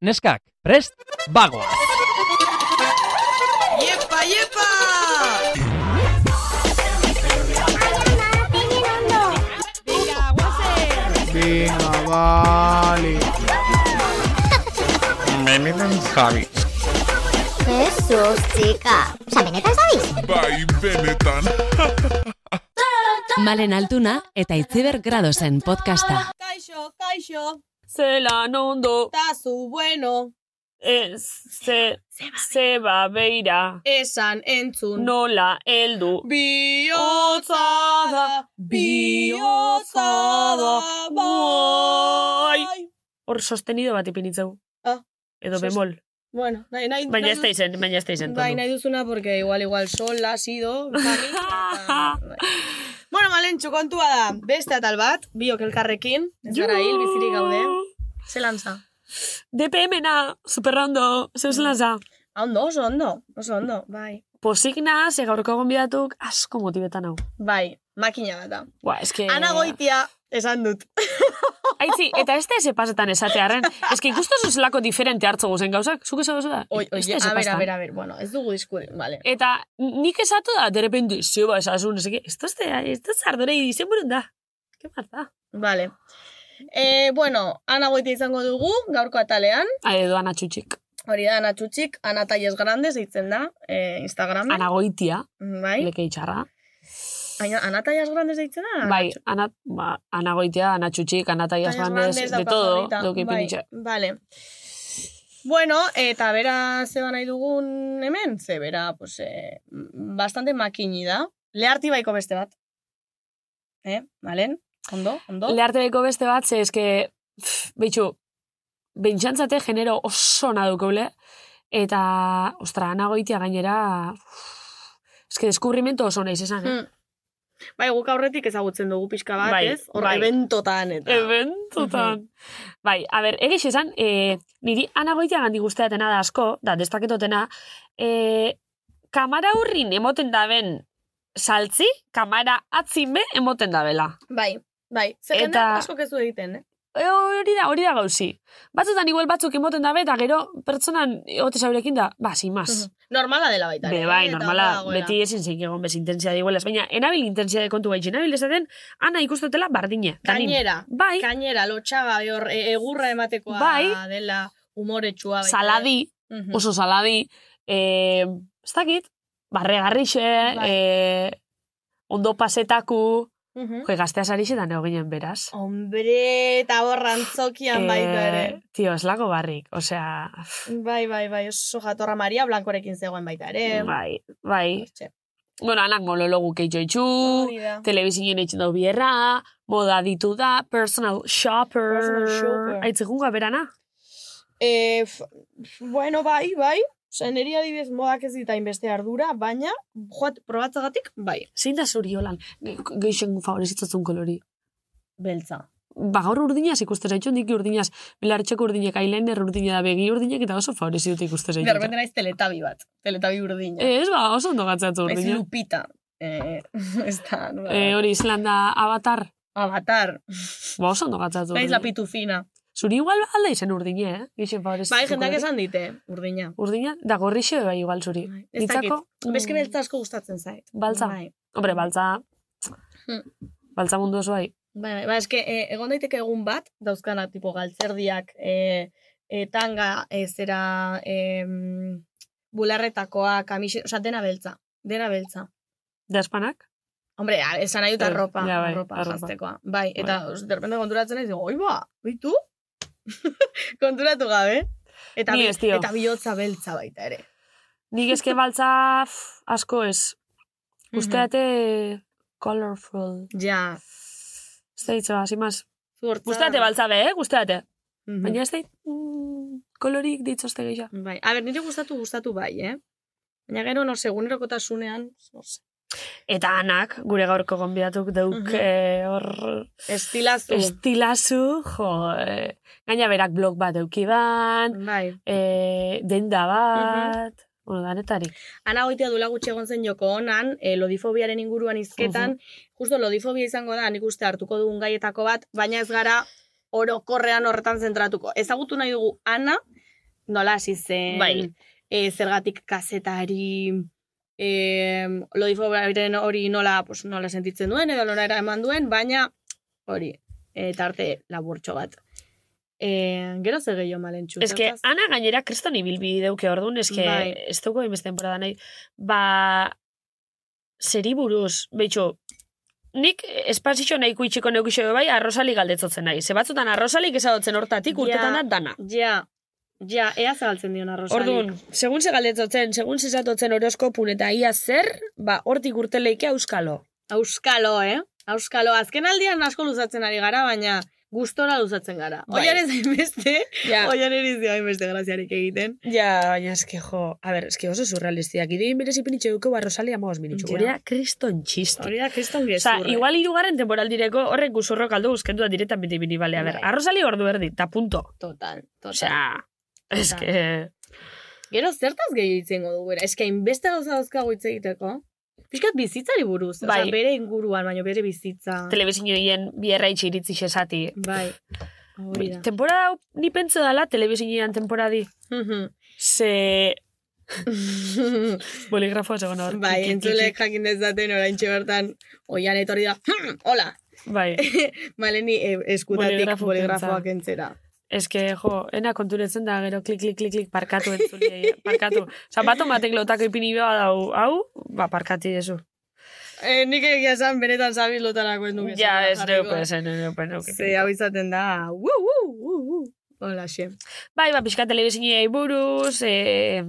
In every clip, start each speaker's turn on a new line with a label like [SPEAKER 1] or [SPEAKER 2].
[SPEAKER 1] Neskak, prest, bagoa!
[SPEAKER 2] ¡Yepa, yepa! ¡Venga, guazen!
[SPEAKER 3] Venga, vale.
[SPEAKER 4] Benetan Javi.
[SPEAKER 5] Jesus, chica. Osa, benetan zabiz?
[SPEAKER 4] Bai, benetan.
[SPEAKER 6] Malen Altuna eta Itziber Gradosen podcasta.
[SPEAKER 2] Kaixo, kaixo,
[SPEAKER 7] Zelan ondo,
[SPEAKER 2] tazu bueno,
[SPEAKER 7] ez, ze, zeba beira,
[SPEAKER 2] esan entzun.
[SPEAKER 7] nola heldu.
[SPEAKER 2] Biotza da, bihotza da, bai.
[SPEAKER 7] Hor sostenido bat ipinitzeu.
[SPEAKER 2] Ah,
[SPEAKER 7] Edo
[SPEAKER 2] sos-
[SPEAKER 7] bemol.
[SPEAKER 2] Bueno, nahi, nahi,
[SPEAKER 7] Baina
[SPEAKER 2] nahi
[SPEAKER 7] ez
[SPEAKER 2] dut-
[SPEAKER 7] da izen, baina ez da izen.
[SPEAKER 2] Bai,
[SPEAKER 7] tonu.
[SPEAKER 2] nahi duzuna, porque igual, igual, sol, ácido, jami, eta- bai. Bueno, Malentxu, kontua da, beste atal bat, biok elkarrekin, ez gara hil, bizirik gaude. Ze lantza.
[SPEAKER 7] DPM-na, superrondo, zeus lanza.
[SPEAKER 2] Ah, Ondo, oso ondo, oso ondo, bai.
[SPEAKER 7] Pozik naz, ze gaurko gonbidatuk, asko motibetan hau.
[SPEAKER 2] Bai, makina bat da.
[SPEAKER 7] Ba, eske...
[SPEAKER 2] Ana goitia, esan dut.
[SPEAKER 7] Oh, Aitzi, eta ez da eze pasetan esatearen. Eske ikustu zuzelako diferente hartzo guzen gauzak. Zuk esan da?
[SPEAKER 2] Oi, oi,
[SPEAKER 7] Ez
[SPEAKER 2] a
[SPEAKER 7] da eze
[SPEAKER 2] ber, a
[SPEAKER 7] pasatan.
[SPEAKER 2] ber, a ber, bueno, ez dugu diskuri, vale.
[SPEAKER 7] Eta nik esatu da, de repente, zeba esasun, ez esto ez da, ez da zardorei izen burun da. Ke marta.
[SPEAKER 2] Vale. Eh, bueno, Ana goitia izango dugu, gaurko atalean.
[SPEAKER 7] Ai, edo Ana Txutxik.
[SPEAKER 2] Hori da, Ana Txutxik, Ana Talles Grandes deitzen da, eh, Instagram.
[SPEAKER 7] Ana Goitia,
[SPEAKER 2] Bai,
[SPEAKER 7] leke itxarra.
[SPEAKER 2] Aina, Ana Talles Grandes deitzen da? Ana
[SPEAKER 7] Bai, Ana, ba, Ana Goitia, Ana Txutxik, Ana Taias
[SPEAKER 2] Tallas
[SPEAKER 7] Bandes, de
[SPEAKER 2] daukazu
[SPEAKER 7] todo,
[SPEAKER 2] ahorita,
[SPEAKER 7] doke
[SPEAKER 2] bai,
[SPEAKER 7] pinitxa.
[SPEAKER 2] Vale. Bueno, eta bera zeba nahi dugun hemen, ze bera, pues, eh, bastante makini da. Leharti baiko beste bat. Eh, Malen? Ondo, ondo?
[SPEAKER 7] Learte beko beste bat, ze eske, pff, behitxu, bentsantzate genero oso nadukoble, eta, ostra, Ana Goitia gainera, uff, eske deskubrimentu oso naiz esan, eh?
[SPEAKER 2] Hmm. Bai, guk aurretik ezagutzen dugu pixka bat,
[SPEAKER 7] Bai,
[SPEAKER 2] ez? Hor
[SPEAKER 7] bai.
[SPEAKER 2] eventotan eta...
[SPEAKER 7] Ebentutan. Bai, a ber, egiz esan, e, niri anagoitia gandik guztiatena da asko, da, destaketotena, e, kamara hurrin emoten daben saltzi, kamara atzime emoten dabela.
[SPEAKER 2] Bai, bai. Zer
[SPEAKER 7] Eta-
[SPEAKER 2] eta... asko kezu egiten, eh?
[SPEAKER 7] E, hori da, hori da gauzi. Batzutan igual batzuk emoten dabe, eta gero pertsonan ote zaurekin da, ba, sin más.
[SPEAKER 2] Mhm. Normala dela baita.
[SPEAKER 7] Be,
[SPEAKER 2] ere,
[SPEAKER 7] bai,
[SPEAKER 2] eh? Eta
[SPEAKER 7] normala,
[SPEAKER 2] badagoela.
[SPEAKER 7] beti ezin zein egon bez intensia da igualaz, baina enabil intensia de kontu gaitxe, enabil esaten, ana ikustotela bardine. tanin.
[SPEAKER 2] Gainera,
[SPEAKER 7] Bai,
[SPEAKER 2] gainera, lotxaga, hor, e, egurra ematekoa
[SPEAKER 7] Bai.
[SPEAKER 2] dela umoretsua. baita ere.
[SPEAKER 7] saladi,
[SPEAKER 2] Mhm.
[SPEAKER 7] oso saladi, eh, ez dakit, barregarrixe,
[SPEAKER 2] Bai.
[SPEAKER 7] eh, ondo pasetaku,
[SPEAKER 2] Mhm.
[SPEAKER 7] jo, gazteaz ari zetan egon ginen beraz.
[SPEAKER 2] Hombre, eta borrantzokian baita ere.
[SPEAKER 7] Eh, Tio, ez lako barrik, osea,
[SPEAKER 2] Bai, bai, bai, oso jatorra Maria Blankorekin zegoen baita ere.
[SPEAKER 7] bai, bai.
[SPEAKER 2] Hortxe,
[SPEAKER 7] Bueno, anak monologu keitxo itxu,
[SPEAKER 2] hori da.
[SPEAKER 7] telebizinen eitzen dau bierra, moda ditu da, personal shopper.
[SPEAKER 2] Personal shopper.
[SPEAKER 7] Aitzegun gaberana?
[SPEAKER 2] Eh, f- bueno, bai, bai. Osa, niri adibidez modak ez ditain beste ardura, baina joat, probatzagatik, bai.
[SPEAKER 7] Zein da zuri holan? Ge- Geixen favorizitzatzen kolori.
[SPEAKER 2] Beltza.
[SPEAKER 7] Ba, gaur urdinaz ikustera itxu, nik urdinaz, belartxeko urdinek, eyeliner urdina da begi urdinek, eta oso favorizi dut ikustera
[SPEAKER 2] De repente naiz teletabi bat, teletabi urdina.
[SPEAKER 7] Ez, ba, oso ondo gatzatu
[SPEAKER 2] Ez
[SPEAKER 7] urdina.
[SPEAKER 2] Lupita. Eh, ez da, nola da.
[SPEAKER 7] E, hori, Islanda avatar,
[SPEAKER 2] Avatar.
[SPEAKER 7] ba, oso ondo gatzatu
[SPEAKER 2] Naiz la
[SPEAKER 7] urdina.
[SPEAKER 2] pitufina.
[SPEAKER 7] Zuri igual alda izen urdine, eh? Gixen favorizi.
[SPEAKER 2] Bai, jendeak esan dite, urdina.
[SPEAKER 7] Urdina, da gorrixe bai igual zuri.
[SPEAKER 2] Ez dakit.
[SPEAKER 7] Nitzako, mm,
[SPEAKER 2] Beske beltza asko gustatzen zait.
[SPEAKER 7] Baltza.
[SPEAKER 2] Bai.
[SPEAKER 7] Hombre, baltza...
[SPEAKER 2] Hmm.
[SPEAKER 7] Baltza mundu oso bai.
[SPEAKER 2] Bai, bai, bai, eske, eh, egon daiteke egun bat, dauzkana, tipo, galtzerdiak, eh, eh, tanga, eh, zera, eh, bularretakoa, kamixe, oza, dena beltza, dena beltza.
[SPEAKER 7] Da espanak?
[SPEAKER 2] Hombre, a- esan nahi dut
[SPEAKER 7] Eh,
[SPEAKER 2] arropa,
[SPEAKER 7] ja, bai,
[SPEAKER 2] arropa,
[SPEAKER 7] arropa.
[SPEAKER 2] jaztekoa. Bai, eta bai. derpente konturatzen naiz, digo, oi ba, oi tu? Konturatu gabe. Eta,
[SPEAKER 7] Ni
[SPEAKER 2] bi-
[SPEAKER 7] ez, tio.
[SPEAKER 2] eta bihotza beltza baita ere.
[SPEAKER 7] Nik eske baltza pff, asko ez.
[SPEAKER 2] Mhm.
[SPEAKER 7] Usteate colorful.
[SPEAKER 2] Ja,
[SPEAKER 7] Ez da hitz, ba, sin más.
[SPEAKER 2] zuhortza.
[SPEAKER 7] Gusteate baltza be, eh? Gusteate.
[SPEAKER 2] Mhm.
[SPEAKER 7] Baina ez da hitz, mm, kolorik ditzoste gehiago.
[SPEAKER 2] Bai, a ber, nire gustatu gustatu bai, eh? Baina gero, no, segunerokotasunean, no sé,
[SPEAKER 7] Eta anak, gure gaurko gonbidatuk deuk
[SPEAKER 2] Mhm.
[SPEAKER 7] eh, hor
[SPEAKER 2] estilazu.
[SPEAKER 7] estilazu, jo, eh, gaina berak blog bat eukiban,
[SPEAKER 2] Bai.
[SPEAKER 7] eh, denda bat, bueno, danetarik.
[SPEAKER 2] Ana goitea dula gutxi egon zen joko honan, eh, lodifobiaren inguruan izketan, justo lodifobia izango da, nik uste hartuko dugun gaietako bat, baina ez gara orokorrean horretan zentratuko. Ezagutu nahi dugu Ana, nola hasi zen,
[SPEAKER 8] Bai.
[SPEAKER 2] eh, zergatik kazetari, eh, lodifo hori nola, pues, nola sentitzen duen, edo nola eraman duen, baina hori, eh, tarte laburtxo bat. Eh, gero zer gehiago malentxu.
[SPEAKER 7] Eske,
[SPEAKER 2] zeukaz?
[SPEAKER 7] Ana gainera kriston ibilbi deuke orduan, eske,
[SPEAKER 2] Bai.
[SPEAKER 7] ez dugu hainbeste temporada nahi. Ba, zeri buruz, behitxo, nik espazitxo nahiko itxiko neukixo bai, arrosali galdetzotzen nahi. Ze batzutan arrosalik ezadotzen hortatik
[SPEAKER 2] Ja.
[SPEAKER 7] urtetan da dana.
[SPEAKER 2] Ja, ja, ea zabaltzen diona Rosali.
[SPEAKER 7] Orduan, segun ze galdetzotzen, segun ze zatotzen horoskopun eta ia zer, ba, hortik urteleike auskalo.
[SPEAKER 2] Auskalo, eh? Auskalo, azken aldian asko luzatzen ari gara, baina gustora luzatzen gara.
[SPEAKER 7] Bai.
[SPEAKER 2] Oian ez hainbeste,
[SPEAKER 7] Ja,
[SPEAKER 2] oian eriz dio hainbeste graziarik egiten.
[SPEAKER 7] ja, baina eske jo, a ber, eske oso surrealistiak. Idein berez ipinitxe duke barrosali amagoz minitxu.
[SPEAKER 2] Ja.
[SPEAKER 7] Gurea kriston txiste.
[SPEAKER 2] Hori da, kriston
[SPEAKER 7] Osa,
[SPEAKER 2] gezurra. eh.
[SPEAKER 7] igual irugarren temporaldireko horrek guzurro kaldu buskendu da directamente ibili, bale, a ber,
[SPEAKER 2] Bai.
[SPEAKER 7] arrozali ordu erdi, ta punto.
[SPEAKER 2] Total, total.
[SPEAKER 7] Osea, es que...
[SPEAKER 2] Gero zertaz gehi itzengo dugu, era? Eske hainbeste gauza dauzkagu hitz egiteko. Piskat bizitzari buruz, bai.
[SPEAKER 7] Bai.
[SPEAKER 2] bere inguruan, baina bere bizitza.
[SPEAKER 7] Telebizinioien bierra itxiritzi xesati.
[SPEAKER 2] Bai, hori da.
[SPEAKER 7] Temporada, hau, ni pentsa dala telebizinioan temporadi.
[SPEAKER 2] Mhm.
[SPEAKER 7] Ze... Boligrafoa zegoen hor.
[SPEAKER 2] bai,
[SPEAKER 7] Klik, klik,
[SPEAKER 2] entzulek jakin dezaten orain bertan, oian etorri da, "Hmm, hola,
[SPEAKER 7] klik. Bai,
[SPEAKER 2] maleni eh, eskutatik
[SPEAKER 7] Boligrafo
[SPEAKER 2] boligrafoak entzera.
[SPEAKER 7] es que, jo, ena konturetzen da gero klik, klik, klik, klik, parkatu entzulei, eh, parkatu. Osa, bat matek lotako ipini behar dau, hau, ba, parkati dezu.
[SPEAKER 2] Eh, nik egia esan benetan zabiz lotarako ez nuke.
[SPEAKER 7] Ja,
[SPEAKER 2] esan,
[SPEAKER 7] ez
[SPEAKER 2] jarriko.
[SPEAKER 7] neuko, ez neuko, neuko.
[SPEAKER 2] Ze hau izaten da, wu, wu, wu, wu. Hola, xe.
[SPEAKER 7] Bai, ba, pixka telebizinei buruz, e,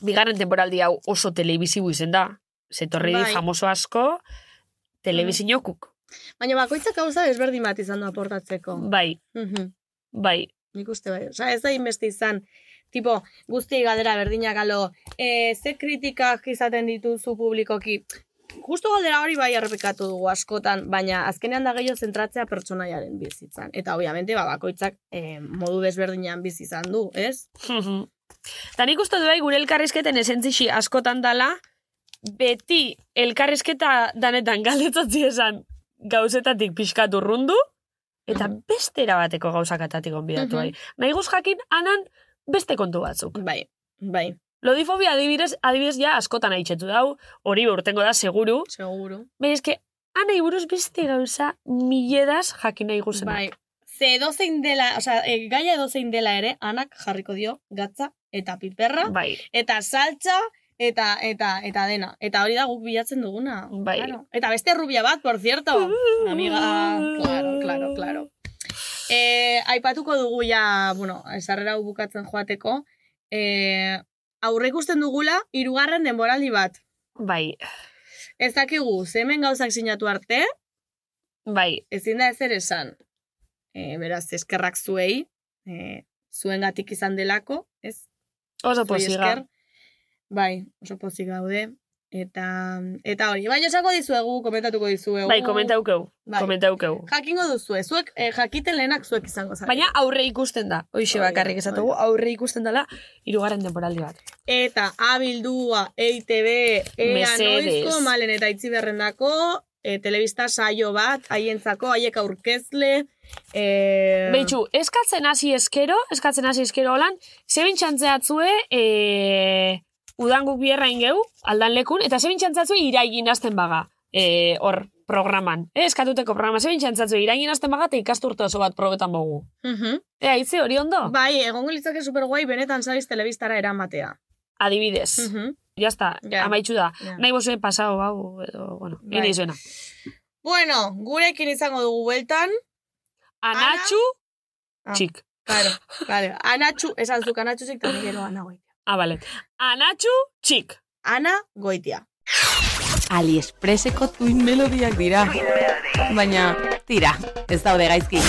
[SPEAKER 7] bigarren temporaldi hau oso telebizibu izen da. Zetorri
[SPEAKER 2] Bai.
[SPEAKER 7] bai. famoso asko, telebizinokuk.
[SPEAKER 2] Baina bakoitzak gauza desberdin bat izan du aportatzeko.
[SPEAKER 7] Bai,
[SPEAKER 2] Mhm.
[SPEAKER 7] bai,
[SPEAKER 2] Nik uste bai. Osa, ez da inbeste izan, tipo, guzti galdera berdinak alo, e, ze kritikak izaten dituzu publikoki, Justo galdera hori bai errepikatu dugu askotan, baina azkenean da gehiago zentratzea pertsonaiaren bizitzan. Eta obviamente ba, bakoitzak eh, modu desberdinean bizi izan du, ez?
[SPEAKER 7] Mhm. Ta nik uste du bai, gure elkarrizketen esentzixi askotan dala, beti elkarrizketa danetan galdetzatzi esan gauzetatik pixkatu rundu, eta beste erabateko gauzakatatik
[SPEAKER 2] Mhm.
[SPEAKER 7] onbidatu bai. Nahi guz jakin, anan beste kontu batzuk.
[SPEAKER 2] Bai, bai,
[SPEAKER 7] Lodifobia adibidez, adibidez ja askotan aitxetu dau, hori urtengo da seguru,
[SPEAKER 2] seguru.
[SPEAKER 7] Baina eske, anai buruz beste gauza mileraz jakin nahi guzena.
[SPEAKER 2] Bai. Ze edozein dela, osea, e, gaia edozein dela ere, anak jarriko dio gatza eta piperra,
[SPEAKER 7] Bai.
[SPEAKER 2] eta saltza, eta, eta, eta dena. Eta hori da guk bilatzen duguna.
[SPEAKER 7] Bai.
[SPEAKER 2] Claro. Eta beste rubia bat, por cierto. Amiga, claro, claro, claro. E, aipatuko dugu ja, bueno, esarrera hau bukatzen joateko, e, aurre ikusten dugula, hirugarren denboraldi bat.
[SPEAKER 7] Bai,
[SPEAKER 2] Ez dakigu, zemen gauzak sinatu arte,
[SPEAKER 7] bai,
[SPEAKER 2] ezin da ezer esan. E, beraz, eskerrak zuei, e, zuengatik izan delako, ez?
[SPEAKER 7] oso
[SPEAKER 2] Zuei
[SPEAKER 7] posiga.
[SPEAKER 2] esker. Bai, oso pozik gaude. Eta, eta hori, baina esango dizuegu, komentatuko dizuegu.
[SPEAKER 7] Bai, komentaukeu,
[SPEAKER 2] Bai.
[SPEAKER 7] komentaukeu.
[SPEAKER 2] Jakingo duzue, zuek, eh, jakiten lehenak zuek izango zara.
[SPEAKER 7] Baina aurre ikusten da, hoxe
[SPEAKER 2] Hori da,
[SPEAKER 7] bakarrik esatugu,
[SPEAKER 2] hori
[SPEAKER 7] aurre ikusten dela hirugarren temporaldi bat.
[SPEAKER 2] Eta E abildua, EITB, ea
[SPEAKER 7] Mesedes.
[SPEAKER 2] noizko, malen eta itziberrendako, e, telebista saio bat, haientzako, haiek aurkezle. E,
[SPEAKER 7] Beitxu, eskatzen hasi eskero, eskatzen hasi eskero holan, zebin txantzeatzue, e, udan guk bierrain geu, aldan lekun, eta zebin txantzeatzue iraigin hasten baga, e, hor, programan. E, eskatuteko programa, zebin txantzeatzue iraigin hasten baga, eta ikasturte oso bat probetan bogu.
[SPEAKER 2] Mhm.
[SPEAKER 7] Ea, itzi hori ondo?
[SPEAKER 2] Bai, egongo litzake superguai benetan saiz telebistara eramatea.
[SPEAKER 7] Adibidez.
[SPEAKER 2] Mhm.
[SPEAKER 7] Jazta,
[SPEAKER 2] Ja.
[SPEAKER 7] amaitxu da.
[SPEAKER 2] Ja.
[SPEAKER 7] Nahi bozuen pasau, hau, edo, bueno,
[SPEAKER 2] Bai.
[SPEAKER 7] bai. izuena.
[SPEAKER 2] Bueno, gurekin izango dugu bueltan.
[SPEAKER 7] Anatxu,
[SPEAKER 2] Ah.
[SPEAKER 7] txik.
[SPEAKER 2] Claro, claro. Anatxu, esan zuk anatxuzik, eta nik gero ana goitia.
[SPEAKER 7] Ah, bale. Anatxu, txik.
[SPEAKER 2] Ana goitia.
[SPEAKER 9] Aliexpreseko tuin melodiak dira. Baina, tira, ez daude gaizki.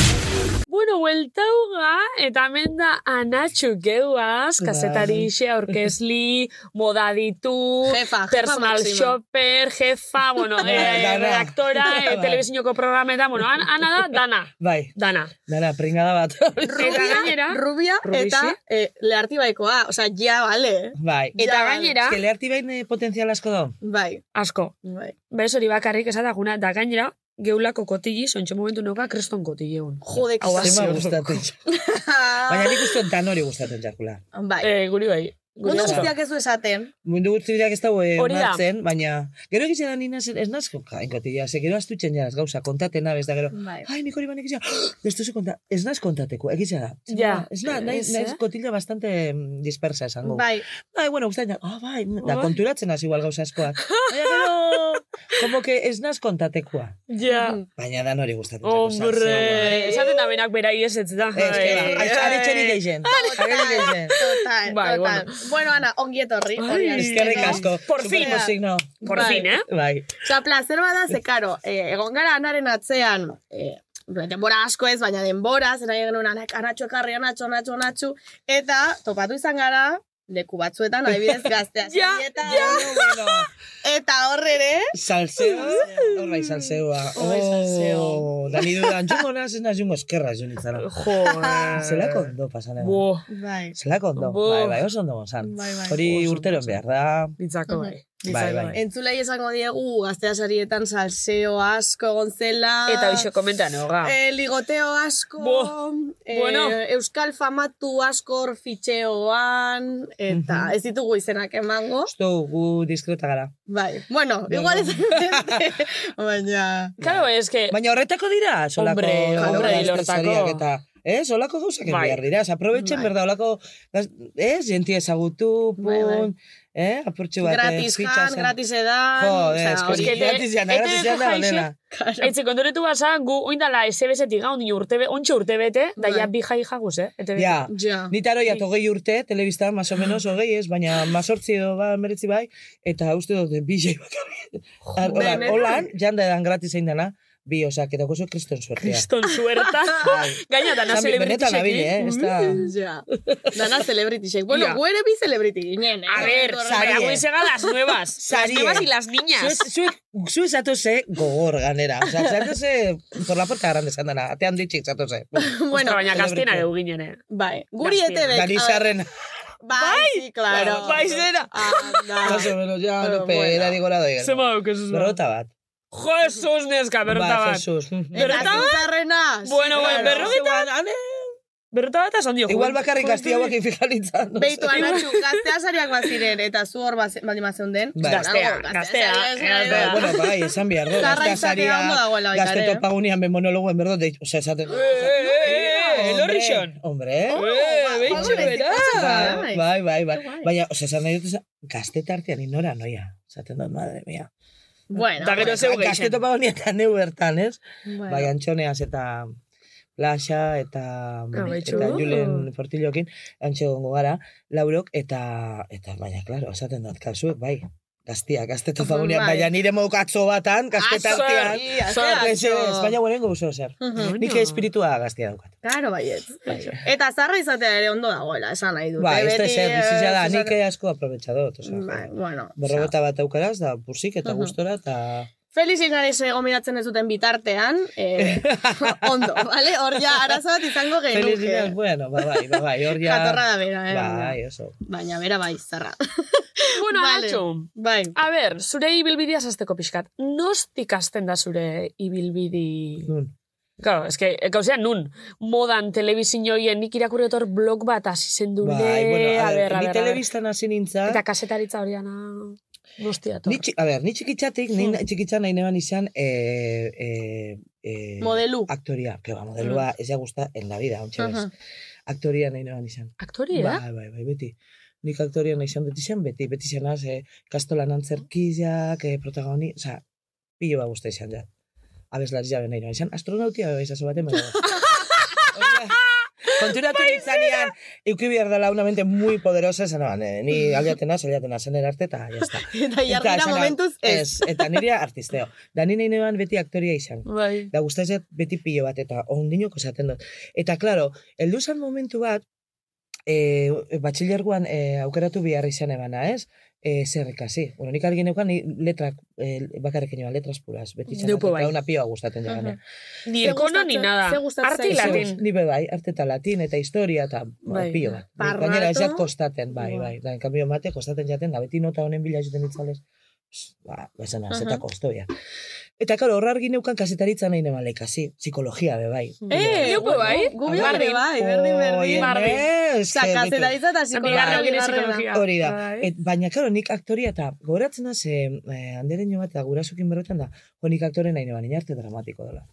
[SPEAKER 7] Bueno, hueltauga, eta hemen da Anatxu geuaz,
[SPEAKER 10] Bai.
[SPEAKER 7] kazetari xe, aurkezli, modaditu,
[SPEAKER 2] Jefa, jefa
[SPEAKER 7] personal
[SPEAKER 2] máxima.
[SPEAKER 7] shopper, jefa, bueno, eh,
[SPEAKER 10] dana.
[SPEAKER 7] redaktora, eh,
[SPEAKER 10] Bai.
[SPEAKER 7] telebizinoko programeta, bueno, an- ana da, dana,
[SPEAKER 10] Bai,
[SPEAKER 7] dana.
[SPEAKER 10] dara, pringada bat.
[SPEAKER 7] Eta gainera,
[SPEAKER 2] Rubia
[SPEAKER 7] Rubixe.
[SPEAKER 2] eta eh, lehartibaikoa. Osea, ja, bale. eh?
[SPEAKER 10] bai.
[SPEAKER 7] eta
[SPEAKER 2] Ja,
[SPEAKER 10] Ez
[SPEAKER 7] gainera,
[SPEAKER 10] que leharti bain eh, potentzial asko da.
[SPEAKER 2] Bai,
[SPEAKER 7] asko,
[SPEAKER 2] bai.
[SPEAKER 7] bez hori bakarrik esataguna, da gainera, geulako kotili, zontxe momentu nuka kreston kotili egun.
[SPEAKER 2] Jode,
[SPEAKER 7] Hau
[SPEAKER 2] kisasi.
[SPEAKER 10] Zema gustatzen zait. Baina nik uste dut danori gustatzen jakula.
[SPEAKER 2] Bai.
[SPEAKER 7] Eh, guri bai. Guri
[SPEAKER 2] Mundu
[SPEAKER 7] asko.
[SPEAKER 2] guztiak ez du esaten.
[SPEAKER 10] Mundu guztiak ez dago eh,
[SPEAKER 7] Hori da.
[SPEAKER 10] onartzen, baina... Gero egizien da nina ez nazko jainkotia, ze gero astutzen jaz, gauza, kontaten nabez da gero.
[SPEAKER 2] Bai.
[SPEAKER 10] Ai, nik hori banek izan, "Ah, ez duzu konta, ez naz kontateko, egizia da.
[SPEAKER 7] Ja.
[SPEAKER 10] Ez na, nahi,
[SPEAKER 7] Ez,
[SPEAKER 10] nahi
[SPEAKER 7] eh?
[SPEAKER 10] kotila bastante mm, dispersa esango.
[SPEAKER 2] Bai.
[SPEAKER 10] Ai, bueno, gustatzen da, ah, bai, da
[SPEAKER 7] Bai.
[SPEAKER 10] konturatzen hasi igual gauza askoak. Baina gero, como que ez naz kontatekoa.
[SPEAKER 7] Ja.
[SPEAKER 10] Mm. Baina da nori gustatzen zaigu, salseo,
[SPEAKER 7] Hombre. Bai. Esaten da berak berai ez ez da.
[SPEAKER 10] ba. Ez, que ba,
[SPEAKER 7] Ai,
[SPEAKER 10] aritxerik geixen. Aritxerik geixen.
[SPEAKER 2] Total,
[SPEAKER 7] Bai,
[SPEAKER 2] total. Bueno. Ana, ongi etorri. hori da.
[SPEAKER 10] Eskerrik asko.
[SPEAKER 7] Por fin.
[SPEAKER 10] Superposik, no.
[SPEAKER 7] Por
[SPEAKER 2] Bai.
[SPEAKER 7] fin, eh?
[SPEAKER 10] Bai.
[SPEAKER 2] Osa, placer bada, ze, karo, eh, egon gara anaren atzean, eh, denbora asko ez, baina denbora, zera egin genuen, anak, anatxo ekarri, anatxo, anatxo, anatxo, eta topatu izan gara, leku batzuetan, adibidez, gaztea.
[SPEAKER 7] Ja,
[SPEAKER 2] eta,
[SPEAKER 10] Bueno,
[SPEAKER 2] eta hor ere,
[SPEAKER 10] salseo, hor bai salseoa.
[SPEAKER 7] Hor bai salseo.
[SPEAKER 10] Oh, da ni dudan, jungo naz, ez naz jungo eskerra, jo nintzara.
[SPEAKER 7] Jo.
[SPEAKER 10] Zelako ondo pasan egon.
[SPEAKER 7] Bo.
[SPEAKER 2] bai,
[SPEAKER 10] Zelako ondo,
[SPEAKER 7] Bo.
[SPEAKER 10] bai, bai, oso ondo gozan.
[SPEAKER 2] bai, bai.
[SPEAKER 10] Hori
[SPEAKER 7] Oso ondo
[SPEAKER 10] urteron
[SPEAKER 7] gozan.
[SPEAKER 10] behar da.
[SPEAKER 7] Bitzako bai.
[SPEAKER 10] Bai, bai.
[SPEAKER 2] Entzulei esango diegu, gaztea sarietan salseo asko egon zela.
[SPEAKER 7] Eta hoxe komentan hoga.
[SPEAKER 2] Eh, ligoteo asko,
[SPEAKER 7] Bo.
[SPEAKER 2] eh,
[SPEAKER 7] Bueno.
[SPEAKER 2] euskal famatu asko hor fitxeoan, eta ez ditugu izenak emango.
[SPEAKER 10] Justo gu diskreta gara.
[SPEAKER 2] Bai, bueno, igual ez beste, baina...
[SPEAKER 7] Claro,
[SPEAKER 10] bai.
[SPEAKER 7] es que...
[SPEAKER 10] Eh, Baina horretako dira, solako...
[SPEAKER 7] Hombre, hombre,
[SPEAKER 10] gazte
[SPEAKER 7] lortako.
[SPEAKER 10] sariak Eta, ez, holako gauzak egin
[SPEAKER 7] Bai.
[SPEAKER 10] behar dira. Ez, aprobetxen,
[SPEAKER 2] Bai.
[SPEAKER 10] berda, holako... gaz- Ez, jentia ezagutu, pun...
[SPEAKER 2] Bai, bai.
[SPEAKER 10] Eh, apurtxu bat,
[SPEAKER 2] Gratis jan, gratis edan...
[SPEAKER 10] Jo,
[SPEAKER 2] osea,
[SPEAKER 10] ez,
[SPEAKER 2] hori-
[SPEAKER 7] hori-
[SPEAKER 10] gratis jana, gratis
[SPEAKER 7] ETV-ko
[SPEAKER 10] jana,
[SPEAKER 7] jaixe-
[SPEAKER 10] onena.
[SPEAKER 7] Etxe, kontoretu basa, gu oindala SBSetik gaun dino urtebe, ontxe urtebete, da
[SPEAKER 2] Bai.
[SPEAKER 7] ja bi jai jaguz, eh? Ete
[SPEAKER 10] Ja,
[SPEAKER 2] Ja. Bai.
[SPEAKER 10] Ni taro jat hogei urte, telebistan, más o menos, hogei ez, baina mazortzi edo, ba, meretzi bai, eta uste dut, bi jai bakarri.
[SPEAKER 2] benetan.
[SPEAKER 10] Holan, janda edan gratis egin dana, bi, osak, eta gozo kriston suertea.
[SPEAKER 7] Kriston suerta. Gaina, dana
[SPEAKER 10] Esan, Bai. Benetan
[SPEAKER 7] celebritiseki.
[SPEAKER 10] abile, eh? Ez da...
[SPEAKER 2] Ja. Dana celebritysek. Bueno,
[SPEAKER 7] Ja.
[SPEAKER 2] gu ere bi celebrity ginen. eh?
[SPEAKER 7] A ver,
[SPEAKER 2] Horrela.
[SPEAKER 10] saria.
[SPEAKER 7] para huesega las nuevas.
[SPEAKER 10] Sarie.
[SPEAKER 7] Las nuevas y las niñas.
[SPEAKER 10] Zuek- Zuek, zuek zatoze gogor ganera. Osa, zatoze, por la puerta grande esan dana, atean ditxik zatoze.
[SPEAKER 7] Bueno, baina
[SPEAKER 10] celebrity.
[SPEAKER 7] gaztena dugu ginen, eh?
[SPEAKER 2] Bai, guri
[SPEAKER 7] Gaztea.
[SPEAKER 2] ete
[SPEAKER 10] Dani Sarren,
[SPEAKER 2] Bai, sí, claro.
[SPEAKER 7] Bai, zera.
[SPEAKER 2] Anda.
[SPEAKER 10] más o menos, ja,
[SPEAKER 2] Bueno,
[SPEAKER 10] lope,
[SPEAKER 2] Ah, bueno.
[SPEAKER 10] era digo la doy.
[SPEAKER 7] Zema duk, ez
[SPEAKER 10] Berrota bat.
[SPEAKER 7] Jesus, neska, berrota
[SPEAKER 10] Ba,
[SPEAKER 7] bat. Eh,
[SPEAKER 10] Jesus.
[SPEAKER 2] Eta
[SPEAKER 7] Berrota bat?
[SPEAKER 2] zintzarrena.
[SPEAKER 7] Bueno, bueno, berrogeta bat. Berrota bat esan dio.
[SPEAKER 10] Igual
[SPEAKER 7] juventud-
[SPEAKER 10] bakarrik gazti hauak infijalitzan.
[SPEAKER 2] Beitu anatxu, gaztea sariak baziren, eta zu hor baze- baldin bazeun den.
[SPEAKER 10] Bai.
[SPEAKER 7] Gaztea,
[SPEAKER 2] Dago,
[SPEAKER 7] gaztea,
[SPEAKER 2] sariak ez gara-
[SPEAKER 7] gaztea.
[SPEAKER 10] Bueno, bai, esan behar du.
[SPEAKER 2] Zarra
[SPEAKER 10] Gazte
[SPEAKER 2] izatea ondo dagoela baita
[SPEAKER 10] gazte
[SPEAKER 2] ere, eh?
[SPEAKER 10] topagunean be monologuen berdo, deitu, oza, esaten.
[SPEAKER 7] eh,
[SPEAKER 10] Hombre,
[SPEAKER 7] eh, elorrixon.
[SPEAKER 10] Hombre,
[SPEAKER 2] Ba,
[SPEAKER 7] Eh, beintxe
[SPEAKER 2] Hombre,
[SPEAKER 7] bera.
[SPEAKER 10] Bai,
[SPEAKER 2] Bai.
[SPEAKER 10] bai, bai, bai.
[SPEAKER 2] Guai.
[SPEAKER 10] Baina, oza, esan nahi dut, esan- gazte tartean inora noia. Zaten dut, madre mia.
[SPEAKER 2] Bueno,
[SPEAKER 7] Da gero
[SPEAKER 2] bueno.
[SPEAKER 7] zeu
[SPEAKER 10] Ba,
[SPEAKER 7] geixen.
[SPEAKER 10] Gazte topa honietan neu bertan, ez?
[SPEAKER 2] Bueno.
[SPEAKER 10] Bai, antxoneaz eta Plaxa eta, mm,
[SPEAKER 7] Abaitxu.
[SPEAKER 10] eta Julen Portillokin, antxe gongo gara, laurok, eta, eta baina, klaro, esaten dut, kasuek, bai, gaztiak, gazte topagunean,
[SPEAKER 2] Bai.
[SPEAKER 10] baina nire mokatzo batan, gazte
[SPEAKER 2] Azo,
[SPEAKER 10] tartean.
[SPEAKER 2] argi, azo,
[SPEAKER 7] Zor,
[SPEAKER 2] argi.
[SPEAKER 10] Ez, ez, baina gurengo guzio zer.
[SPEAKER 2] Mhm.
[SPEAKER 10] Nik espiritua gaztia daukat.
[SPEAKER 2] Claro, baiet. Eta zarra izatea ere ondo dagoela, esan nahi dut.
[SPEAKER 10] Ba,
[SPEAKER 2] eh,
[SPEAKER 10] ez da
[SPEAKER 2] beti,
[SPEAKER 10] zer,
[SPEAKER 2] eh,
[SPEAKER 10] bizitza da,
[SPEAKER 2] esaten-
[SPEAKER 10] nik asko aprobetxadot,
[SPEAKER 2] Bai, Mhm.
[SPEAKER 10] oza.
[SPEAKER 2] bueno.
[SPEAKER 10] Berrogota bat aukaraz, da bursik eta gustora, eta...
[SPEAKER 2] Feliz Ignares gomidatzen ez duten bitartean, eh, ondo, vale? Hor ja, arazo bat izango
[SPEAKER 10] Feliz días,
[SPEAKER 2] genuke.
[SPEAKER 10] bueno, ba, bai, ba, bai, hor ja...
[SPEAKER 2] Bai, Jatorra da bera, eh? baina-
[SPEAKER 10] Bai, oso.
[SPEAKER 2] Baina bera bai, zarra.
[SPEAKER 7] Bueno,
[SPEAKER 2] Vale.
[SPEAKER 7] Anatxo,
[SPEAKER 2] Bai.
[SPEAKER 10] Eh,
[SPEAKER 7] A ber, zure ibilbidea zazteko pixkat. Nostik hasten da zure ibilbidi...
[SPEAKER 10] Nun.
[SPEAKER 7] Claro, eske, gauzean nun, modan telebizin joien nik irakurretor blog bat hasi zen dune,
[SPEAKER 10] Bai, bueno,
[SPEAKER 7] a ber, a
[SPEAKER 10] ni
[SPEAKER 7] ber, a ber.
[SPEAKER 10] telebistan hasi nintzen.
[SPEAKER 7] Eta kasetaritza hori ana... Nostia,
[SPEAKER 10] Ni, txi- a ber, ni txikitzatik, ni
[SPEAKER 7] Hmm.
[SPEAKER 10] txikitzan nahi neban izan e, e, e,
[SPEAKER 2] Modelu.
[SPEAKER 10] aktoria, que ba, modelua
[SPEAKER 7] Hmm.
[SPEAKER 10] ez da gusta en la vida, ontsa bez.
[SPEAKER 2] Aha.
[SPEAKER 10] Aktoria nahi neban izan.
[SPEAKER 7] Aktori, eh?
[SPEAKER 10] Bai, bai, bai, beti. Nik aktoria nahi izan dut izan, beti, beti izan az, eh, kastolan antzerkiak, eh, protagoni, oza, pilo bat guztia izan ja. Abeslari jabe nahi neban izan, astronautia bebe izazo baten baina. Hori da. Konturatu nintzanean, euki behar dela una mente muy poderosa, esan eban, eh, ni aliatena, aliatena, zener arte, eta jazta.
[SPEAKER 2] Eta jarrera
[SPEAKER 10] esan nau,
[SPEAKER 2] momentuz ez.
[SPEAKER 10] Eta nire artisteo. Da nire neban beti aktoria izan.
[SPEAKER 7] Bai.
[SPEAKER 10] Da guztatzen beti pilo bat, eta ondinok esaten dut. Eta, klaro, heldu zan momentu bat, e, batxilerguan e, aukeratu bihar izan ebana, ez? E, zer ikasi. Bueno, nik argi neukan, ni letrak, e, bakarrik inoan, letras puras, beti izan.
[SPEAKER 7] Neupo
[SPEAKER 10] dut,
[SPEAKER 7] bai.
[SPEAKER 10] Eta una pioa eh. gustatzen jaganean.
[SPEAKER 7] Ni
[SPEAKER 2] Ze
[SPEAKER 7] ekono ni
[SPEAKER 2] gustatzen-
[SPEAKER 7] nada.
[SPEAKER 2] ze gustatzen
[SPEAKER 7] Arte
[SPEAKER 2] zaizu?
[SPEAKER 7] latin.
[SPEAKER 10] Ni be bai, arte eta latin, eta historia, eta bai.
[SPEAKER 7] Bai.
[SPEAKER 10] pilo bat.
[SPEAKER 2] Parrato.
[SPEAKER 10] Gainera ez jat kostaten, bai,
[SPEAKER 2] Bai.
[SPEAKER 10] bai. Da, en cambio mate, kostaten jaten, da beti nota honen bila juten itzalez. Ba, bezana, uh
[SPEAKER 2] Aha.
[SPEAKER 10] zeta kostoia. Eta, karo, horra argi neukan kasetaritza nahi nema lekasi, psikologia be bai.
[SPEAKER 2] Eh,
[SPEAKER 11] Gupe bai,
[SPEAKER 2] gu
[SPEAKER 10] Bai,
[SPEAKER 2] bigarren bai, berdin, berdin.
[SPEAKER 10] Oien, ez,
[SPEAKER 2] Osa,
[SPEAKER 10] que ditu.
[SPEAKER 2] kazetaritza eta
[SPEAKER 7] Bigarren
[SPEAKER 2] psikologia.
[SPEAKER 7] hori
[SPEAKER 2] bigarrena.
[SPEAKER 7] psikologia.
[SPEAKER 10] Hori da.
[SPEAKER 11] Bai.
[SPEAKER 10] Et, baina, karo, nik aktoria eta gogoratzen da, ze eh, andere nio bat eta gurasokin berbetan da, jo nik aktore nahi neban, inarte dramatiko dela.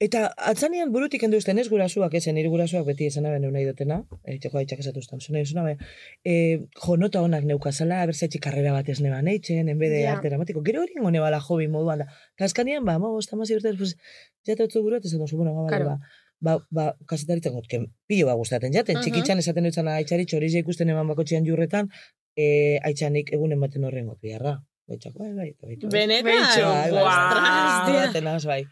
[SPEAKER 10] Eta atzanean burutik endu usten ez gurasuak, ezen nire gurasuak beti esan aben nahi dutena, eiteko aitzak esatu usten, zena esan aben, e, jo nota honak neukazala, berzetxik karrera bat ez neban eitzen, enbede
[SPEAKER 11] Ja.
[SPEAKER 10] arte dramatiko, gero hori ingo nebala hobi moduan da. Kaskanean, ba, mago, esta mazi urte, pues, jata utzu buruat, esan duzu, bueno, ba, vale,
[SPEAKER 11] Claro.
[SPEAKER 10] ba, ba, ba kasetaritzen gotken pilo ba gustaten jaten,
[SPEAKER 11] Ujú.
[SPEAKER 10] txikitzan esaten dutzen aitzari txorizia ikusten eman bakotxean jurretan, e, aitzanik egunen baten horren got biharra. Baitzak, bai, bai, eta baitu. bai.
[SPEAKER 2] Benetan.
[SPEAKER 10] Bai, bai,
[SPEAKER 2] Ostras,
[SPEAKER 10] bai,
[SPEAKER 2] tia.
[SPEAKER 10] baten naz, bai.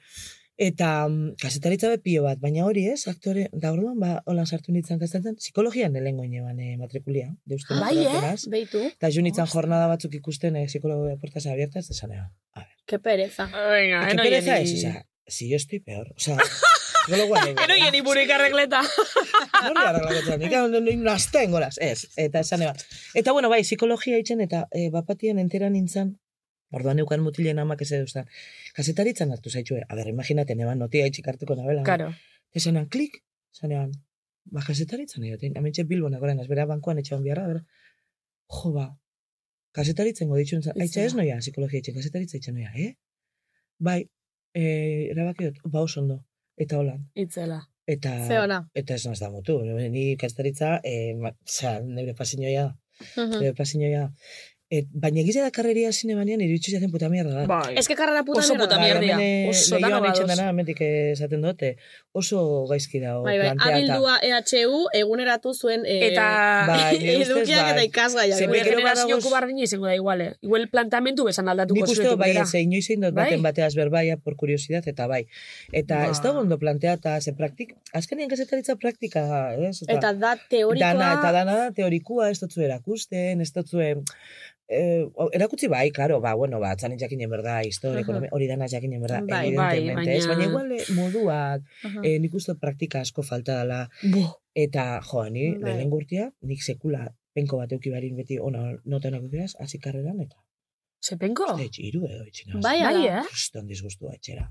[SPEAKER 10] Eta mm, kasetaritza be pilo bat, baina hori ez, aktore, da orduan, ba, holan sartu nintzen kasetatzen, psikologian lehengo ineban eh, matrikulia, deusten.
[SPEAKER 11] Bai,
[SPEAKER 10] matrikulatzen
[SPEAKER 11] eh?
[SPEAKER 10] naz.
[SPEAKER 11] Beitu.
[SPEAKER 10] Eta jo nintzen jornada batzuk ikusten eh, psikologo de puertas abiertas, esan eban. A ver,
[SPEAKER 11] Ke pereza.
[SPEAKER 7] Venga,
[SPEAKER 10] ¿qué pereza es? O sea, si yo estoy peor, o sea, psikologoa nengo, eh?
[SPEAKER 7] ni burik arregleta.
[SPEAKER 10] Nori arreglaketan, ikan nazten goraz, ez, eta esan eban. Eta bueno, bai, psikologia itzen eta e, bapatian entera nintzen, orduan neukan mutilen amak ez eduztan, kasetaritzan hartu zaitxue, a ber, imaginaten eban notia itxik hartuko nabela.
[SPEAKER 11] Karo.
[SPEAKER 10] Esanan, klik, esanean, ba, kasetaritzan egoten, amentxe bilbon agoran, ez bera bankoan etxean biharra, bera, jo, ba, kasetaritzen goditxun, zan, aitxa ez noia, psikologia itxen, kasetaritza itxen noia, eh? Bai, e, erabaki dut, ba, oso ondo, eta holan.
[SPEAKER 11] Itzela.
[SPEAKER 10] Eta,
[SPEAKER 2] Ze ona.
[SPEAKER 10] Eta ez naz da mutu, ni ikastaritza, e, ma, oza, neure pasinioia, da,
[SPEAKER 11] Mhm.
[SPEAKER 7] Mm.
[SPEAKER 10] neure pasinioia. da. Et, baina egizia da karreria zine banean, iritsi zaten puta mierda da.
[SPEAKER 7] Bai.
[SPEAKER 11] Ez que karrera puta
[SPEAKER 2] Oso puta
[SPEAKER 11] mierda.
[SPEAKER 2] mierdia.
[SPEAKER 10] eh,
[SPEAKER 11] Oso dano
[SPEAKER 10] Lehioan
[SPEAKER 11] badoz.
[SPEAKER 10] itxen dana, hemendik esaten dute, oso gaizki da,
[SPEAKER 2] Bai, bai, abildua EHU eguneratu zuen eh,
[SPEAKER 7] Eta...
[SPEAKER 10] Bai, nire ustez,
[SPEAKER 2] edukiak
[SPEAKER 10] bai.
[SPEAKER 2] eta ikasgaiak.
[SPEAKER 10] Ze
[SPEAKER 7] Gure
[SPEAKER 10] gero
[SPEAKER 7] generazio
[SPEAKER 10] badagoz-
[SPEAKER 7] kubardin izango da igual, eh? Igual planteamendu besan aldatuko
[SPEAKER 10] Nik uste dut bai,
[SPEAKER 7] bera.
[SPEAKER 10] ez, inoiz egin dut
[SPEAKER 7] Bai?
[SPEAKER 10] baten bateaz berbaia por kuriosidad, eta bai. Eta
[SPEAKER 7] Ba.
[SPEAKER 10] ez da ondo planteata, ze praktik, azkenean kasetaritza praktika, ez?
[SPEAKER 2] Eta da teorikoa...
[SPEAKER 10] Dana, eta dana da teorikua, ez dutzu erakusten, ez dutzu... Eh, erakutsi bai, claro, ba, bueno, ba, txanen jakinen berda, historia,
[SPEAKER 11] Aha.
[SPEAKER 10] ekonomia, hori dana jakinen berda,
[SPEAKER 2] Bai,
[SPEAKER 7] bai,
[SPEAKER 10] evidentemente,
[SPEAKER 7] baina-
[SPEAKER 10] ez? Baina igual eh, moduak,
[SPEAKER 2] Aha.
[SPEAKER 10] eh, nik uste dut praktika asko falta dela, Eta, jo, ni
[SPEAKER 2] Bai.
[SPEAKER 10] lehen gurtia, nik sekula penko bat euki barin beti ona notenak eukiraz, hasi karreran, eta
[SPEAKER 7] Zepenko?
[SPEAKER 10] oh. etxe iru edo etxina.
[SPEAKER 2] Bai,
[SPEAKER 7] Bai,
[SPEAKER 2] ala.
[SPEAKER 7] eh?
[SPEAKER 10] Kriston disgustua etxera.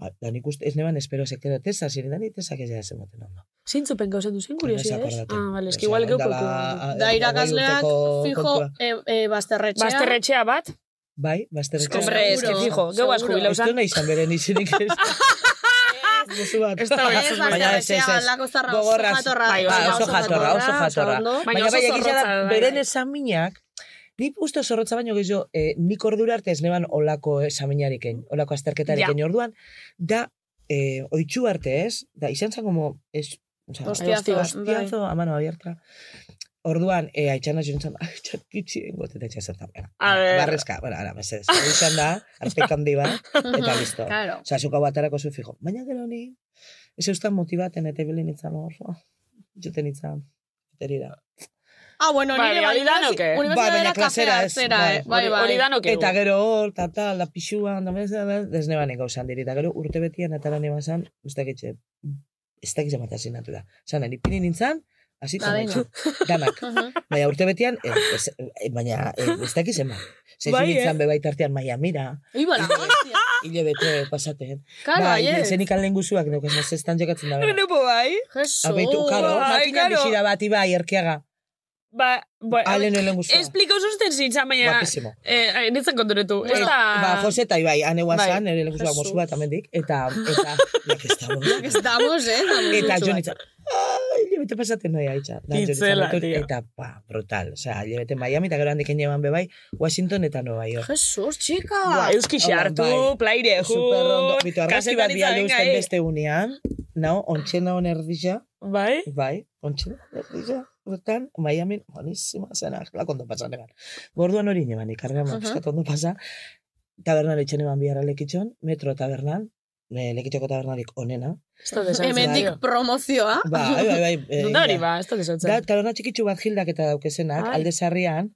[SPEAKER 10] Ah, Da nik uste, ez neban espero sektero tesa, ziren da ni tesak ez jazen moten ondo.
[SPEAKER 7] Zeintzu penko zen duzen, kuriosidez?
[SPEAKER 10] akordaten.
[SPEAKER 7] Ah, vale,
[SPEAKER 10] Osea,
[SPEAKER 7] eski igual Ba, geuko.
[SPEAKER 10] ondala-
[SPEAKER 7] kontua.
[SPEAKER 10] a-
[SPEAKER 2] Da
[SPEAKER 10] hogei
[SPEAKER 2] irakasleak
[SPEAKER 10] Bai, urteko
[SPEAKER 2] fijo
[SPEAKER 10] kontua.
[SPEAKER 2] e, e, basterretxea.
[SPEAKER 7] Basterretxea bat?
[SPEAKER 10] Bai, bazterretxea.
[SPEAKER 7] Hombre, eski
[SPEAKER 2] Seguro,
[SPEAKER 7] fijo, geu asko
[SPEAKER 2] seguro.
[SPEAKER 7] bila
[SPEAKER 10] Ez du nahi izan beren izinik ez. Musu bat.
[SPEAKER 7] Ez da
[SPEAKER 2] Ez,
[SPEAKER 7] Baina
[SPEAKER 2] basterretxea, halako zarra, oso
[SPEAKER 10] Gogorraz.
[SPEAKER 2] jatorra.
[SPEAKER 7] Bai,
[SPEAKER 10] Ba,
[SPEAKER 7] bai,
[SPEAKER 10] oso jatorra, oso jatorra.
[SPEAKER 2] ondo.
[SPEAKER 7] Baina
[SPEAKER 10] Baina
[SPEAKER 7] oso
[SPEAKER 10] bai, egia da,
[SPEAKER 7] zorrotza, bai,
[SPEAKER 10] beren
[SPEAKER 7] bai.
[SPEAKER 10] esaminak, Ni uste zorrotza baino gehiago, eh, nik ordura arte ez neban olako esaminarekin, olako azterketarekin orduan, da, eh, oitxu arte ez, da, izan zen como, ez, oza,
[SPEAKER 2] Hostiazo,
[SPEAKER 10] hostiazo, a mano abierta. Orduan, eh, aitxana ziren zen, aitxan kitsi, gote eta itxan zen, bueno,
[SPEAKER 7] A ver.
[SPEAKER 10] barrezka, bueno, ara, mesedez, Hori izan da, arpeka handi bat, eta
[SPEAKER 7] Bai.
[SPEAKER 10] listo.
[SPEAKER 2] Claro.
[SPEAKER 10] Osa, zuka batarako zu fijo. Baina gero ni, ez eustan motibaten eta ibili nintzen hor. oh, Joten nintzen. Terira.
[SPEAKER 2] Ah, bueno,
[SPEAKER 7] Bai,
[SPEAKER 2] nire
[SPEAKER 7] hori danoke.
[SPEAKER 2] bai,
[SPEAKER 10] Bai,
[SPEAKER 2] universidadera
[SPEAKER 10] baina
[SPEAKER 2] kafea
[SPEAKER 10] klasera ez,
[SPEAKER 2] hartzera,
[SPEAKER 10] bai.
[SPEAKER 2] eh. bai, bai.
[SPEAKER 7] Hori danok egu.
[SPEAKER 10] Eta gero hor, ta tal, la pixua, da bez, da, da, desneban eko zan diri. Eta gero urte betian eta lan eban zan, ez dakitxe, ez dakitxe bat asinatu da. Zan, pini nintzen,
[SPEAKER 2] Ba,
[SPEAKER 10] Azitzen da, danak.
[SPEAKER 2] Mhm.
[SPEAKER 10] Baina urte betizen, eh, ez- eh, baina eh, ez dakiz eman. Zezin
[SPEAKER 7] Bai, eh.
[SPEAKER 10] nintzen bebait artean Miamira,
[SPEAKER 2] Ibala, hostia.
[SPEAKER 10] hile bete pasaten.
[SPEAKER 2] Karo,
[SPEAKER 10] bai,
[SPEAKER 2] aiez.
[SPEAKER 10] zenik alen guzuak, neukaz, zestan jokatzen da. bera.
[SPEAKER 7] bai?
[SPEAKER 2] Jesu.
[SPEAKER 10] Abeitu, karo,
[SPEAKER 7] Ai,
[SPEAKER 10] makina
[SPEAKER 7] bai, karo.
[SPEAKER 10] bisira bai, bat ibai erkiaga.
[SPEAKER 7] Ba, ba,
[SPEAKER 10] Ale no lengu zua.
[SPEAKER 7] Esplika ususten zintzan, baina...
[SPEAKER 10] Guapísimo.
[SPEAKER 7] Eh, nintzen konturetu. Ez
[SPEAKER 10] Eh,
[SPEAKER 7] da...
[SPEAKER 10] Ba, Jose eta Ibai, ane
[SPEAKER 7] Bai,
[SPEAKER 10] guazan, nire lengu zua
[SPEAKER 2] Jesús.
[SPEAKER 10] mozu bat, amendik, eta, eta, ya que estamos, ya que
[SPEAKER 2] Estamos, eh? estamos
[SPEAKER 10] Eta
[SPEAKER 2] mucho.
[SPEAKER 10] jo nintzen, ai, hilabete pasaten noia itxa. Da, jo nintzen
[SPEAKER 7] Itzela,
[SPEAKER 10] etorri,
[SPEAKER 7] tía.
[SPEAKER 10] Eta, ba, brutal. Osea, hilabete Miami, eta gero handik eneban bebai, bai, Washington eta Nueva York.
[SPEAKER 2] Jesus, chica.
[SPEAKER 7] Ba, euski
[SPEAKER 10] Hau da,
[SPEAKER 7] xartu,
[SPEAKER 10] bai.
[SPEAKER 7] plaire, ju...
[SPEAKER 10] Superrondo. Bitu, arrazki bat
[SPEAKER 7] kazetaritza,
[SPEAKER 10] bialde
[SPEAKER 7] venga,
[SPEAKER 10] usten
[SPEAKER 7] eh.
[SPEAKER 10] beste unean, nao, ontxena on erdisa,
[SPEAKER 7] Bai?
[SPEAKER 10] Bai, ontsi, berdila, bertan, Miami, buenísima, zena, lako ondo pasan egan. Gorduan hori neban, ikarrean, uh
[SPEAKER 2] Ajá.
[SPEAKER 10] ondo pasa, tabernan etxen eban biharra lekitxon, metro tabernan, e, lekitxoko tabernarik onena.
[SPEAKER 7] Ez da desantzen.
[SPEAKER 2] Hemendik promozioa.
[SPEAKER 10] Ba, bai, bai, bai. eh,
[SPEAKER 7] Da hori,
[SPEAKER 10] ja.
[SPEAKER 7] ba, ez da
[SPEAKER 10] Da,
[SPEAKER 7] desantzen.
[SPEAKER 10] taberna txikitsu bat gildak eta daukezenak,
[SPEAKER 7] Ai.
[SPEAKER 10] alde sarrian,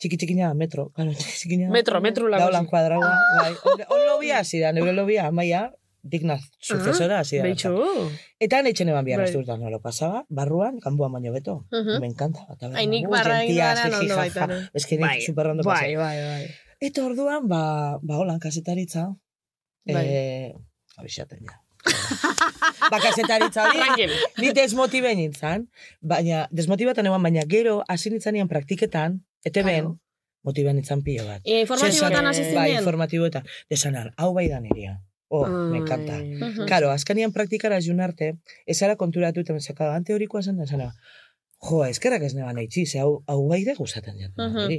[SPEAKER 10] txiki txikina metro, claro, txiki txikina.
[SPEAKER 7] Metro, metro
[SPEAKER 10] Da,
[SPEAKER 7] lagozi.
[SPEAKER 10] holan kuadraua, bai. Hon- Hon lobia hasi da, neure lobia, amaia, digna
[SPEAKER 7] Ah,
[SPEAKER 10] sucesora hasi da.
[SPEAKER 7] Beitxu.
[SPEAKER 10] Eta netxen eban bihar
[SPEAKER 7] Bai.
[SPEAKER 10] azturta nola pasaba, barruan, kanboan baino beto.
[SPEAKER 2] Mhm.
[SPEAKER 10] Me encanta. Eta
[SPEAKER 2] Ai, nik
[SPEAKER 10] uh,
[SPEAKER 2] barra egin
[SPEAKER 10] gentia,
[SPEAKER 2] dara
[SPEAKER 10] jiji,
[SPEAKER 2] ondo
[SPEAKER 10] jaja.
[SPEAKER 2] baita, ne?
[SPEAKER 10] Ez que nik
[SPEAKER 7] Bai,
[SPEAKER 10] superrondo
[SPEAKER 7] bai, bai, bai.
[SPEAKER 10] Eta orduan, ba, ba holan, kasetaritza.
[SPEAKER 9] Bai.
[SPEAKER 10] Eh, abixaten ja. ba, kasetaritza hori, ni desmotibe nintzen, baina, desmotibatan eman, baina gero, hasi nintzanean praktiketan, ete ben, motiba nintzen pilo bat.
[SPEAKER 2] E, informatibotan
[SPEAKER 10] Zesan,
[SPEAKER 2] hasi
[SPEAKER 10] Bai,
[SPEAKER 2] zinen.
[SPEAKER 10] informatiboetan. Desan al, hau bai da nirea. Oh, me encanta.
[SPEAKER 2] Mm.
[SPEAKER 10] Claro, azkanian praktikara jun arte, ez ara konturatu eta mesaka, ante horikoa zen da, zara, jo, eskerrak ez neban eitzi, ze hau, hau bai da gustatzen jat.
[SPEAKER 2] Mhm.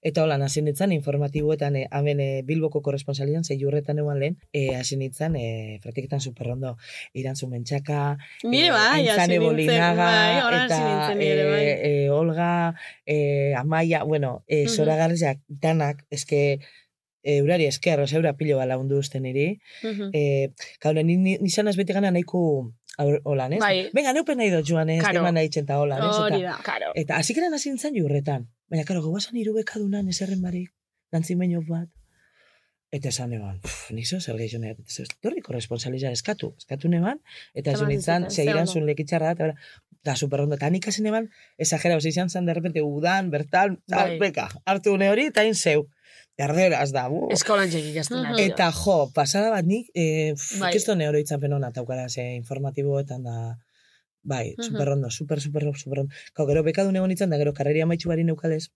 [SPEAKER 10] Eta hola, hasi nintzen informatiboetan, eh, hemen eh, Bilboko korresponsalian, zei jurretan eman lehen, eh, hasi nintzen eh, praktiketan superrondo, iran mentxaka, eh,
[SPEAKER 2] Nire bai, hasi
[SPEAKER 10] Aintzane
[SPEAKER 2] nintzen,
[SPEAKER 10] Bolinaga,
[SPEAKER 2] bai, hola hasi
[SPEAKER 10] eta
[SPEAKER 2] nintzen nire bai.
[SPEAKER 10] eh, eh, Olga, eh, Amaia, bueno, eh,
[SPEAKER 2] Mhm.
[SPEAKER 10] zoragarriak danak, eske, eh, eurari esker, oza, eura pilo bala hundu usten niri.
[SPEAKER 2] Mhm.
[SPEAKER 10] Eh, kaure, ni, ni, nizan ez beti gana nahiko aur- holan, ez?
[SPEAKER 2] Bai.
[SPEAKER 10] Venga, neupen nahi dut joan, ez?
[SPEAKER 7] Karo.
[SPEAKER 10] Eman nahi txenta holan, ez? Eta-
[SPEAKER 2] Hori da. Karo.
[SPEAKER 10] Eta hasi gara hasi nintzen jurretan. Baina, karo, gogoazan irubekadunan eserren barik, dantzin baino bat. Eta esan eban, pff, nizo zer gehiago neat. Ez torri korresponsaliza eskatu. Eskatu neban, eta
[SPEAKER 2] Eta
[SPEAKER 10] esan nintzen,
[SPEAKER 2] bazizuten, ze
[SPEAKER 10] segiran
[SPEAKER 2] ondo.
[SPEAKER 10] zuen lekitxarra, eta bera, da superrondo. Eta nik hasi neban, esagera, oza, izan zen, de repente, udan, bertan, tal,
[SPEAKER 7] Bai.
[SPEAKER 10] beka, hartu une hori, eta hain zeu. Arderaz da, bu.
[SPEAKER 7] Eskolan txekik azten
[SPEAKER 2] Mhm.
[SPEAKER 7] da.
[SPEAKER 10] Eta jo, pasada bat nik, eh, pff,
[SPEAKER 7] Bai.
[SPEAKER 10] kisto neoro itzapen hona taukara, ze informatiboetan da, bai,
[SPEAKER 2] Mhm.
[SPEAKER 10] superrondo, super, super, super Kau, gero bekadun egon nintzen, da gero karreria amaitxu bari neukalez,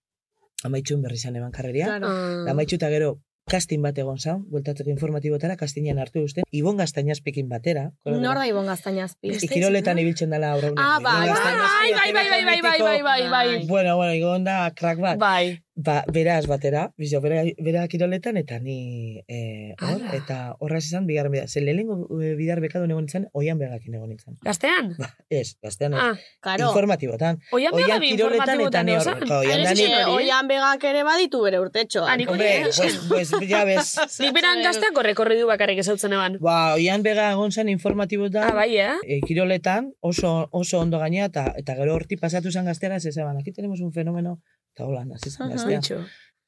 [SPEAKER 10] amaitxun berri zan eban karreria,
[SPEAKER 2] Claro.
[SPEAKER 10] da
[SPEAKER 7] Ah.
[SPEAKER 10] amaitxu eta gero kastin bat egon zan, bueltatzeko informatiboetara, kastinean hartu usten, Ibon Gaztainazpikin batera,
[SPEAKER 2] Nor da Ibon Gaztainazpi?
[SPEAKER 10] Ikiroletan ibiltzen dela aurra
[SPEAKER 2] Ah, bai, bai, bai, bai, bai, bai, bai, bai, bai, bai.
[SPEAKER 10] Bueno, bueno, igon da crack bat.
[SPEAKER 7] Bai.
[SPEAKER 10] Ba, beraz batera, bizo, bera, bera kiroletan, eta ni eh, hor, eta horra izan bigarren bidar. Zer, lehenengo eh, bidar bekadun egon nintzen, oian begakin egon nintzen.
[SPEAKER 7] Gaztean?
[SPEAKER 10] Ez, gaztean,
[SPEAKER 7] Ah,
[SPEAKER 10] ah,
[SPEAKER 2] Karo.
[SPEAKER 10] informatibotan.
[SPEAKER 7] oian behar
[SPEAKER 10] Oian
[SPEAKER 7] gabe
[SPEAKER 10] kiroletan eta
[SPEAKER 7] informatibotan
[SPEAKER 10] ni hor.
[SPEAKER 7] eosan.
[SPEAKER 10] Jo, Oian
[SPEAKER 2] Haren
[SPEAKER 10] da ni...
[SPEAKER 7] Hori,
[SPEAKER 2] zinen,
[SPEAKER 7] eh?
[SPEAKER 2] oian begak ere baditu bere urtetxoa.
[SPEAKER 7] Ah, nik hori
[SPEAKER 10] Hombre,
[SPEAKER 7] esan.
[SPEAKER 10] pues, pues, ya bez.
[SPEAKER 7] Nik beran gazteak horrekorri du bakarrik ezautzen eban.
[SPEAKER 10] Ba, oian bega egon zen informatibotan.
[SPEAKER 7] Ah, bai, eh?
[SPEAKER 10] eh, kiroletan oso, oso ondo gainea, eta, eta gero horti pasatu zen gaztera, ez ezaban, aquí tenemos un fenomeno, eta hola, nazi zen
[SPEAKER 2] Aha.
[SPEAKER 10] gaztea.
[SPEAKER 7] Itxo.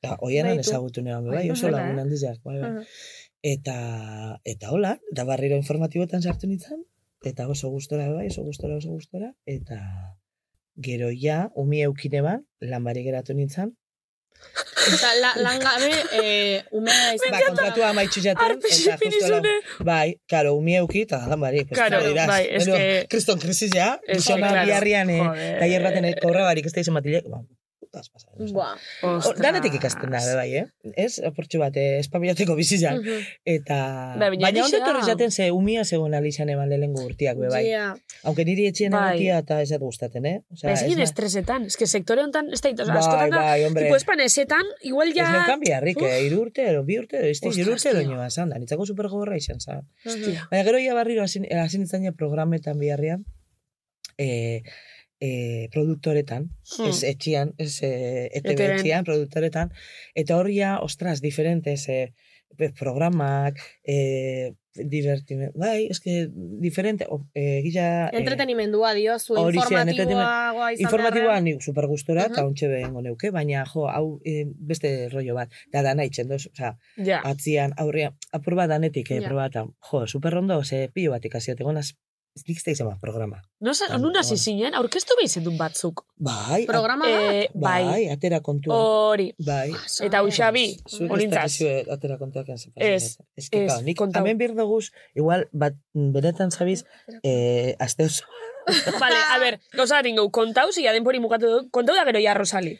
[SPEAKER 10] Eta oianan
[SPEAKER 2] Baitu.
[SPEAKER 10] ezagutu neban, be, bai,
[SPEAKER 7] Bai,
[SPEAKER 10] oso
[SPEAKER 7] horrela,
[SPEAKER 10] lagun
[SPEAKER 7] eh?
[SPEAKER 10] handizak, bai, bai.
[SPEAKER 2] Aha.
[SPEAKER 10] Eta, eta hola, eta barriro informatibotan sartu nintzen, eta oso gustora, be, bai, oso gustora, oso gustora, eta gero ja, umi eukine ban, lan barik geratu nintzen,
[SPEAKER 2] Eta la, lan gabe, eh, umea izan.
[SPEAKER 10] ba, kontratua amaitxu jaten,
[SPEAKER 7] Arpe
[SPEAKER 10] eta
[SPEAKER 7] xipin
[SPEAKER 10] justu lan,
[SPEAKER 7] izune.
[SPEAKER 10] bai, karo, umi euki, eta lan barik, pues,
[SPEAKER 7] Karo,
[SPEAKER 10] claro, dirás,
[SPEAKER 7] bai, es
[SPEAKER 10] Bueno,
[SPEAKER 7] que-
[SPEAKER 10] kriston krisis ja,
[SPEAKER 7] Es que,
[SPEAKER 10] gizona
[SPEAKER 7] claro,
[SPEAKER 10] biharrian, eh,
[SPEAKER 7] joder.
[SPEAKER 10] Tailer baten korra barik ez da izan matilek, ba, putaz pasa.
[SPEAKER 2] Bua.
[SPEAKER 7] Ostras.
[SPEAKER 10] Danetik Oh, ikasten da, be, bai, eh? Ez, oportxu bat, eh, espabilateko bizizan.
[SPEAKER 2] Mhm.
[SPEAKER 10] Eta...
[SPEAKER 7] Ba, baina
[SPEAKER 10] baina ondo
[SPEAKER 7] egia.
[SPEAKER 10] etorri zaten ze umia zegoen alizan eban lehengo urtiak, be, bai.
[SPEAKER 2] Yeah.
[SPEAKER 10] Aunque niri etxien
[SPEAKER 7] Bai.
[SPEAKER 10] egokia eta ez dut gustaten, eh? Osea,
[SPEAKER 7] Ez egin
[SPEAKER 10] na-
[SPEAKER 7] estresetan, ez que sektore honetan, ez da, o sea,
[SPEAKER 10] Bai,
[SPEAKER 7] askotan da,
[SPEAKER 10] bai, hombre.
[SPEAKER 7] tipo espanesetan, igual
[SPEAKER 10] Ez
[SPEAKER 7] ja...
[SPEAKER 10] neukan biharrik, eh? Iru urte, ero, bi urte, ero, izti, iru
[SPEAKER 7] Ostras,
[SPEAKER 10] urte, ero
[SPEAKER 7] tío.
[SPEAKER 10] nioa, zan da. Nitzako supergogorra izan, zan. Baina gero ia barriro hasi hasi nintzen ja programetan biharrian, eh, eh, produktoretan,
[SPEAKER 7] Mm,
[SPEAKER 10] ez
[SPEAKER 2] Mm.
[SPEAKER 10] etxian, ez eh, ETV
[SPEAKER 7] ETVn.
[SPEAKER 10] etxian, produktoretan, eta hor ja, ostras, diferentes eh, pe- programak, eh, divertime, bai, eske, diferente, o, eh, gila... eh,
[SPEAKER 2] Entretenimendua diozu,
[SPEAKER 10] Hori zen,
[SPEAKER 2] informatiboa goa izan
[SPEAKER 10] Informatiboa
[SPEAKER 2] beharrean.
[SPEAKER 10] nik super gustora eta
[SPEAKER 2] Mhm.
[SPEAKER 10] ontxe behengo neuke, baina jo, hau eh, beste rollo bat. Da dana itxen doz, oza,
[SPEAKER 7] Ja.
[SPEAKER 10] atzian, aurrean, apur bat danetik, eh,
[SPEAKER 2] Ja.
[SPEAKER 10] proba eta, jo, superrondo, ze pilo bat ikasiat, egonaz, nik zeik zema programa.
[SPEAKER 7] No, sa-
[SPEAKER 10] Tan-
[SPEAKER 7] nun hasi
[SPEAKER 10] bueno.
[SPEAKER 7] zinen, aurkeztu behi zendun batzuk.
[SPEAKER 10] Bai, a-
[SPEAKER 2] Programa bat?
[SPEAKER 7] Eh, bai,
[SPEAKER 10] bai, atera kontua.
[SPEAKER 7] hori.
[SPEAKER 10] Bai.
[SPEAKER 7] Eta usabi,
[SPEAKER 10] Zuek ez
[SPEAKER 7] horintzaz.
[SPEAKER 10] dakizue atera kontuak egin zepatzen.
[SPEAKER 7] Ez,
[SPEAKER 10] Ez, que,
[SPEAKER 7] ez,
[SPEAKER 10] claro, nik
[SPEAKER 7] kontau.
[SPEAKER 10] hemen behar duguz, igual, bat, benetan zabiz, eh, azte oso.
[SPEAKER 7] Vale, a ber, gauza bat ingau, kontau, zila denpori mugatu du, kontau da gero ja Rosali.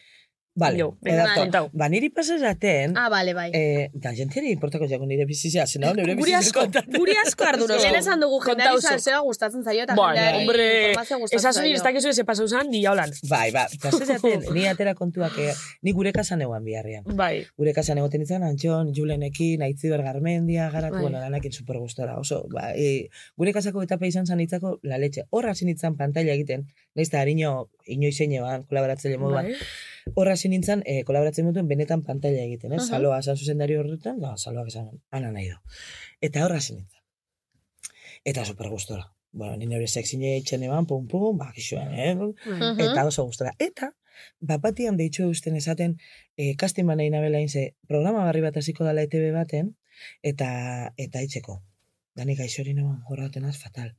[SPEAKER 10] Vale, eh,
[SPEAKER 7] Jo, venga,
[SPEAKER 10] edato.
[SPEAKER 7] kontau.
[SPEAKER 10] Ba, niri pasaz aten,
[SPEAKER 2] Ah, bale, bai.
[SPEAKER 10] eh, da, jentiari importako jago nire bizizia, zena, nire
[SPEAKER 7] Guri
[SPEAKER 10] bizizia
[SPEAKER 7] asko,
[SPEAKER 10] kontatzen.
[SPEAKER 7] guri asko arduro.
[SPEAKER 2] Lehen esan dugu, jendeari
[SPEAKER 7] Kontauzuk.
[SPEAKER 2] salsea gustatzen zaio eta
[SPEAKER 7] Bueno,
[SPEAKER 2] jendeari
[SPEAKER 7] hombre,
[SPEAKER 2] informazioa gustatzen
[SPEAKER 7] Esazun ez dakizu ez epasau zan, di jaulan.
[SPEAKER 10] Bai, ba, pasaz aten, ni atera kontuak, eh, ni gure kasan eguan biharrian.
[SPEAKER 7] Bai.
[SPEAKER 10] Gure kasan egoten nintzen, Antxon, Julenekin, Aitziber Garmendia, garatu,
[SPEAKER 7] Bai.
[SPEAKER 10] bueno, lanakin super gustora. Oso, ba, e, gure kasako etapa izan zan itzako laletxe. Horra hasi nintzen pantaila egiten, nahiz eta harino inoizeine ban, kolaboratzaile moduan.
[SPEAKER 7] Bai.
[SPEAKER 10] Horra hasi nintzen, e, kolaboratzen duten benetan pantaila egiten, ez?
[SPEAKER 2] Aha.
[SPEAKER 10] Saloa, esan zuzendari horretan, da, saloak esan, ana nahi do. Eta horra hasi nintzen. Eta super gustora. Bueno, nire hori sexine etxen eban, pum, pum, ba, kixuan, eh?
[SPEAKER 2] Mhm.
[SPEAKER 10] Eta oso gustora. Eta, bat batian deitxu eusten esaten, e, kastin banei nabelain ze, programa barri bat hasiko dala ETV baten, eta eta itxeko. Dani gaixori neban jorraten az, fatal.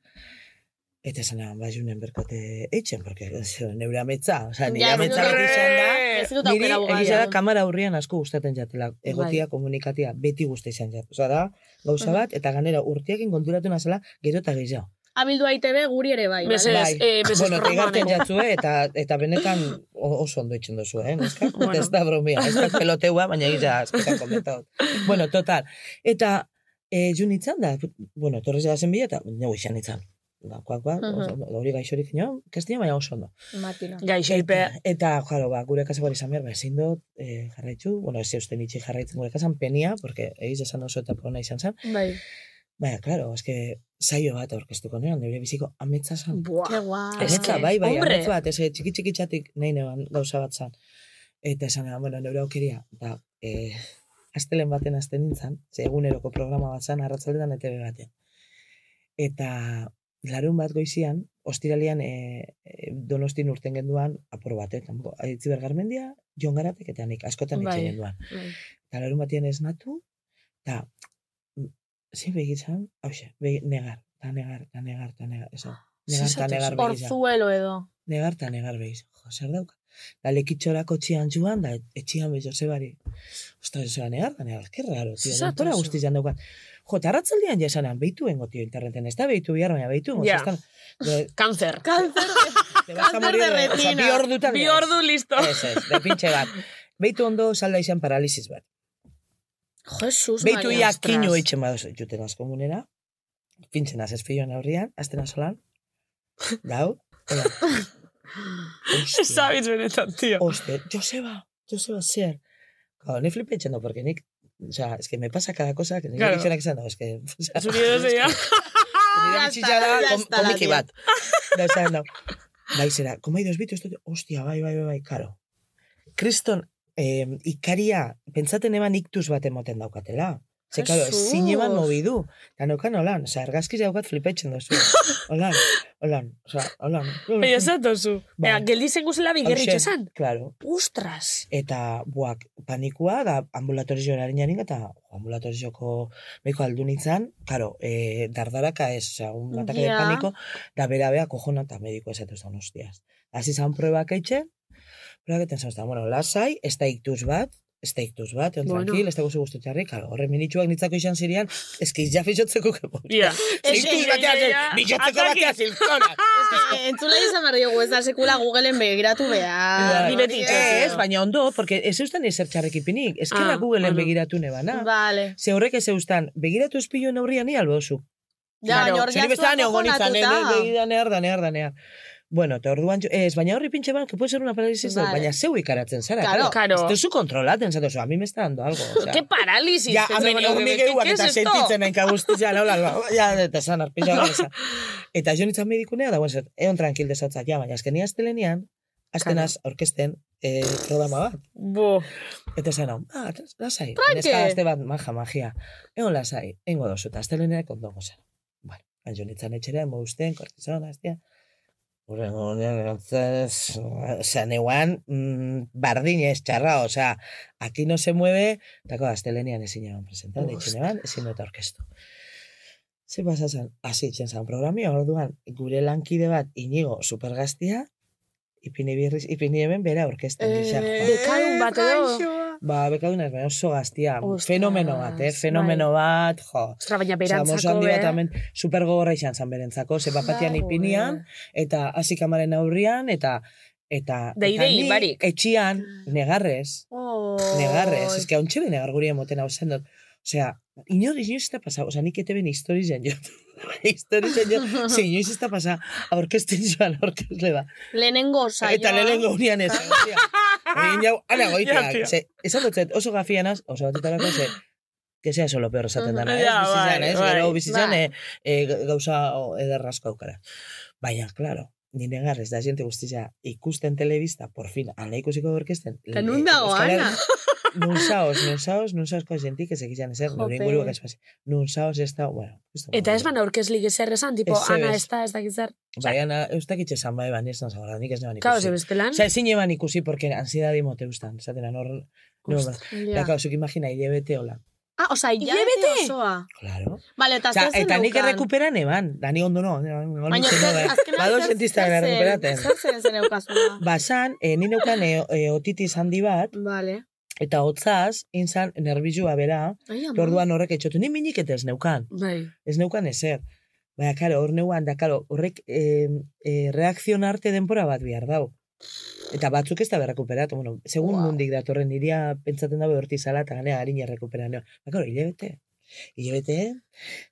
[SPEAKER 10] Eta esan eban, ba, junen berkote eitzen, porque ez, neure ametza, oza, nire
[SPEAKER 11] Ja, ez
[SPEAKER 10] ametza
[SPEAKER 11] dut-
[SPEAKER 10] bat izan da.
[SPEAKER 11] Ez dut
[SPEAKER 10] Niri,
[SPEAKER 11] aukera bugaria.
[SPEAKER 10] egia da, Bai. kamara aurrian asko gustaten jatela, egotia, komunikatia, beti guzti izan jat. Oza da, gauza bat, eta ganera urtiakin konturatu nazela, gero eta gehiago.
[SPEAKER 2] Abildua ITB guri ere bai.
[SPEAKER 7] Mesedez,
[SPEAKER 2] bale?
[SPEAKER 7] eh, mesedez
[SPEAKER 10] bueno, tegarten
[SPEAKER 7] programan, eh.
[SPEAKER 10] jatzue, eta, eta benetan o- oso ondo itxen duzu, eh? neska?
[SPEAKER 7] Bueno.
[SPEAKER 10] Eta ez da bromia, ez da peloteua, baina egia askotan komentaut. Bueno, total. Eta, e, jun itzan da, bueno, torrez da zen bila, eta neu izan itzan. Da, kuak, kuak,
[SPEAKER 11] Mhm.
[SPEAKER 10] oso ondo, hori gaixorik ino, kastina, baina oso ondo.
[SPEAKER 2] Matila.
[SPEAKER 7] Gaixoipe.
[SPEAKER 10] Eta, eta jaro, ba, gure kasa izan behar, ba, ezin dut, eh, jarraitzu, bueno, ez eusten itxi jarraitzen gure kasan, penia, porque egiz esan oso eta pona izan zen.
[SPEAKER 2] Bai.
[SPEAKER 10] Baina, claro, eske, saio bat aurkeztuko nion, nire biziko ametsa zen.
[SPEAKER 7] Buah.
[SPEAKER 11] Ke guau.
[SPEAKER 7] Ez
[SPEAKER 10] Ametsa,
[SPEAKER 7] que,
[SPEAKER 10] bai, bai,
[SPEAKER 7] hombre.
[SPEAKER 10] ametsa bat, ez, eh, txiki txiki txatik nahi neban gauza bat zan. Eta esan eban, bueno, neure aukeria, da, e, astelen baten azten nintzen, ze eguneroko programa bat zan, E arratzaldean ETV baten. Eta larun bat goizian, ostiralian e, e, donostin urten genduan, apur bat, eh, tampoco, aitzi bergarmendia, jon garatek eta nik, askotan
[SPEAKER 7] Bai,
[SPEAKER 10] itxe genduan.
[SPEAKER 7] bai.
[SPEAKER 10] Eta larun batien esnatu, eta zin begitzan, hause, begi, negar, ta negar, ta negar, ta negar, eso,
[SPEAKER 7] Ah,
[SPEAKER 10] negar, ta
[SPEAKER 7] Zesatu
[SPEAKER 10] negar begizan
[SPEAKER 11] Orzuelo edo.
[SPEAKER 10] negar eta negar behiz. Jo, zer dauka. Da lekitxorako txian joan, da etxian behiz Josebari. Osta, Joseba negar, da negar, que raro, tio.
[SPEAKER 7] Zer
[SPEAKER 10] Zentora
[SPEAKER 7] zatozu?
[SPEAKER 10] guztiz jan daukan. Jo, eta arratzaldean jesanan, behitu engo, tio, interneten. Ez da behitu bihar, baina behitu engo.
[SPEAKER 7] Ja.
[SPEAKER 10] Yeah. De,
[SPEAKER 7] Cáncer.
[SPEAKER 10] te vas a
[SPEAKER 11] Cáncer
[SPEAKER 10] morir,
[SPEAKER 11] de
[SPEAKER 10] de- o sea,
[SPEAKER 11] retina.
[SPEAKER 10] bi ordu tan.
[SPEAKER 7] Bi ordu listo.
[SPEAKER 10] Ez, ez, de pintxe bat. Beitu ondo salda izan paralisis bat.
[SPEAKER 2] Jesus,
[SPEAKER 10] Beitu
[SPEAKER 2] Maria.
[SPEAKER 10] ia
[SPEAKER 2] ostras.
[SPEAKER 10] kino eitzen badoz, juten azkomunera, fintzen az espilloan aurrian, azten azolan, dau, hola. Hostia.
[SPEAKER 7] Ez zabitz benetan, tío.
[SPEAKER 10] Oste, Joseba, Joseba, zer. Claro, ni flipetzen no, porque nik, o sea, es que me pasa cada cosa, que nire
[SPEAKER 7] Claro.
[SPEAKER 10] claro. bitxenak esan, no, es que, o sea,
[SPEAKER 7] Zuri edo zeia.
[SPEAKER 10] nire
[SPEAKER 11] Ya Ah, está,
[SPEAKER 10] bitxitza da
[SPEAKER 11] ya
[SPEAKER 10] kom,
[SPEAKER 11] está la
[SPEAKER 10] komiki
[SPEAKER 11] tía.
[SPEAKER 10] bat. Da, esan, no. Bai, zera, komai dos bitu, esto, ostia, bai, bai, bai, bai, karo. Kriston, eh, ikaria, pentsaten eban iktuz bat emoten daukatela. Ze, karo,
[SPEAKER 2] Jesus.
[SPEAKER 10] zin eban mobidu. Da, nokan, holan, o sea, argazkiz daukat flipetzen dozu. Holan, holan, o sea, holan.
[SPEAKER 7] Baina zatozu.
[SPEAKER 10] Bai.
[SPEAKER 7] Baina, geldi zen guzela bigerritxo
[SPEAKER 10] Hauxe,
[SPEAKER 7] esan.
[SPEAKER 10] Claro,
[SPEAKER 7] Ostras.
[SPEAKER 10] eta buak panikua da ambulatorio erarinaren eta ambulatorioko meko aldu nintzen, karo, e, dardaraka ez, osea,
[SPEAKER 7] Mm,
[SPEAKER 10] un ataque
[SPEAKER 11] Ja.
[SPEAKER 10] de paniko, da bera bea kojona eta mediko esatu zan hostias. Hasi zan pruebak eitzen, pruebaketen zan, bueno, lasai, ez da iktuz bat, ez da iktuz bat, egon
[SPEAKER 7] Bueno.
[SPEAKER 10] tranquil, ez da guzu guztu txarri, karo, horre minitxuak nitzako izan zirean, ez que izja fixotzeko kepo.
[SPEAKER 7] Ja.
[SPEAKER 10] Iktuz batean, bizotzeko batean zilkona.
[SPEAKER 2] Eh, Entzulei izan behar diogu, ez da sekula Googleen begiratu behar.
[SPEAKER 10] Bai.
[SPEAKER 7] Ni beti itxaso.
[SPEAKER 10] Ez, baina ondo, porque ez eusten ezer txarrik ipinik, ez
[SPEAKER 7] Ah,
[SPEAKER 10] ah, Googleen
[SPEAKER 7] bueno.
[SPEAKER 10] begiratu nebana.
[SPEAKER 2] Vale.
[SPEAKER 10] Ze horrek ez eustan, begiratu espillo neurrian ni albo zu.
[SPEAKER 2] Ja, baina hor
[SPEAKER 10] Zeri bezala
[SPEAKER 2] jaztua
[SPEAKER 10] neogon izan, eh,
[SPEAKER 2] kojonatuta.
[SPEAKER 10] begi danear, danear, danear. Bueno, eta orduan, jo- ez, baina horri pintxe ban, que puede ser una parálisis,
[SPEAKER 2] Vale.
[SPEAKER 10] vale. baina zeu ikaratzen zara.
[SPEAKER 2] Claro.
[SPEAKER 7] Karo.
[SPEAKER 10] Ez duzu kontrolaten, zato zu, a mi me está dando algo. O sea,
[SPEAKER 7] Ke paralisis.
[SPEAKER 10] Ja,
[SPEAKER 7] Ez
[SPEAKER 10] amen,
[SPEAKER 7] dago
[SPEAKER 10] egun
[SPEAKER 7] nire-
[SPEAKER 10] mige
[SPEAKER 7] ¿qué
[SPEAKER 10] eta
[SPEAKER 7] es esto?
[SPEAKER 10] sentitzen hain kaguzti, ja, hola, hola, ja, eta zan, arpilla, hola, esan. Eta jo nintzen medikunea, da, bueno, zet, egon tranquil desatzak, ja, baina azkenia astelenean, astenaz aurkezten eh, programa bat.
[SPEAKER 7] Bo.
[SPEAKER 10] Eta esan hau, ah, lasai, neska gazte bat maja magia. Egon lasai, engo dozu, eta asteleneak ondo gozan. Bueno, anjo nintzen etxera, emo usten, kortizona, aztia. Horrengo, entonces, san eguan, mm, bardin ez txarra, osea, aquí no se mueve, eta ko, astelenean ezin eban presentan, etxen eban, ezin dut orkestu. Ze pasa zan, hasi itxen zan programia, orduan, gure lankide bat, inigo, supergaztia, ipini birriz, ipini hemen bera orkestan gisa.
[SPEAKER 7] Bekadun bat edo.
[SPEAKER 10] Ba, bekaduna ez, baina oso gaztia.
[SPEAKER 7] Ostras,
[SPEAKER 10] fenomeno bat, eh? Fenomeno bat, jo.
[SPEAKER 7] Ostra, baina
[SPEAKER 10] Osa,
[SPEAKER 7] berantzako,
[SPEAKER 10] mozo handi
[SPEAKER 7] eh?
[SPEAKER 10] bat hemen super gogorra izan zan berentzako, ze bapatian
[SPEAKER 7] Dago,
[SPEAKER 10] ipinian, eta hasi kamaren aurrian, eta eta,
[SPEAKER 7] Dei,
[SPEAKER 10] eta
[SPEAKER 7] dei, barik.
[SPEAKER 10] etxian, negarrez,
[SPEAKER 11] Oh.
[SPEAKER 10] negarrez, ez que hau txebe negar guri emoten hau zen dut. Osea, inor inoiz ez da pasa, osea, nik ete ben historizen jo. historizen jo, ze inoiz ez da pasa, aurkezten joan, aurkezle ba.
[SPEAKER 2] Lehenengo saioa.
[SPEAKER 10] Eta lehenengo unian ez. hostia. Egin jau, ala
[SPEAKER 7] Ja, tio.
[SPEAKER 10] goiteak. Ze, esan dut, zet, oso gafia naz, oso batetarako, ze, que sea eso lo peor esaten dana, ez?
[SPEAKER 7] Ja,
[SPEAKER 10] Bizitzan,
[SPEAKER 7] bai,
[SPEAKER 10] ez?
[SPEAKER 7] bai.
[SPEAKER 10] Gero bizitzan,
[SPEAKER 2] Bai.
[SPEAKER 10] eh, eh, gauza o, ederrazko aukara. Baina, claro, nire garrez da gente guztia ikusten telebista, por fin, ala ikusiko orkesten.
[SPEAKER 2] Eta nun dago,
[SPEAKER 10] Euskal Her-
[SPEAKER 2] Ana?
[SPEAKER 10] Nun zaoz, nun zaoz, nun zaozko jentik ez egizan ezer, nure
[SPEAKER 2] Jope.
[SPEAKER 10] inguruak ez pasi. Nun zaoz ez da, bueno. justo-
[SPEAKER 7] Eta ez ban aurkezlik ezer esan, tipo,
[SPEAKER 10] Ez,
[SPEAKER 7] ana
[SPEAKER 10] ez.
[SPEAKER 7] ez da, ez dakit zer.
[SPEAKER 10] Bai, ana, eustakitxe zan bai, ban, ez nazabara, nik ez neban ikusi.
[SPEAKER 7] Claro, ze bestelan.
[SPEAKER 10] Osa, ezin eban ikusi, porque ansiedade mote gustan, esaten hor... No, ba.
[SPEAKER 2] Ja.
[SPEAKER 10] Da, claro, zuk imagina, hilebete hola.
[SPEAKER 2] Ah, oza, hilabete
[SPEAKER 11] Hilabete?
[SPEAKER 2] osoa.
[SPEAKER 10] Claro.
[SPEAKER 2] Bale, eta
[SPEAKER 10] Osa,
[SPEAKER 2] zer zen
[SPEAKER 10] eta nik
[SPEAKER 2] neukan?
[SPEAKER 10] errekuperan eban. Dani ondo no.
[SPEAKER 2] Baina,
[SPEAKER 10] Baina,
[SPEAKER 2] zer, azkenean
[SPEAKER 10] Badol
[SPEAKER 2] zer-
[SPEAKER 10] sentista
[SPEAKER 2] zer
[SPEAKER 10] gara
[SPEAKER 2] zen-
[SPEAKER 10] recuperaten.
[SPEAKER 2] Zer zen zen eukazuna?
[SPEAKER 10] Basan, eh, ni neukan eh, eh, otitis handi bat,
[SPEAKER 2] Vale.
[SPEAKER 10] eta hotzaz, inzan, nervizua bera,
[SPEAKER 2] Ai, ama.
[SPEAKER 10] eta orduan horrek etxotu, ni minik eta ez neukan.
[SPEAKER 2] Bai.
[SPEAKER 10] Ez neukan ezer. Baina, karo, hor neuan, da, karo, horrek eh, eh, reakzionarte denpora bat bihar dau. Eta batzuk ez da berrekuperatu, bueno, segun
[SPEAKER 2] Wow.
[SPEAKER 10] nondik datorren iria pentsaten dabe hortizala, eta ganea harin errekupera neo. Ba, karo, hilebete. Hilebete,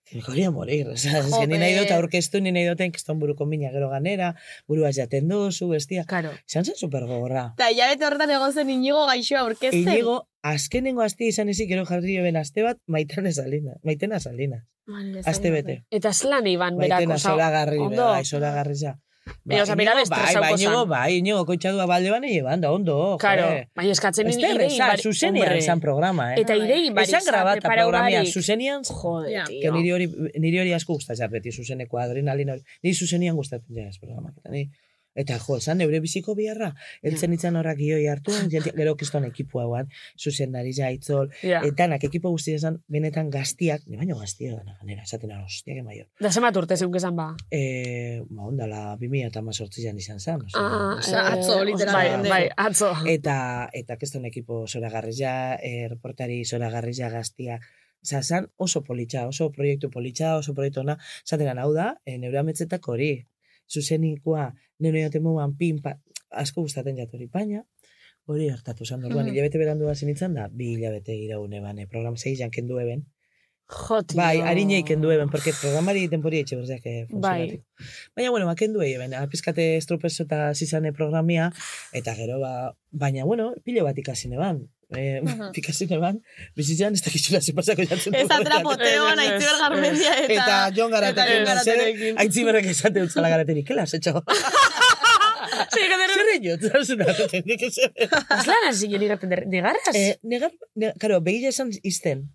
[SPEAKER 10] que me quería morir. O sea, es que ni nahi dut
[SPEAKER 2] Jope.
[SPEAKER 10] aurkeztu, ni nahi duten, kiston buruko mina gero ganera, burua jaten dozu, bestia.
[SPEAKER 7] Karo.
[SPEAKER 10] Izan zen supergogorra.
[SPEAKER 2] Eta hilabete horretan egon zen inigo gaixoa aurkezten.
[SPEAKER 10] Inigo, azkenengo astea izan ezik, gero jarri joven aste bat, maitana salina, maitena salina.
[SPEAKER 2] Vale, ez
[SPEAKER 10] Aste
[SPEAKER 2] dakit.
[SPEAKER 10] bete.
[SPEAKER 7] Eta zelan iban berak,
[SPEAKER 10] Maitena
[SPEAKER 7] oza,
[SPEAKER 10] zoragarri,
[SPEAKER 7] ondo.
[SPEAKER 10] bai, zoragarri za.
[SPEAKER 7] Baina, osea, bera
[SPEAKER 10] Iñigo,
[SPEAKER 7] bestresauko
[SPEAKER 10] bai,
[SPEAKER 7] zan.
[SPEAKER 10] Inigo, bai, Inigo, koitxadua balde bane llevan, da ondo, joe.
[SPEAKER 7] karo, bai eskatzen
[SPEAKER 10] eh. Ez da erreza, zuzenian izan programa, eh?
[SPEAKER 7] Eta idei barik,
[SPEAKER 10] Izan grabata programia,
[SPEAKER 7] zuzen.
[SPEAKER 10] zuzenian,
[SPEAKER 7] Jode,
[SPEAKER 2] Ja.
[SPEAKER 10] que
[SPEAKER 7] tio.
[SPEAKER 10] niri hori, niri hori asko gustatzen beti, zuzeneko adrenalina hori. Niri zuzenian gustatzen jaz, programak. Eta, ni, eta jo, esan neure biziko biharra, eltzen itzan horrak gioi hartu, jentia- gero kiston ekipua guan, zuzendari jaitzol,
[SPEAKER 7] Ja.
[SPEAKER 10] etanak ekipo guztia esan, benetan gaztiak, ni baino gaztia dana, ganera, esaten ara, hostia, que mayor.
[SPEAKER 7] Da zemat urte zeunk esan ba.
[SPEAKER 10] E, ba, ondala, 2000 eta mazortzian izan zen. osea,
[SPEAKER 7] Ah,
[SPEAKER 10] osea,
[SPEAKER 7] eh,
[SPEAKER 2] atzo,
[SPEAKER 7] os-
[SPEAKER 2] literalmente.
[SPEAKER 7] Bai, bai, atzo.
[SPEAKER 10] Eta, eta keston ekipo zoragarria, eh, reportari zoragarria gaztia. Osa, zan oso politxa, oso proiektu politxa, oso proiektu ona. Zaten hau da, eh, neure ametzetak hori. Zuzenikoa, nire jote moan, pinpa, asko gustaten jat hori baina, hori hartatu zan. Orduan,
[SPEAKER 2] Mhm.
[SPEAKER 10] hilabete berandu hasi nintzen da, bi hilabete iraune bane, program 6 janken du eben.
[SPEAKER 7] Jo, tio.
[SPEAKER 10] Bai, harinei kendu eben, porque programari denpori etxe berdeak eh,
[SPEAKER 7] Bai.
[SPEAKER 10] funtzionatik. Baina, bueno, bakendu egin, baina, pizkate estropezo eta zizane programia, eta gero, ba, baina, bueno, pile bat ikasi neban. Eh,
[SPEAKER 2] Aha.
[SPEAKER 10] ikasi neban, bizitzan ez dakizula zepasako jatzen.
[SPEAKER 2] Ez atrapoteoan,
[SPEAKER 7] Ez, ez,
[SPEAKER 2] aitziber
[SPEAKER 7] ez.
[SPEAKER 2] garmendia eta...
[SPEAKER 10] Eta Jon Garatek,
[SPEAKER 2] eta Jon Garaterekin.
[SPEAKER 10] Aitzi berrek esate utzala garaterik, kela, zetxo. Zerre jo, zazuna, nik ez.
[SPEAKER 7] Zelan hasi gini gaten negarras?
[SPEAKER 10] Eh, Negar, ne- karo, begile esan izten.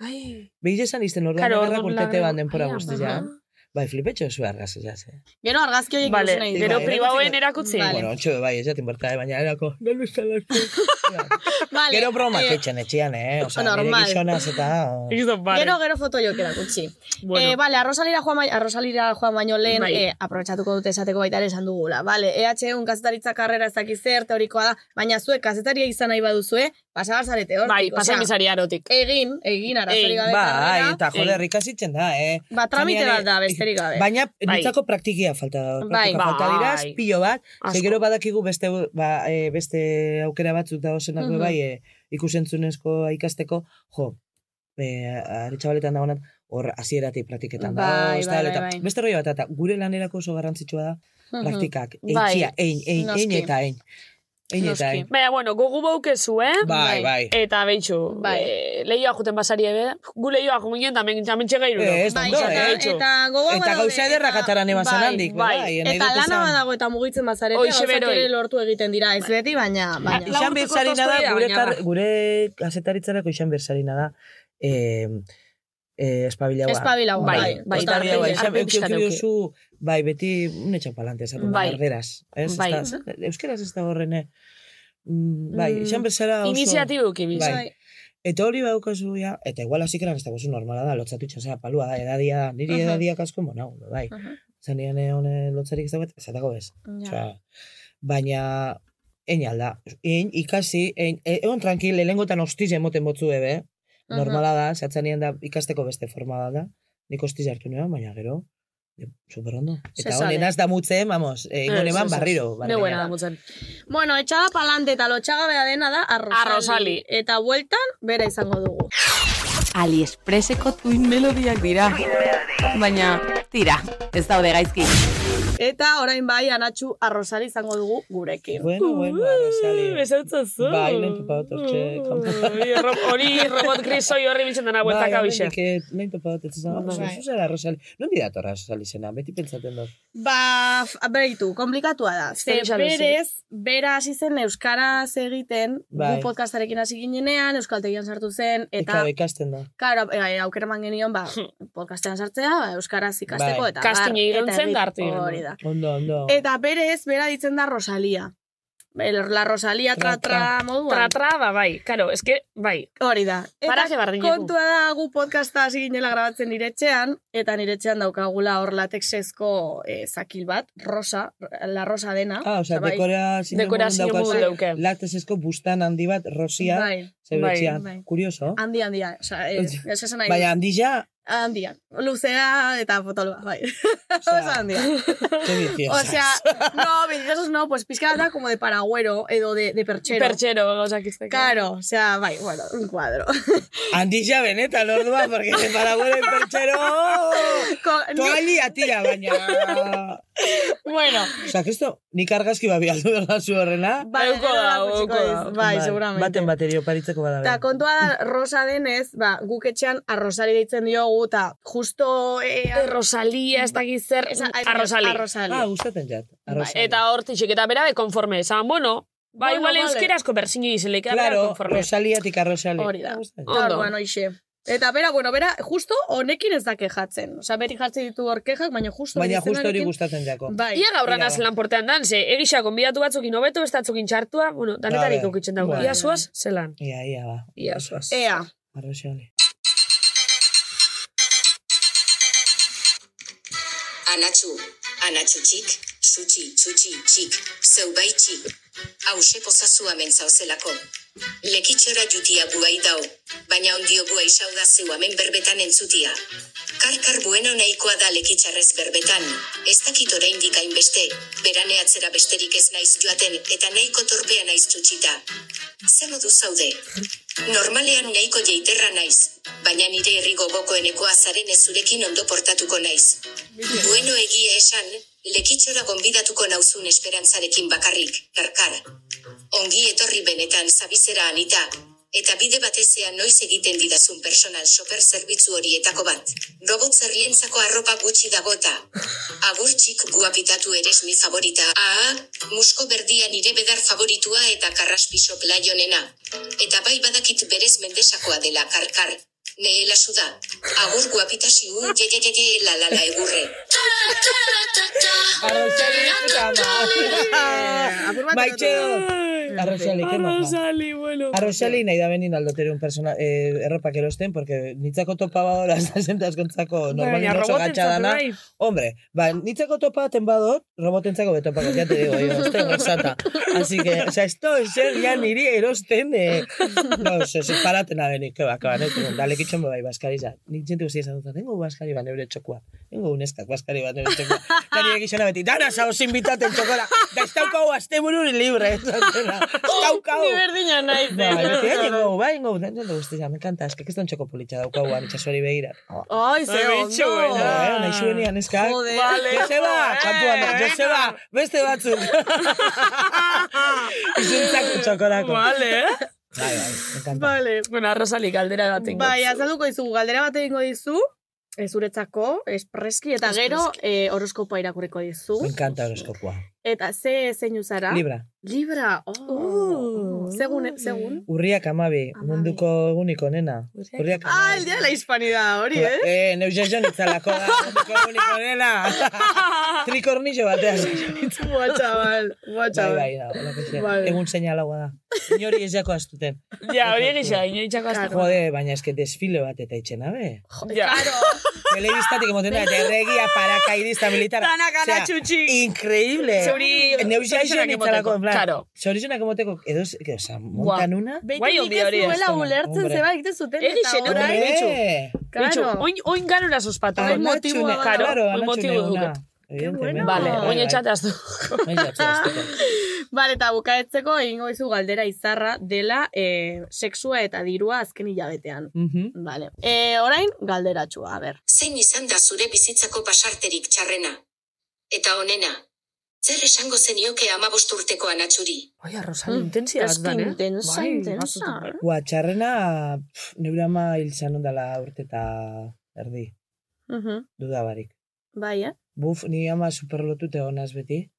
[SPEAKER 7] Ai.
[SPEAKER 10] Begile esan izten, orduan
[SPEAKER 7] Karo,
[SPEAKER 10] negarrak
[SPEAKER 7] orduan
[SPEAKER 10] urtete
[SPEAKER 7] lagun-
[SPEAKER 10] ban denpora
[SPEAKER 7] Ai,
[SPEAKER 10] guztia.
[SPEAKER 7] ama.
[SPEAKER 10] Bai, flipetxo zu argazia jaz, eh.
[SPEAKER 2] Gero argazki horiek
[SPEAKER 7] Vale,
[SPEAKER 2] ikusi nahi
[SPEAKER 7] gero
[SPEAKER 10] Bai,
[SPEAKER 2] dut.
[SPEAKER 7] pribauen
[SPEAKER 10] erakutsi-
[SPEAKER 7] erakutzi.
[SPEAKER 2] Vale.
[SPEAKER 10] Bueno, ontsu, bai, ez jaten berta, eh, baina erako, "Nelu izan lastu."
[SPEAKER 2] Vale,
[SPEAKER 10] Gero bromak
[SPEAKER 2] eh,
[SPEAKER 10] etxen etxean, eh? Osa, nire
[SPEAKER 2] Normal.
[SPEAKER 10] gizonaz eta... oh.
[SPEAKER 7] Egizan bare.
[SPEAKER 2] Gero, gero foto joak erakutsi.
[SPEAKER 7] Bueno.
[SPEAKER 2] Eh, vale, arrosalira joan, bai- arrosalira joan baino lehen,
[SPEAKER 7] Bai.
[SPEAKER 2] eh, aprobetsatuko dute esateko baita ere esan dugula. Vale, E EHU kazetaritza karrera ez dakiz zer, teorikoa da, baina zuek kazetaria izan nahi baduzue, pasagar zarete hortik.
[SPEAKER 7] Bai,
[SPEAKER 2] osea,
[SPEAKER 7] pasan bizari arotik.
[SPEAKER 2] Egin, egin,
[SPEAKER 7] Egin,
[SPEAKER 2] arazori gabe
[SPEAKER 10] Bai,
[SPEAKER 2] karrera.
[SPEAKER 10] eta jode, rikasitzen da, eh?
[SPEAKER 2] Ba, tramite
[SPEAKER 10] Zanean,
[SPEAKER 2] bat da, besterik gabe.
[SPEAKER 10] Baina,
[SPEAKER 7] Bai.
[SPEAKER 10] nintzako praktikia falta da.
[SPEAKER 2] Bai.
[SPEAKER 10] Praktika falta dira,
[SPEAKER 7] Bai.
[SPEAKER 10] pilo bat.
[SPEAKER 7] Asko.
[SPEAKER 10] Ze gero badakigu beste, ba, eh, beste aukera batzuk da osenak
[SPEAKER 2] Mhm.
[SPEAKER 10] bai, eh, ikusentzunezko ikasteko, jo, eh, aritxabaletan da honat, hor hasieratik praktiketan da.
[SPEAKER 2] Bai,
[SPEAKER 10] ez da,
[SPEAKER 2] bai, bai,
[SPEAKER 10] eta
[SPEAKER 2] bai.
[SPEAKER 10] Beste roi bat, eta gure lanerako oso garrantzitsua da,
[SPEAKER 2] Mhm.
[SPEAKER 10] praktikak.
[SPEAKER 7] Bai.
[SPEAKER 10] Eitxia, ein, ein, ein
[SPEAKER 2] Noski.
[SPEAKER 10] eta ein. Ein eta
[SPEAKER 2] Noski.
[SPEAKER 10] ein.
[SPEAKER 7] Baina, bueno, gogu baukezu, eh?
[SPEAKER 10] Bai, bai.
[SPEAKER 7] Eta behitxu,
[SPEAKER 2] Bai.
[SPEAKER 7] eh, lehioa juten basari ebe, gu lehioa juten ginen, tamen txamentxe gairu.
[SPEAKER 10] Eh, ez
[SPEAKER 2] Bai,
[SPEAKER 10] ondo,
[SPEAKER 2] eta,
[SPEAKER 10] eh?
[SPEAKER 7] Etxo.
[SPEAKER 2] eta gogoa
[SPEAKER 10] Eta
[SPEAKER 2] badaude,
[SPEAKER 10] gauza ederra
[SPEAKER 2] eta-
[SPEAKER 10] kataran eban
[SPEAKER 2] bai,
[SPEAKER 10] handik,
[SPEAKER 7] bai.
[SPEAKER 10] bai. nahi
[SPEAKER 2] Eta
[SPEAKER 10] dut
[SPEAKER 2] lana
[SPEAKER 10] esan.
[SPEAKER 2] badago eta mugitzen bazarete,
[SPEAKER 7] Hoxe
[SPEAKER 2] gauzak
[SPEAKER 7] beroi. Bai.
[SPEAKER 2] ere lortu egiten dira, ez beti, baina... baina.
[SPEAKER 10] Ixan
[SPEAKER 7] Laburtuko
[SPEAKER 10] berzarina da,
[SPEAKER 7] tostoia,
[SPEAKER 10] gure,
[SPEAKER 7] baina
[SPEAKER 10] kar,
[SPEAKER 7] bai.
[SPEAKER 10] gure kazetaritzarako ixan berzarina da, eh, eh, espabilagoa.
[SPEAKER 2] Espabilagoa,
[SPEAKER 7] Bai,
[SPEAKER 2] bai,
[SPEAKER 7] bai,
[SPEAKER 10] Eta hori,
[SPEAKER 7] tarpe-
[SPEAKER 10] bai, ixan,
[SPEAKER 7] tarpe
[SPEAKER 10] euki,
[SPEAKER 7] pixkat
[SPEAKER 10] euki
[SPEAKER 7] euki.
[SPEAKER 10] duzu, bai, beti un etxan palante, esaten
[SPEAKER 7] Bai.
[SPEAKER 10] bai. berderaz. Ez,
[SPEAKER 7] Bai.
[SPEAKER 10] bai. euskeraz ez da horren, eh? Mm, bai,
[SPEAKER 7] Mm,
[SPEAKER 10] ixan berzara oso...
[SPEAKER 7] Iniziatibuk ibiz.
[SPEAKER 10] Bai. Eta hori baukazu ja, eta igual hasik eran ez dagozu normala da, lotzatu itxan, zera, palua da, edadia da, niri
[SPEAKER 2] Aha.
[SPEAKER 10] edadia kasko monau, bai.
[SPEAKER 2] Aha.
[SPEAKER 10] Zanean honen lotzarik ez dagoet, ez dago ez.
[SPEAKER 2] Ja.
[SPEAKER 10] Osea, baina, egin alda, egin ikasi, egin, e- egon tranquil, lehengotan hostiz emoten botzu ebe,
[SPEAKER 2] Aha.
[SPEAKER 10] normala da, zatzanean da, ikasteko beste forma bat da, nik hostiz hartu nuen, baina gero, e, superondo.
[SPEAKER 2] Se
[SPEAKER 10] Eta
[SPEAKER 2] sale. Eh,
[SPEAKER 10] honen az da mutzen, vamos,
[SPEAKER 7] Ez,
[SPEAKER 10] egin
[SPEAKER 7] ez,
[SPEAKER 10] honen
[SPEAKER 7] ez.
[SPEAKER 10] barriro.
[SPEAKER 7] Ne
[SPEAKER 10] barriro.
[SPEAKER 7] buena da mutzen.
[SPEAKER 2] Bueno, etxada palante eta lotxagabea dena da arrozali.
[SPEAKER 7] Arrozali.
[SPEAKER 2] Eta bueltan, bera izango dugu.
[SPEAKER 9] Aliexpreseko tuin melodiak dira. Baina, tira, ez daude gaizki.
[SPEAKER 2] Eta orain bai, anatxu arrozali izango dugu gurekin.
[SPEAKER 10] Bueno, bueno, arrozali.
[SPEAKER 7] Besautza zu.
[SPEAKER 10] Bai, lehen topa dut hortxe, kanpoan.
[SPEAKER 7] Hori ro- Hori robot grisoi horri bitzen dena bueltaka bixe.
[SPEAKER 10] Nain topa dut, Bai, ez da,
[SPEAKER 2] Bai.
[SPEAKER 10] zu zara Rosali. Non dira torra Rosali zena, beti pentsaten dut.
[SPEAKER 2] Ba, f- beritu, komplikatua da. Ze
[SPEAKER 7] Zer esan duzu?
[SPEAKER 2] berez, bera hasi zen Euskaraz egiten,
[SPEAKER 10] Bai.
[SPEAKER 2] gu podcastarekin hasi ginenean, Euskaltegian sartu zen,
[SPEAKER 10] Eta
[SPEAKER 2] eta...
[SPEAKER 10] ikasten da.
[SPEAKER 2] Karo, e, aukerman genion, ba, podcastean sartzea, ba, Euskaraz ikasteko,
[SPEAKER 10] Bai.
[SPEAKER 2] eta...
[SPEAKER 7] Casting
[SPEAKER 2] bar,
[SPEAKER 7] egin
[SPEAKER 2] eta
[SPEAKER 7] zen,
[SPEAKER 2] egin-
[SPEAKER 7] da hartu egin.
[SPEAKER 2] Hori da.
[SPEAKER 10] Ondo, ondo.
[SPEAKER 2] Eta berez, bera ditzen da Rosalia. el- la Rosalia
[SPEAKER 10] Tra, tra.
[SPEAKER 2] tra-tra moduan.
[SPEAKER 7] Tratra, ba, bai, karo, eske, bai.
[SPEAKER 2] Hori da.
[SPEAKER 7] Paraje bardineku.
[SPEAKER 2] kontua da gu podcasta hasi ginela grabatzen niretxean, eta niretxean daukagula hor latexezko eh, zakil bat, rosa, la rosa dena.
[SPEAKER 10] Ah, oza,
[SPEAKER 2] Eta bai,
[SPEAKER 10] dekorazio
[SPEAKER 7] Dekorazio modu dauke.
[SPEAKER 10] Latesezko bustan handi bat, rosia,
[SPEAKER 2] Bai,
[SPEAKER 10] zebetxean.
[SPEAKER 2] bai, bai.
[SPEAKER 10] Kurioso.
[SPEAKER 2] handi, handia. Osa, ez,
[SPEAKER 10] Oye.
[SPEAKER 2] ez esan nahi.
[SPEAKER 10] Baina handi ja,
[SPEAKER 2] Handia. Luzea eta potoloa, bai.
[SPEAKER 10] Osea,
[SPEAKER 2] Osa handia.
[SPEAKER 10] ze
[SPEAKER 2] O
[SPEAKER 10] viciosas.
[SPEAKER 2] sea, no, viciosos no, pues pizka bat da como de paragüero edo de, de perchero.
[SPEAKER 7] Pertsero, gauzak izteko.
[SPEAKER 2] Claro, o sea, bai, bueno, un cuadro.
[SPEAKER 10] Handi ja benetan, ordua, porque se para gure pertsero.
[SPEAKER 2] Ko- ni-
[SPEAKER 10] Toali atira, baina...
[SPEAKER 2] bueno,
[SPEAKER 10] Osa, esto, nik argazki babi aldu dela zu horrena.
[SPEAKER 2] bai,
[SPEAKER 7] Euko da,
[SPEAKER 2] gero erakutsiko
[SPEAKER 7] euko da.
[SPEAKER 2] diz, bai, seguramente.
[SPEAKER 10] Baten baterio paritzeko bada. bai.
[SPEAKER 2] Eta kontua da, rosa denez, ba, guk etxean arrosari deitzen diogu, eta justo... E, arro-
[SPEAKER 7] Rosalia, ez dakit zer,
[SPEAKER 2] esa- ai,
[SPEAKER 7] Eh, arrosali.
[SPEAKER 2] Arrosali.
[SPEAKER 10] Ah, gustaten jat.
[SPEAKER 2] Bai,
[SPEAKER 10] arrozari.
[SPEAKER 7] Eta hortixek, eta bera, be, konforme, esan, bueno, ba,
[SPEAKER 2] Bueno,
[SPEAKER 7] igual
[SPEAKER 2] vale.
[SPEAKER 7] euskerasko berzini izan, eta bera,
[SPEAKER 10] Claro,
[SPEAKER 7] konforme.
[SPEAKER 10] Rosaliatik arrozali.
[SPEAKER 2] Hori da.
[SPEAKER 10] Ah, gustatzen
[SPEAKER 2] Eta
[SPEAKER 10] jat.
[SPEAKER 7] Ondo.
[SPEAKER 2] orduan hoixe. Eta bera, bueno, bera, justo honekin ez dake jatzen. Osa, beri jartzen ditu hor kexak, baina justo...
[SPEAKER 10] Baina justo hori
[SPEAKER 2] izenarekin-
[SPEAKER 10] gustatzen jako.
[SPEAKER 2] Bai.
[SPEAKER 7] Ia gaurran
[SPEAKER 10] Ia da.
[SPEAKER 7] azen lanportean dan, ze egisa konbidatu batzukin hobeto, ez batzukin txartua, bueno, danetarik
[SPEAKER 10] Vale.
[SPEAKER 7] okitzen dago.
[SPEAKER 10] Vale.
[SPEAKER 7] Ia zuaz, zelan.
[SPEAKER 10] Ia, Bai. ia, ba.
[SPEAKER 7] Ia zuaz.
[SPEAKER 2] Ea.
[SPEAKER 10] Arrozali.
[SPEAKER 12] Anatxu, anatxu txik, sutxi, txutxi, txik, zeubait txik. Hauze pozazu amen zauzelako. Lekitxora jutia guai dau, baina ondio guai sauda zeu amen berbetan entzutia. Karkar bueno nahikoa da lekitxarrez berbetan, ez dakit oraindik hainbeste, beraneatzera besterik ez naiz joaten eta nahiko torpea naiz txutxita. Ze modu zaude? Normalean nahiko jeiterra naiz, baina nire herri gogokoenekoa zaren ezurekin ondo portatuko naiz. Bueno egia esan, lekitxora gonbidatuko nauzun esperantzarekin bakarrik, karkar. Ongi etorri benetan zabizera anita, eta bide batezean noiz egiten didazun personal shopper zerbitzu horietako bat. Robot zerrientzako arropa gutxi dagota. Agurtxik guapitatu eres mi favorita. Aa, musko berdia nire bedar favoritua eta karraspiso playonena. Eta bai badakit berez mendesakoa dela karkar. Neela suda, agur guapitasi un je je je je la la la egurre.
[SPEAKER 10] Arrozali, puta
[SPEAKER 2] apur bat
[SPEAKER 10] ma. Maite. Arrozali, que maja.
[SPEAKER 7] Arrozali, bueno.
[SPEAKER 10] Arrozali nahi da benin aldotere un persona, eh, erropak erosten, porque nitzako topa badora, zazentas gontzako,
[SPEAKER 7] Baina,
[SPEAKER 10] normalin oso
[SPEAKER 7] roboten
[SPEAKER 10] gatxadana.
[SPEAKER 7] zatu, bai.
[SPEAKER 10] Hombre, ba, nitzako topaten badot, robotentzako beto pako, ya te digo, yo, este rosata. Así que, o sea, esto es ser ya niri erosten, eh. No, se separaten abenik, que baka, ne, tengo, dale kitxon bai, baskari za. Nik txente guztia esan dut, tengo baskari bat neure txokua. Tengo uneskak baskari bat neure txokua. Da nire gizona beti, dana zaoz invitaten txokora, da ez daukau azte bururi libre, ez daukau.
[SPEAKER 7] Ni berdina naiz,
[SPEAKER 10] Ba,
[SPEAKER 7] eh.
[SPEAKER 10] beti, ingo, bai, ingo, da nire guztia, me encanta, eske, que ez da un txoko politxa daukau, anitxasuari begira.
[SPEAKER 2] Ai, ze
[SPEAKER 7] Ai, bitxu,
[SPEAKER 2] ondo.
[SPEAKER 7] eh.
[SPEAKER 10] Ah, eh, nahi zuenean eskak.
[SPEAKER 2] Joder.
[SPEAKER 10] Vale. Joseba,
[SPEAKER 7] Eh,
[SPEAKER 10] kantuan da,
[SPEAKER 7] venga.
[SPEAKER 10] Joseba, beste batzuk. Izintzako txokorako.
[SPEAKER 7] Vale, eh?
[SPEAKER 10] Bai, bai, me encanta.
[SPEAKER 2] Vale.
[SPEAKER 7] Bueno, arrozali, galdera bat ingo.
[SPEAKER 2] Bai, azalduko dizugu, galdera bat egingo dizu, ezuretzako, espreski, eta gero eh, horoskopoa irakurriko dizu.
[SPEAKER 10] Me encanta horoskopua.
[SPEAKER 2] Eta ze zeinu zara?
[SPEAKER 10] Libra,
[SPEAKER 2] Libra, oh. Segun, segun.
[SPEAKER 10] urriak amabi, munduko egunik onena. Urriak
[SPEAKER 2] Ah, el
[SPEAKER 10] amabi.
[SPEAKER 2] día de la hispanidad hori, eh?
[SPEAKER 10] Eh, neu jason itzalako da, munduko egunik onena. Trikornillo batean.
[SPEAKER 2] Buah, chaval, buah,
[SPEAKER 10] Bai,
[SPEAKER 2] chaval.
[SPEAKER 10] bai, Bai. da, holako xe.
[SPEAKER 2] Vale.
[SPEAKER 10] Egun seinalagoa da. Inori ez jako astuten.
[SPEAKER 7] Ja, hori egisa, inoitzako azte.
[SPEAKER 10] Jode, baina eske desfile bat eta itxena, be?
[SPEAKER 7] Ja.
[SPEAKER 10] Telebistatik emoten da, eta erregia, parakaidista, militar. Osea, Increíble. ¿eh?
[SPEAKER 7] Zeuri-
[SPEAKER 10] Neu
[SPEAKER 7] zorizonak
[SPEAKER 10] jaixen itzalako, en plan.
[SPEAKER 7] Claro.
[SPEAKER 10] Zorizonak emoteko, edo, edo, edo,
[SPEAKER 7] Buah.
[SPEAKER 10] montan una.
[SPEAKER 7] Guai
[SPEAKER 2] Beitik
[SPEAKER 7] ongi
[SPEAKER 2] nik
[SPEAKER 7] hori
[SPEAKER 2] ez
[SPEAKER 7] ez
[SPEAKER 2] duela
[SPEAKER 10] dena,
[SPEAKER 2] ulertzen
[SPEAKER 10] hombre.
[SPEAKER 2] zeba egiten zuten eta
[SPEAKER 7] Egixe,
[SPEAKER 2] orain.
[SPEAKER 7] hombre.
[SPEAKER 10] Eh,
[SPEAKER 7] Bitxu,
[SPEAKER 2] Claro.
[SPEAKER 7] oin, oin ganura suspatu.
[SPEAKER 10] anatxune,
[SPEAKER 2] motiboa bada.
[SPEAKER 7] Karo,
[SPEAKER 10] Bai, claro,
[SPEAKER 7] oin
[SPEAKER 10] anatxune
[SPEAKER 7] motibo
[SPEAKER 10] una.
[SPEAKER 7] duke.
[SPEAKER 10] Evidentemente.
[SPEAKER 7] Vale,
[SPEAKER 10] Bai,
[SPEAKER 7] oin
[SPEAKER 10] bai.
[SPEAKER 7] etxateaz du.
[SPEAKER 10] Oin etxatea azteko.
[SPEAKER 2] Bale, eta bukaetzeko egingo dizu galdera izarra dela eh, sexua eta dirua azken hilabetean.
[SPEAKER 10] Mhm.
[SPEAKER 2] Vale. E, orain, galderatxua, a ber.
[SPEAKER 12] Zein izan da zure bizitzako pasarterik txarrena? Eta onena, zer esango zenioke amabost urteko anatxuri?
[SPEAKER 7] Oia,
[SPEAKER 10] Mm.
[SPEAKER 7] Rosalia, intensia bat
[SPEAKER 2] Eski
[SPEAKER 7] dan, eh?
[SPEAKER 2] Mm. intensa,
[SPEAKER 7] Bai,
[SPEAKER 2] intensa.
[SPEAKER 7] batzutan.
[SPEAKER 10] Ua, txarrena, pff, neure ama hil zan ondala urte eta erdi,
[SPEAKER 2] Mhm.
[SPEAKER 10] duda barik.
[SPEAKER 2] Bai, eh?
[SPEAKER 10] Buf, ni ama superlotute honaz beti.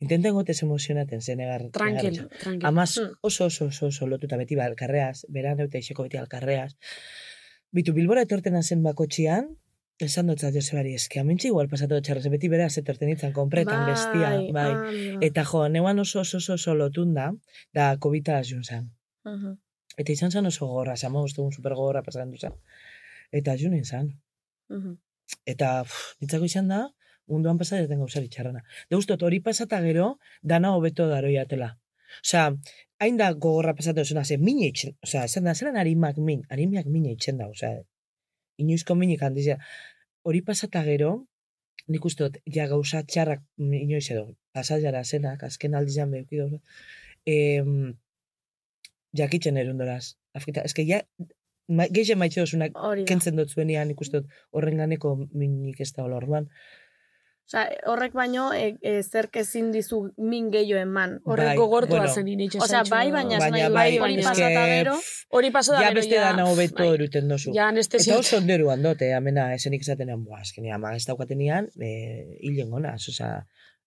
[SPEAKER 10] Intenten gotez emozionaten zenegar.
[SPEAKER 7] Tranquil, tranquil.
[SPEAKER 10] Amaz oso oso oso oso lotuta beti ba, alkarreaz, beran eta iseko beti alkarreaz. Bitu Bilbora etorten zen bakotxian, Esan dutzat Josebari, eski amintxe igual pasatu etxarrez, beti bera zetorten nintzen, konpretan
[SPEAKER 11] Bai,
[SPEAKER 10] bestia, bai.
[SPEAKER 11] ah, mira.
[SPEAKER 10] Eta jo, neuan oso oso oso, oso lotunda, da COVID-a jun zen.
[SPEAKER 11] Aha.
[SPEAKER 10] Eta izan zen oso gorra, zama ustegun super gorra pasan duzen. Eta jun izan.
[SPEAKER 11] Mhm.
[SPEAKER 10] Eta pff, nintzako izan da, munduan pasa ez den gauzari txarrana. De guztot, hori pasata gero, dana hobeto daroiatela. Osea, hain da gogorra pasatu zena, ze mine itxen, osea, esan da, zelan harimak min, harimiak mine itxen da, osea, inoizko minik handiz, ja. hori pasata gero, nik uste dut, ja gauza txarrak mm, inoiz edo, pasa jara zenak, azken aldizan behuki gauza, em, jakitzen erundoraz. Afrita, eske ja, ma, gehien maitxe dozunak
[SPEAKER 11] Hori
[SPEAKER 7] Bai.
[SPEAKER 11] da.
[SPEAKER 10] kentzen dut zuenean ikusten dut horren ganeko minik ez da hola orduan.
[SPEAKER 11] Osa, horrek baino e, e, zerk ezin dizu min gehiago eman.
[SPEAKER 10] Bai,
[SPEAKER 7] Horrek gogortua
[SPEAKER 10] bueno.
[SPEAKER 7] zen initxe
[SPEAKER 11] Osea, bai, baina ez nahi
[SPEAKER 10] bai,
[SPEAKER 11] bai, hori
[SPEAKER 10] eske,
[SPEAKER 11] pasata gero.
[SPEAKER 10] pff,
[SPEAKER 7] Hori paso da
[SPEAKER 10] ja
[SPEAKER 7] gero,
[SPEAKER 10] beste dana hobeto
[SPEAKER 7] bai.
[SPEAKER 10] eruten dozu.
[SPEAKER 7] Ja, anestesia.
[SPEAKER 10] Eta oso onderu handote, amena, esenik esatenean, boa, azkenean, ama, ez daukatenean, e, hilen gonaz, osea,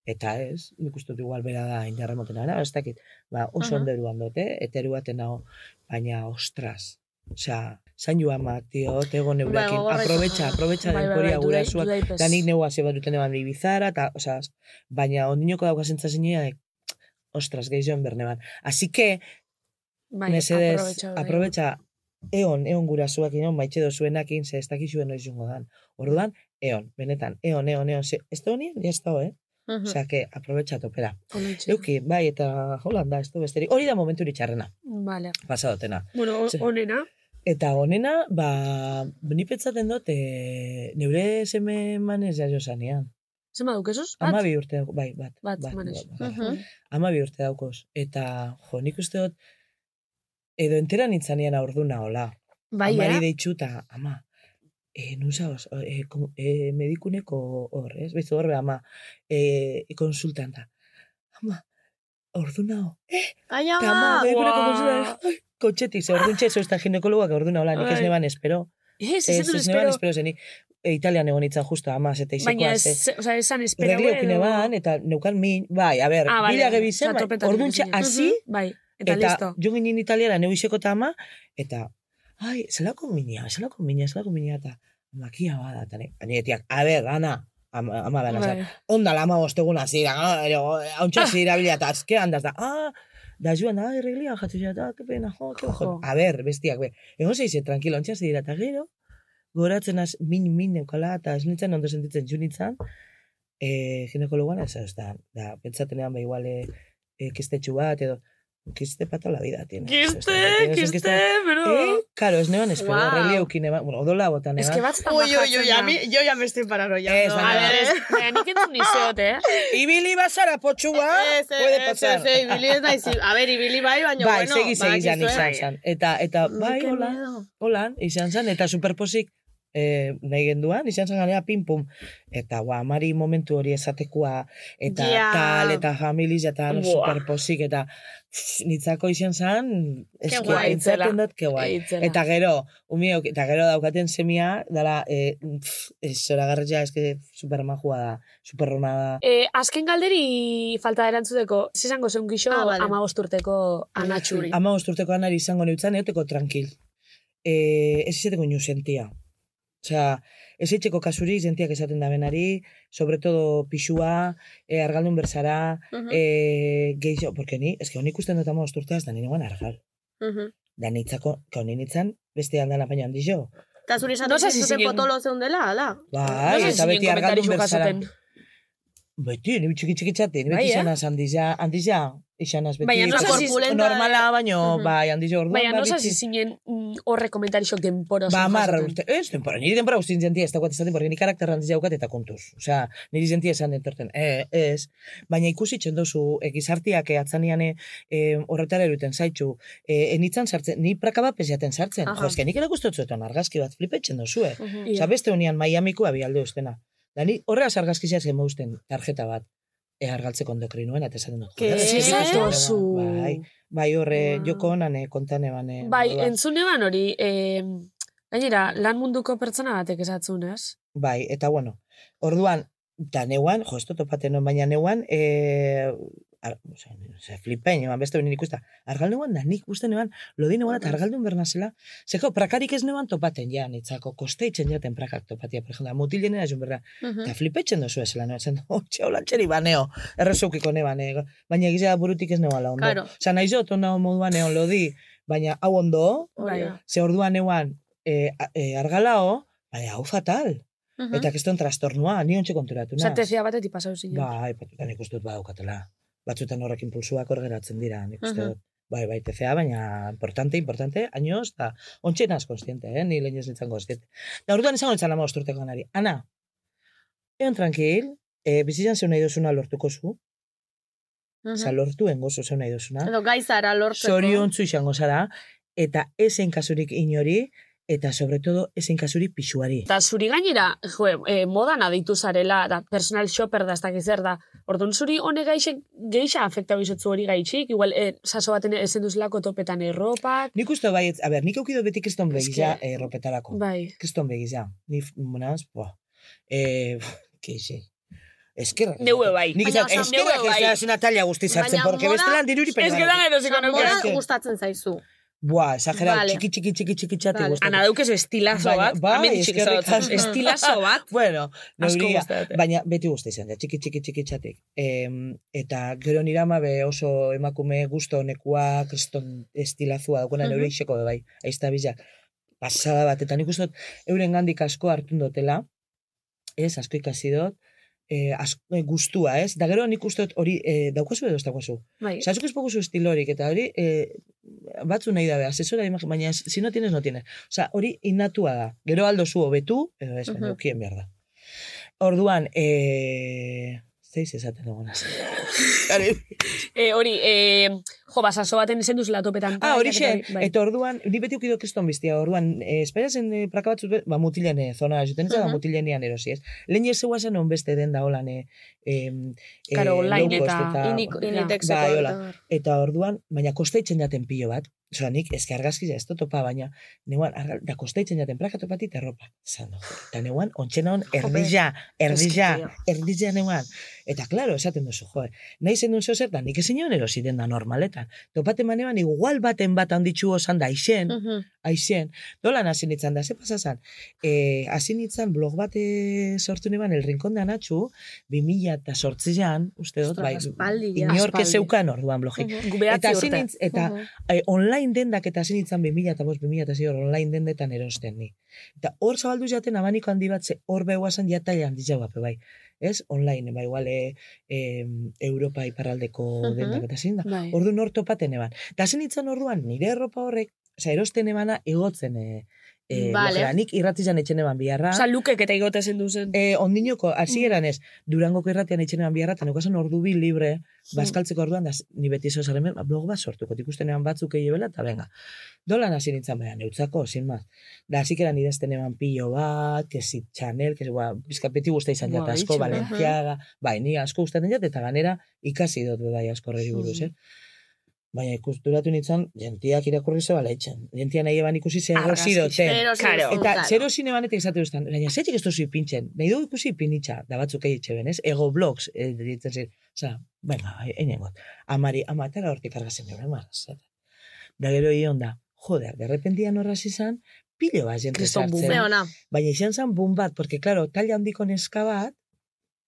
[SPEAKER 10] eta ez, nik uste dut igual bera da indarra moten ara, ez dakit, ba, oso eh,
[SPEAKER 11] Aha.
[SPEAKER 10] onderu handote, eteru baten nago, baina, ostras, osea, zain joan amak, tio, tego neurekin,
[SPEAKER 11] gogorra
[SPEAKER 10] aprobetxa,
[SPEAKER 11] izan da.
[SPEAKER 10] aprobetxa
[SPEAKER 7] Bai, bai,
[SPEAKER 10] denporia
[SPEAKER 7] bai, dudai-
[SPEAKER 10] gurasuak,
[SPEAKER 7] dudai pez.
[SPEAKER 10] da nik neua zeba duten eman bizara, eta, osea, baina ondinoko dauka zentzazinia, ostras, gehiagoen berneban. Así que,
[SPEAKER 7] Bai,
[SPEAKER 10] Mesedez,
[SPEAKER 7] aprobetxa, bai.
[SPEAKER 10] aprobetxa, eon, eon gurasuak inon, maitxe dozuenakin, ze ez dakizuen noiz jungo dan. Orduan, eon, benetan, eon, eon, eon, ze, ez da honien, ez da, eh?
[SPEAKER 11] Mhm.
[SPEAKER 10] Osea, que aprobetxa topera.
[SPEAKER 7] Honetxe.
[SPEAKER 10] Euki, bai, eta holanda, ez du besterik. Hori da momenturi txarrena,
[SPEAKER 7] Vale.
[SPEAKER 10] pasadotena.
[SPEAKER 7] Bueno,
[SPEAKER 10] Ze-
[SPEAKER 7] honena.
[SPEAKER 10] Eta honena, ba, ni pentsaten dut, e, neure seme manez jaio zanean.
[SPEAKER 7] Zema dukezuz? Bat?
[SPEAKER 10] Ama bi urte, dauko- bai, bat.
[SPEAKER 7] Bat, manez.
[SPEAKER 11] Mhm.
[SPEAKER 10] ama bi urte daukoz. Eta, jo, nik uste dut, edo entera nintzanean aurduna, hola.
[SPEAKER 11] Bai,
[SPEAKER 10] Amari
[SPEAKER 11] eh?
[SPEAKER 10] deitxuta, ama, e, nusa os, e, kom- e, medikuneko hor, ez? Bezu horbe, ama, e, konsultanta. Ama, orduna ho.
[SPEAKER 11] Ai,
[SPEAKER 10] Eta ama,
[SPEAKER 11] ama!
[SPEAKER 10] medikuneko
[SPEAKER 7] Ua.
[SPEAKER 10] konsultanta. Ai, Kotxetik, ze ordun txezo ez da ginekologoak orduna, hola, nik ez
[SPEAKER 7] Ai.
[SPEAKER 10] neban espero.
[SPEAKER 7] Ez,
[SPEAKER 10] Ez,
[SPEAKER 7] ez
[SPEAKER 10] ez
[SPEAKER 7] zenun
[SPEAKER 10] Eh, neban
[SPEAKER 7] espero.
[SPEAKER 10] espero zenik. E, Italian egon nintzen justo, ama, zeta
[SPEAKER 7] Baina
[SPEAKER 10] izikoa, ze.
[SPEAKER 7] ez, oza, esan espero.
[SPEAKER 10] Erregle okine
[SPEAKER 7] edo-
[SPEAKER 10] ban, eta neukan min, bai, a ber,
[SPEAKER 7] Ah,
[SPEAKER 10] ah,
[SPEAKER 7] bale,
[SPEAKER 10] bila
[SPEAKER 7] bale.
[SPEAKER 10] gebizen,
[SPEAKER 7] Osea,
[SPEAKER 10] bai,
[SPEAKER 7] topetan
[SPEAKER 10] ordun
[SPEAKER 7] ibili zinen.
[SPEAKER 10] hasi,
[SPEAKER 7] Mhm, Bai, eta,
[SPEAKER 10] Eta,
[SPEAKER 7] listo.
[SPEAKER 10] jo ginen italiara neu iseko eta ama, eta, ai, zelako minia, zelako minia, zelako minia, eta makia bada, eta ne- baina tiak, a ber, ana, ama, ama dana,
[SPEAKER 7] Bai.
[SPEAKER 10] bai. onda lama bosteguna zira, hauntxe zira bila, eta azke handaz da, ah, da joan, ah, erreglia, jatzu zira, ah, que pena, jo, que bajo.
[SPEAKER 7] Jo.
[SPEAKER 10] A ber, bestiak, be, egon zeize, tranquilo, hauntxe zira, eta gero, goratzen az, min, min, neukala, eta ez nintzen, ondo sentitzen junitzen, e, ginekologoan, ez ez da, da, pentsatenean, be, igual, e, e, kistetxu bat, edo, kiste pata la vida, tiene.
[SPEAKER 7] Kiste, kiste, bro.
[SPEAKER 10] Eh, claro, ez neban espero,
[SPEAKER 11] Wow.
[SPEAKER 10] wow. releukin eban, bueno, odola botan
[SPEAKER 7] Ez
[SPEAKER 10] eban.
[SPEAKER 7] que bat zan
[SPEAKER 2] Uy, uy,
[SPEAKER 7] bajatzen
[SPEAKER 2] uy,
[SPEAKER 7] da.
[SPEAKER 2] a mí, yo ya me estoy paranoiando.
[SPEAKER 10] Ez,
[SPEAKER 7] A
[SPEAKER 10] baina-
[SPEAKER 7] ber, ez, baina nik entzun nizeot, eh?
[SPEAKER 10] Ibili bazara potxua,
[SPEAKER 2] Ez,
[SPEAKER 10] puede
[SPEAKER 2] ez,
[SPEAKER 10] pasar.
[SPEAKER 2] ez, ez, ibili ez naiz, a ber, ibili bai, baina,
[SPEAKER 10] Bai,
[SPEAKER 2] bueno,
[SPEAKER 10] segi, segi izan,
[SPEAKER 2] badakizu,
[SPEAKER 10] izan
[SPEAKER 2] eh?
[SPEAKER 10] zan. Eta, eta,
[SPEAKER 11] Ai,
[SPEAKER 10] bai,
[SPEAKER 11] que
[SPEAKER 10] hola,
[SPEAKER 11] miedo.
[SPEAKER 10] holan, izan zan, eta superposik eh, nahi genduan, izan zan ganea pum. Eta, gua, amari momentu hori ezatekua, eta
[SPEAKER 11] Ja.
[SPEAKER 10] tal, eta familiz, eta no,
[SPEAKER 7] Buah.
[SPEAKER 10] superposik, eta pff, nitzako izan zan, eski,
[SPEAKER 7] guai,
[SPEAKER 10] aintzaten
[SPEAKER 7] itzela.
[SPEAKER 10] dut, que guai.
[SPEAKER 7] Eitzela.
[SPEAKER 10] Eta gero, umiok, eta gero daukaten semia, dala, eh, pff, ez, zoragarria, eske supermajua da, superrona da.
[SPEAKER 7] Eh, azken galderi falta erantzuteko, zesango zeun gixo
[SPEAKER 11] Ah, vale.
[SPEAKER 7] ama urteko anatxuri.
[SPEAKER 10] Ama osturteko anari izango neutzan, eoteko tranquil. E, ez izateko inu sentia. Osea, ez etxeko kasuri sentiak esaten da benari, sobre todo pixua, e, argaldun berzara,
[SPEAKER 11] Mhm.
[SPEAKER 10] e, gehiago, porque ni, eske honi ikusten dut ama osturteaz, da nire guan argal.
[SPEAKER 11] Mhm.
[SPEAKER 10] Da nitzako, ka honi nitzan, beste aldana baina handi jo.
[SPEAKER 11] Eta zuri esan
[SPEAKER 7] No sé si
[SPEAKER 11] dut zuten
[SPEAKER 7] siguen-
[SPEAKER 11] potolo zeundela, ala?
[SPEAKER 10] Bai,
[SPEAKER 7] No sé
[SPEAKER 10] eta
[SPEAKER 7] si
[SPEAKER 10] beti
[SPEAKER 7] nien
[SPEAKER 10] argaldun
[SPEAKER 7] komentarizuka
[SPEAKER 10] berzara.
[SPEAKER 7] zuten.
[SPEAKER 10] Beti, ni txiki txiki txate, ni
[SPEAKER 7] Bai,
[SPEAKER 10] beti
[SPEAKER 7] eh?
[SPEAKER 10] izanaz handiza, handiza, izanaz beti.
[SPEAKER 7] Baina no sé si-
[SPEAKER 11] Korpulenta,
[SPEAKER 10] normala, baino,
[SPEAKER 11] Mhm.
[SPEAKER 10] bai, handiza orduan.
[SPEAKER 7] Baina,
[SPEAKER 10] ba,
[SPEAKER 7] no
[SPEAKER 10] bitxi.
[SPEAKER 7] sasi zinen mm, horre komentarixok denpora.
[SPEAKER 10] Ba,
[SPEAKER 7] zuen
[SPEAKER 10] amarra
[SPEAKER 7] jasoten.
[SPEAKER 10] urte. Ez, denpora, niri denpora guztin zentia ez daukat izaten, porque ni karakterra handiz daukat eta kontuz. Osea, niri zentia esan dentorten. E, ez, baina ikusi txendozu, e, gizartiak e, atzanean e, horretara eruten zaitxu, e, enitzan sartzen, ni prakaba pesiaten sartzen.
[SPEAKER 11] Aha.
[SPEAKER 10] Jo, ezke nik erakustotzen argazki bat flipetzen dozu, eh?
[SPEAKER 11] Mhm.
[SPEAKER 10] Osea, beste honian Miamiko abialde ustena. Da, ni horreaz argazki zeaz emausten tarjeta bat e, argaltzeko endokrinuen, eta esaten dut.
[SPEAKER 7] Eh,
[SPEAKER 11] Ke?
[SPEAKER 10] joder, ez da,
[SPEAKER 7] Zatozu.
[SPEAKER 10] Bai, bai horre,
[SPEAKER 7] Wow.
[SPEAKER 10] joko honan, eh, kontan eban. eh,
[SPEAKER 7] Bai,
[SPEAKER 10] moduan.
[SPEAKER 7] entzun eban hori, eh, gainera, lan munduko pertsona batek esatzun, ez?
[SPEAKER 10] Bai, eta bueno, orduan, da neuan, jo, esto topaten non, baina neuan, e, Ar, oza, ze flipein, eman beste benin ikusta. Argaldu eban da, nik uste neban, lodi neban eta argaldun bernazela. Zeko, prakarik ez neban topaten ja, nitzako, kosteitzen jaten prakak topatia, per ejemplo, mutilenera jun berra. Eta uh -huh. flipetzen dozu ez lan, etzen, hotxe, holan txeri "Oh, baneo, errezukiko neban, eh? baina egizea burutik ez neban la ondo. Claro. Osa, nahi jot, ondo moduan egon lodi, baina hau ondo,
[SPEAKER 7] Bai,
[SPEAKER 10] Oraya. ze orduan eban, e, e, argalao, baina hau fatal. Uh -huh. Eta keston trastornua, ni ontsi konturatu naz.
[SPEAKER 11] Osa, tesia batetik pasau zinen.
[SPEAKER 10] Bai, batutan ikustut badaukatela. Batzutan horrek impulsuak hor geratzen dira, nik uste dut. Uh -huh. Bai, bai, TCA, baina importante, importante, años, da, ontsi naz konstiente, eh? ni lehen ez nintzen konstiente. Da, orduan izango nintzen ama osturteko ganari. Ana, egon tranquil, e, bizitzan zeu nahi duzuna lortuko zu, Uhum. -huh. lortu engozu zeu nahi duzuna.
[SPEAKER 11] Edo gaizara lortzeko.
[SPEAKER 10] Zorion zu izango zara, eta esen kasurik inori, eta sobre todo ezin kasuri pixuari.
[SPEAKER 7] Eta zuri gainera, jo, e, modan aditu zarela, da personal shopper da, ez dakiz zer da, orduan zuri hone gaixek, geixa afekta bizotzu hori gaitxik, igual e, saso baten ezen duzulako topetan erropak.
[SPEAKER 10] Nik uste bai, a ber, nik eukido beti kriston begiza Eske... erropetarako.
[SPEAKER 7] Bai.
[SPEAKER 10] Kriston begiza. Ni, monaz, boa. E, keixe. Eskerrak.
[SPEAKER 7] Neue bai.
[SPEAKER 10] Nik izan, eskerrak ez da zinatalia guztiz hartzen, porque bestelan diruri
[SPEAKER 7] penalak. Eskerrak erosiko
[SPEAKER 11] nuke. Moda gustatzen zaizu.
[SPEAKER 10] Buah, exagerado, vale. txiki, txiki, txiki, txiki txate vale.
[SPEAKER 7] Ana daukezu estilazo bat, bai, bai, eskerrik Estilazo bat.
[SPEAKER 10] bueno, neuria, baina beti guzti izan da, txiki, txiki, txiki txatik. E, eta gero nirama be oso emakume gusto honekua kriston estilazua daukona uh -huh. neure iseko be bai, aizta bizak. Pasada bat, eta nik uste dut, euren gandik asko hartun dutela, ez, asko ikasi dut, eh, e, gustua, ez? Da gero nik uste hori eh, daukazu edo ez daukazu.
[SPEAKER 7] Bai.
[SPEAKER 10] Zatzuk ez pokuzu estilorik, eta hori eh, batzu nahi dabe, asesora baina si no tienes, no tienes. Osa, hori innatua da. Gero aldo zu hobetu, edo ez, uh -huh. eukien behar da. Orduan, eh, zeiz esaten dugunaz.
[SPEAKER 7] e, hori, e, jo, basaso baten zen duzela topetan.
[SPEAKER 10] Ah, hori xe, bai. eta orduan, ni beti ukido kriston biztia, orduan, e, esperazen e, praka batzut, ba, mutilen e, zona, juten ez uh -huh. da mutilen ean erosi, ez? Lehen ez zegoa zen onbeste den da holan, e, e,
[SPEAKER 7] Karo, online eta,
[SPEAKER 11] initexeko.
[SPEAKER 10] Ah, Bai, hola. Eta orduan, baina kosteitzen jaten pilo bat, Osa, nik ezke argazkiza ez topa, baina neuan, argal, da kosteitzen jaten plaka topati eta ropa. Zando, eta neuan, ontxena hon, erdila, erdila, erdila neuan. Eta, klaro, esaten duzu, joe, nahi zen duen zozer, da nik ezin joan erositen da normaletan. Topate maneban, igual baten bat handitxu osan da,
[SPEAKER 2] Mm.
[SPEAKER 10] aixen, uh -huh. aixen. Dolan hasi nintzen da, ze pasazan? E, hasi nintzen blog bat eh, sortu neban, El Rincón de Anatxu, 2000 eta sortzian, uste dut, bai, inorke zeukan orduan blogi. Uh
[SPEAKER 7] -huh.
[SPEAKER 10] Eta, hasi nintzen, eta uh -huh. e, online dendak eta hasi nintzen 2000 eta bost, 2000 eta zior, online dendetan erosten ni. Eta hor zabaldu jaten abaniko handi bat, ze hor behuazan jataila handi jabape, bai ez? Online, ba, igual, e, e, Europa iparraldeko uh -huh. dendak eta zein da. Bai. Ordu nor topaten eban. Eta zen nintzen orduan, nire erropa horrek, oza, erosten ebana egotzen e, e, vale. Lojera, nik irratizan etxen eban biharra.
[SPEAKER 7] Osa, lukek eta igote zen duzen.
[SPEAKER 10] E, ondinoko, hasieran ez, durangoko irratian etxen eban biharra, eta nukazen ordu bi libre, bazkaltzeko orduan, da, ni beti zo zaren, "Ba, blog bat sortuko, ikusten eban batzuk eiebela, eta venga. Dolan hasi nintzen behan, neutzako, sin maz. Da, hasi keran idazten eban pilo bat, que si Chanel, que si, ba, bizkapeti guztia izan jata asko, Balenciaga, bai, ni asko gustatzen jat, eta ganera ikasi dut bai asko buruz, eh? Baina ikusturatu nintzen, jentiak irakurri zeba lehitzen. Jentia nahi eban ikusi zer erosi dote.
[SPEAKER 7] Claro.
[SPEAKER 10] Eta zer erosi neban eta izate duzten. Baina zetxik ez duzu ipintzen. Nahi dugu ikusi ipinitza, da batzuk egitxe ben, ez? Ego blogs, eh, ditzen zir. Osa, venga, egin Amari, amatara hortik argazen dure, maraz. Da gero ion da, joder, derrepentia norraz izan, pilo bat jente
[SPEAKER 11] sartzen.
[SPEAKER 10] Baina izan zen bun bat, porque, claro, talia handiko neska bat,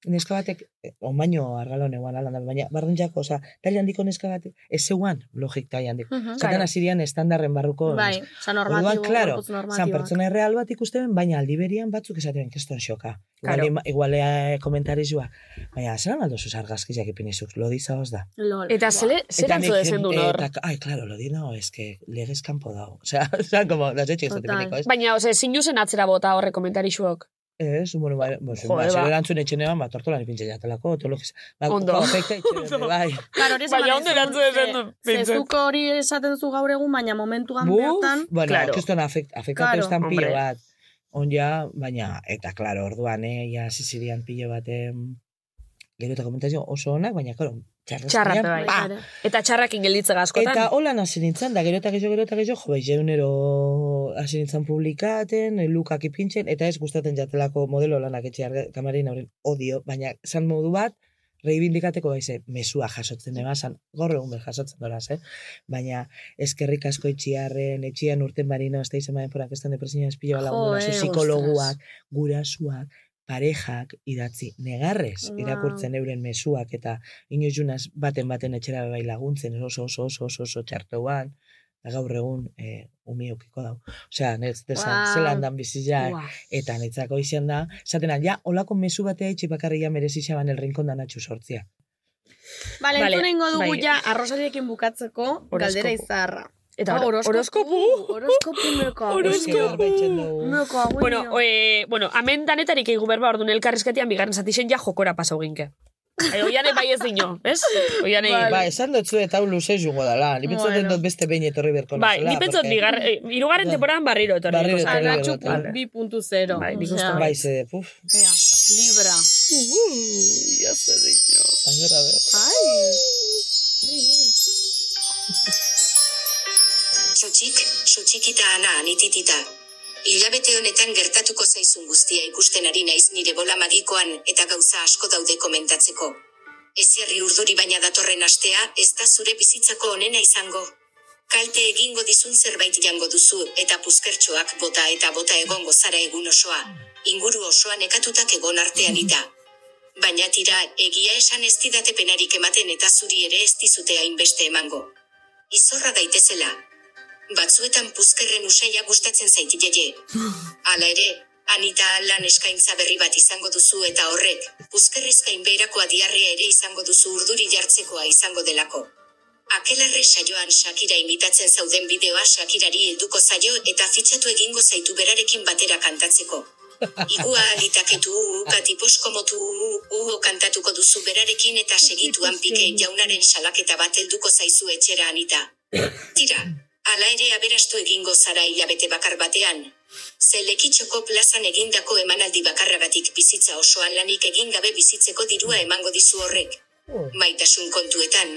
[SPEAKER 10] neska batek, onbaino argalon eguan alanda, baina barren jako, oza, taile handiko neska batek, ez zeuan, logik taile handiko. Uh -huh, Zatan azirian claro. estandarren barruko.
[SPEAKER 11] Bai, zan normatibo, Orduan,
[SPEAKER 10] claro, zan pertsona erreal bat ikusten, baina aldiberian batzuk esaten keston xoka. Claro. Iguale, iguale komentarizua. eh, Baina, zelan aldo zuz argazkizak ipinizuk, lodi zaoz da.
[SPEAKER 7] Lol. Eta zele, zer antzu dezen du nor? Eta,
[SPEAKER 10] ai, claro, lodi no, ez que legez kanpo dago. Osea, zan, como, das etxik ez dut ez?
[SPEAKER 7] Baina, ose, zinuzen atzera bota horre komentarizuok.
[SPEAKER 10] Ez, bueno, bai, bo, zin, ba, zero erantzun etxenean, ba, tortolan ipintxe jatelako, teologiz. Ba,
[SPEAKER 7] ondo.
[SPEAKER 10] Perfecta etxenean, bai.
[SPEAKER 11] Claro, hori
[SPEAKER 7] baina ondo erantzun esan du.
[SPEAKER 11] Zezuko hori esaten zu gaur egun, baina momentuan Buf, bertan.
[SPEAKER 10] Bueno, claro. kriston afekt, afektatu claro, pilo bat. Onja, baina, eta, claro, orduan, eh, ja, zizirian pilo baten, gero eta komentazio oso onak, baina, claro,
[SPEAKER 7] Txarra, bai. Ba. Eta txarrakin gelditza askotan.
[SPEAKER 10] Eta holan hasi nintzen, da gero eta gehiago, gero eta gehiago, jo, bai, jeunero hasi nintzen publikaten, lukak ipintzen, eta ez gustatzen jatelako modelo lanak etxe kamarin horren odio, baina zan modu bat, reivindikateko baize, mesua jasotzen ebazan, gaur egun behar jasotzen doraz, eh? Baina, eskerrik asko etxiarren, etxian urten barino, ez da izan baden porak, ez da depresioa espioa lagundona,
[SPEAKER 11] Jo, eh,
[SPEAKER 10] zu psikologuak, gurasuak, parejak idatzi, negarrez
[SPEAKER 7] Ah.
[SPEAKER 11] Wow.
[SPEAKER 10] irakurtzen euren mezuak eta inoiz junaz baten baten etxera bai laguntzen oso oso oso oso oso txartoan, eta gaur egun e, umiokiko dau. Osea, nez, desan,
[SPEAKER 11] Wow.
[SPEAKER 10] zelan dan bizia,
[SPEAKER 11] Wow.
[SPEAKER 10] eta netzako izan da, zaten ja, olako mezu batea itxi bakarri ja merezi xaban el rincón da natxu sortzia.
[SPEAKER 2] Bale,
[SPEAKER 11] Vale,
[SPEAKER 2] entzun egingo dugu
[SPEAKER 11] bai.
[SPEAKER 2] ja, arrosariekin bukatzeko, galdera izarra.
[SPEAKER 7] Eta
[SPEAKER 2] Ah,
[SPEAKER 7] hor- horoskopu.
[SPEAKER 2] Horoskopu merkoa. Merkoa,
[SPEAKER 7] Bueno, eh, bueno, amen danetarik egu berba, ordun elkarrizketian bigarren zatixen ja jokora pasau ginke. Ai, Oiane bai ez dino, ez? Oiane...
[SPEAKER 10] Ba, esan dut zu eta hau luze jungo dala, ni pentsatzen
[SPEAKER 7] Bai. Bueno.
[SPEAKER 10] dut beste behin etorri berko
[SPEAKER 7] Bai,
[SPEAKER 10] nazela,
[SPEAKER 7] ni pentsot
[SPEAKER 10] porque-
[SPEAKER 7] bigar, eh, irugarren temporan barriro etorri.
[SPEAKER 10] Barriro
[SPEAKER 7] dikoza.
[SPEAKER 10] etorri Arratxu berriro,
[SPEAKER 2] Vale. 2.0.
[SPEAKER 7] Bai, nik
[SPEAKER 2] Osea,
[SPEAKER 7] uste
[SPEAKER 10] Bai, ze, puf,
[SPEAKER 2] Ea, Libra.
[SPEAKER 10] ya se diño. A ver, a ver.
[SPEAKER 12] Txotxik, txotxik eta ana anititita. Hilabete honetan gertatuko zaizun guztia ikusten ari naiz nire bola magikoan eta gauza asko daude komentatzeko. Ez herri urduri baina datorren astea, ez da zure bizitzako onena izango. Kalte egingo dizun zerbait jango duzu eta puzkertxoak bota eta bota egongo zara egun osoa. Inguru osoan ekatutak egon artean ita. Baina tira, egia esan ez didate penarik ematen eta zuri ere ez dizute hainbeste emango. Izorra daitezela. Batzuetan puzkerren usaia gustatzen zaiti jaie. Hala ere, Anita lan eskaintza berri bat izango duzu eta horrek, puzkerrizkain beherakoa diarrea ere izango duzu urduri jartzekoa izango delako. Akelarre saioan Shakira imitatzen zauden bideoa Shakirari helduko zaio eta fitxatu egingo zaitu berarekin batera kantatzeko. Igua alitaketu ukati poskomotu uho kantatuko duzu berarekin eta segituan pike jaunaren salaketa bat helduko zaizu etxera anita. Tira, ala ere aberastu egingo zara hilabete bakar batean. Zelekitxoko plazan egindako emanaldi bakarragatik bizitza osoan lanik egin gabe bizitzeko dirua emango dizu horrek.
[SPEAKER 10] eh.
[SPEAKER 12] Maitasun kontuetan,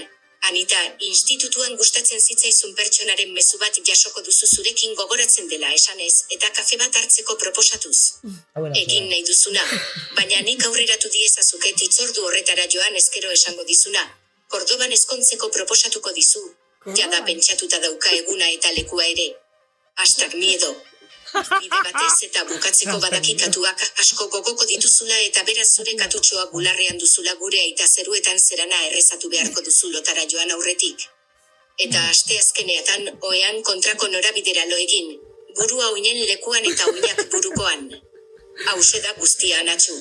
[SPEAKER 12] Anita, institutuan gustatzen zitzaizun pertsonaren mezu bat jasoko duzu zurekin gogoratzen dela esanez eta kafe bat hartzeko proposatuz.
[SPEAKER 10] Ah, bueno,
[SPEAKER 12] Egin nahi duzuna, baina nik aurreratu diezazuket itzordu horretara joan ezkero esango dizuna. Kordoban ezkontzeko proposatuko dizu. Jada pentsatuta dauka eguna eta lekua ere. Hashtag miedo. Bide batez eta bukatzeko badakikatuak asko gogoko dituzula eta beraz zure katutxoa bularrean duzula gure aita zeruetan zerana errezatu beharko duzu lotara joan aurretik. Eta asteazkeneatan oean kontrako norabidera lo egin, burua oinen lekuan eta oinak burukoan. Hauxe da guztia anatxu.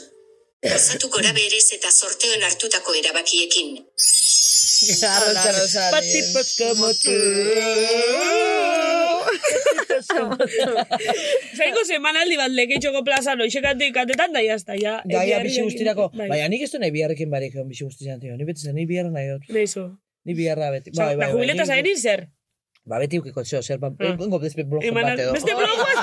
[SPEAKER 12] Gozatu gora berez eta sorteon hartutako erabakiekin.
[SPEAKER 10] Patipas como tú.
[SPEAKER 7] Zaiko semanaldi bat lekeitxoko plaza noixekatik katetan da jazta, ja.
[SPEAKER 10] Gaia bizi
[SPEAKER 7] Egiarrekin-
[SPEAKER 10] guztirako,
[SPEAKER 7] Bai.
[SPEAKER 10] baina nik ez du nahi biharrekin barik egon bizi guztian, tio. Ni beti zen, ni biharra nahi dut.
[SPEAKER 7] Beizu.
[SPEAKER 10] Ni biharra beti. Bai,
[SPEAKER 7] Osa, da jubileta
[SPEAKER 10] ni-
[SPEAKER 7] zaerin zer?
[SPEAKER 10] Ba, beti ukiko zeo, zer, ba,
[SPEAKER 7] Ah.
[SPEAKER 10] ingo beste blogun bat
[SPEAKER 7] Emanan,
[SPEAKER 10] edo.
[SPEAKER 7] beste bloguan.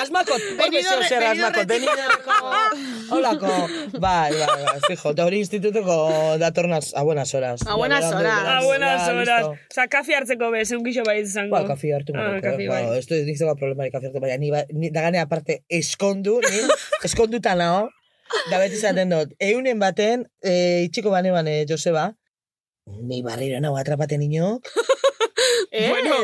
[SPEAKER 10] Asmakot, horbe
[SPEAKER 2] Benidorre-
[SPEAKER 10] zeo zer asmakot, benidorreko. Holako, bai, bai, bai, fijo, eta hori institutoko datornaz, a buenas horas.
[SPEAKER 2] A buenas
[SPEAKER 10] Ya, berandu,
[SPEAKER 2] horas.
[SPEAKER 10] berandu,
[SPEAKER 7] Ah, buenas
[SPEAKER 10] ya,
[SPEAKER 7] horas.
[SPEAKER 10] listo.
[SPEAKER 7] Osa, kafe hartzeko bez, egun gixo bai izango.
[SPEAKER 10] Ba, kafi hartu
[SPEAKER 7] Ah,
[SPEAKER 10] ah,
[SPEAKER 7] kafi,
[SPEAKER 10] ba,
[SPEAKER 7] bai.
[SPEAKER 10] ez du nik zegoa problemarik kafi hartu, baina ni, ba, ni dagane aparte eskondu, ni eskonduta nao, da beti zaten dut, eunen baten, e, itxiko bane bane Joseba, ni barriro nao atrapaten inok,
[SPEAKER 2] Ez,
[SPEAKER 7] Bueno.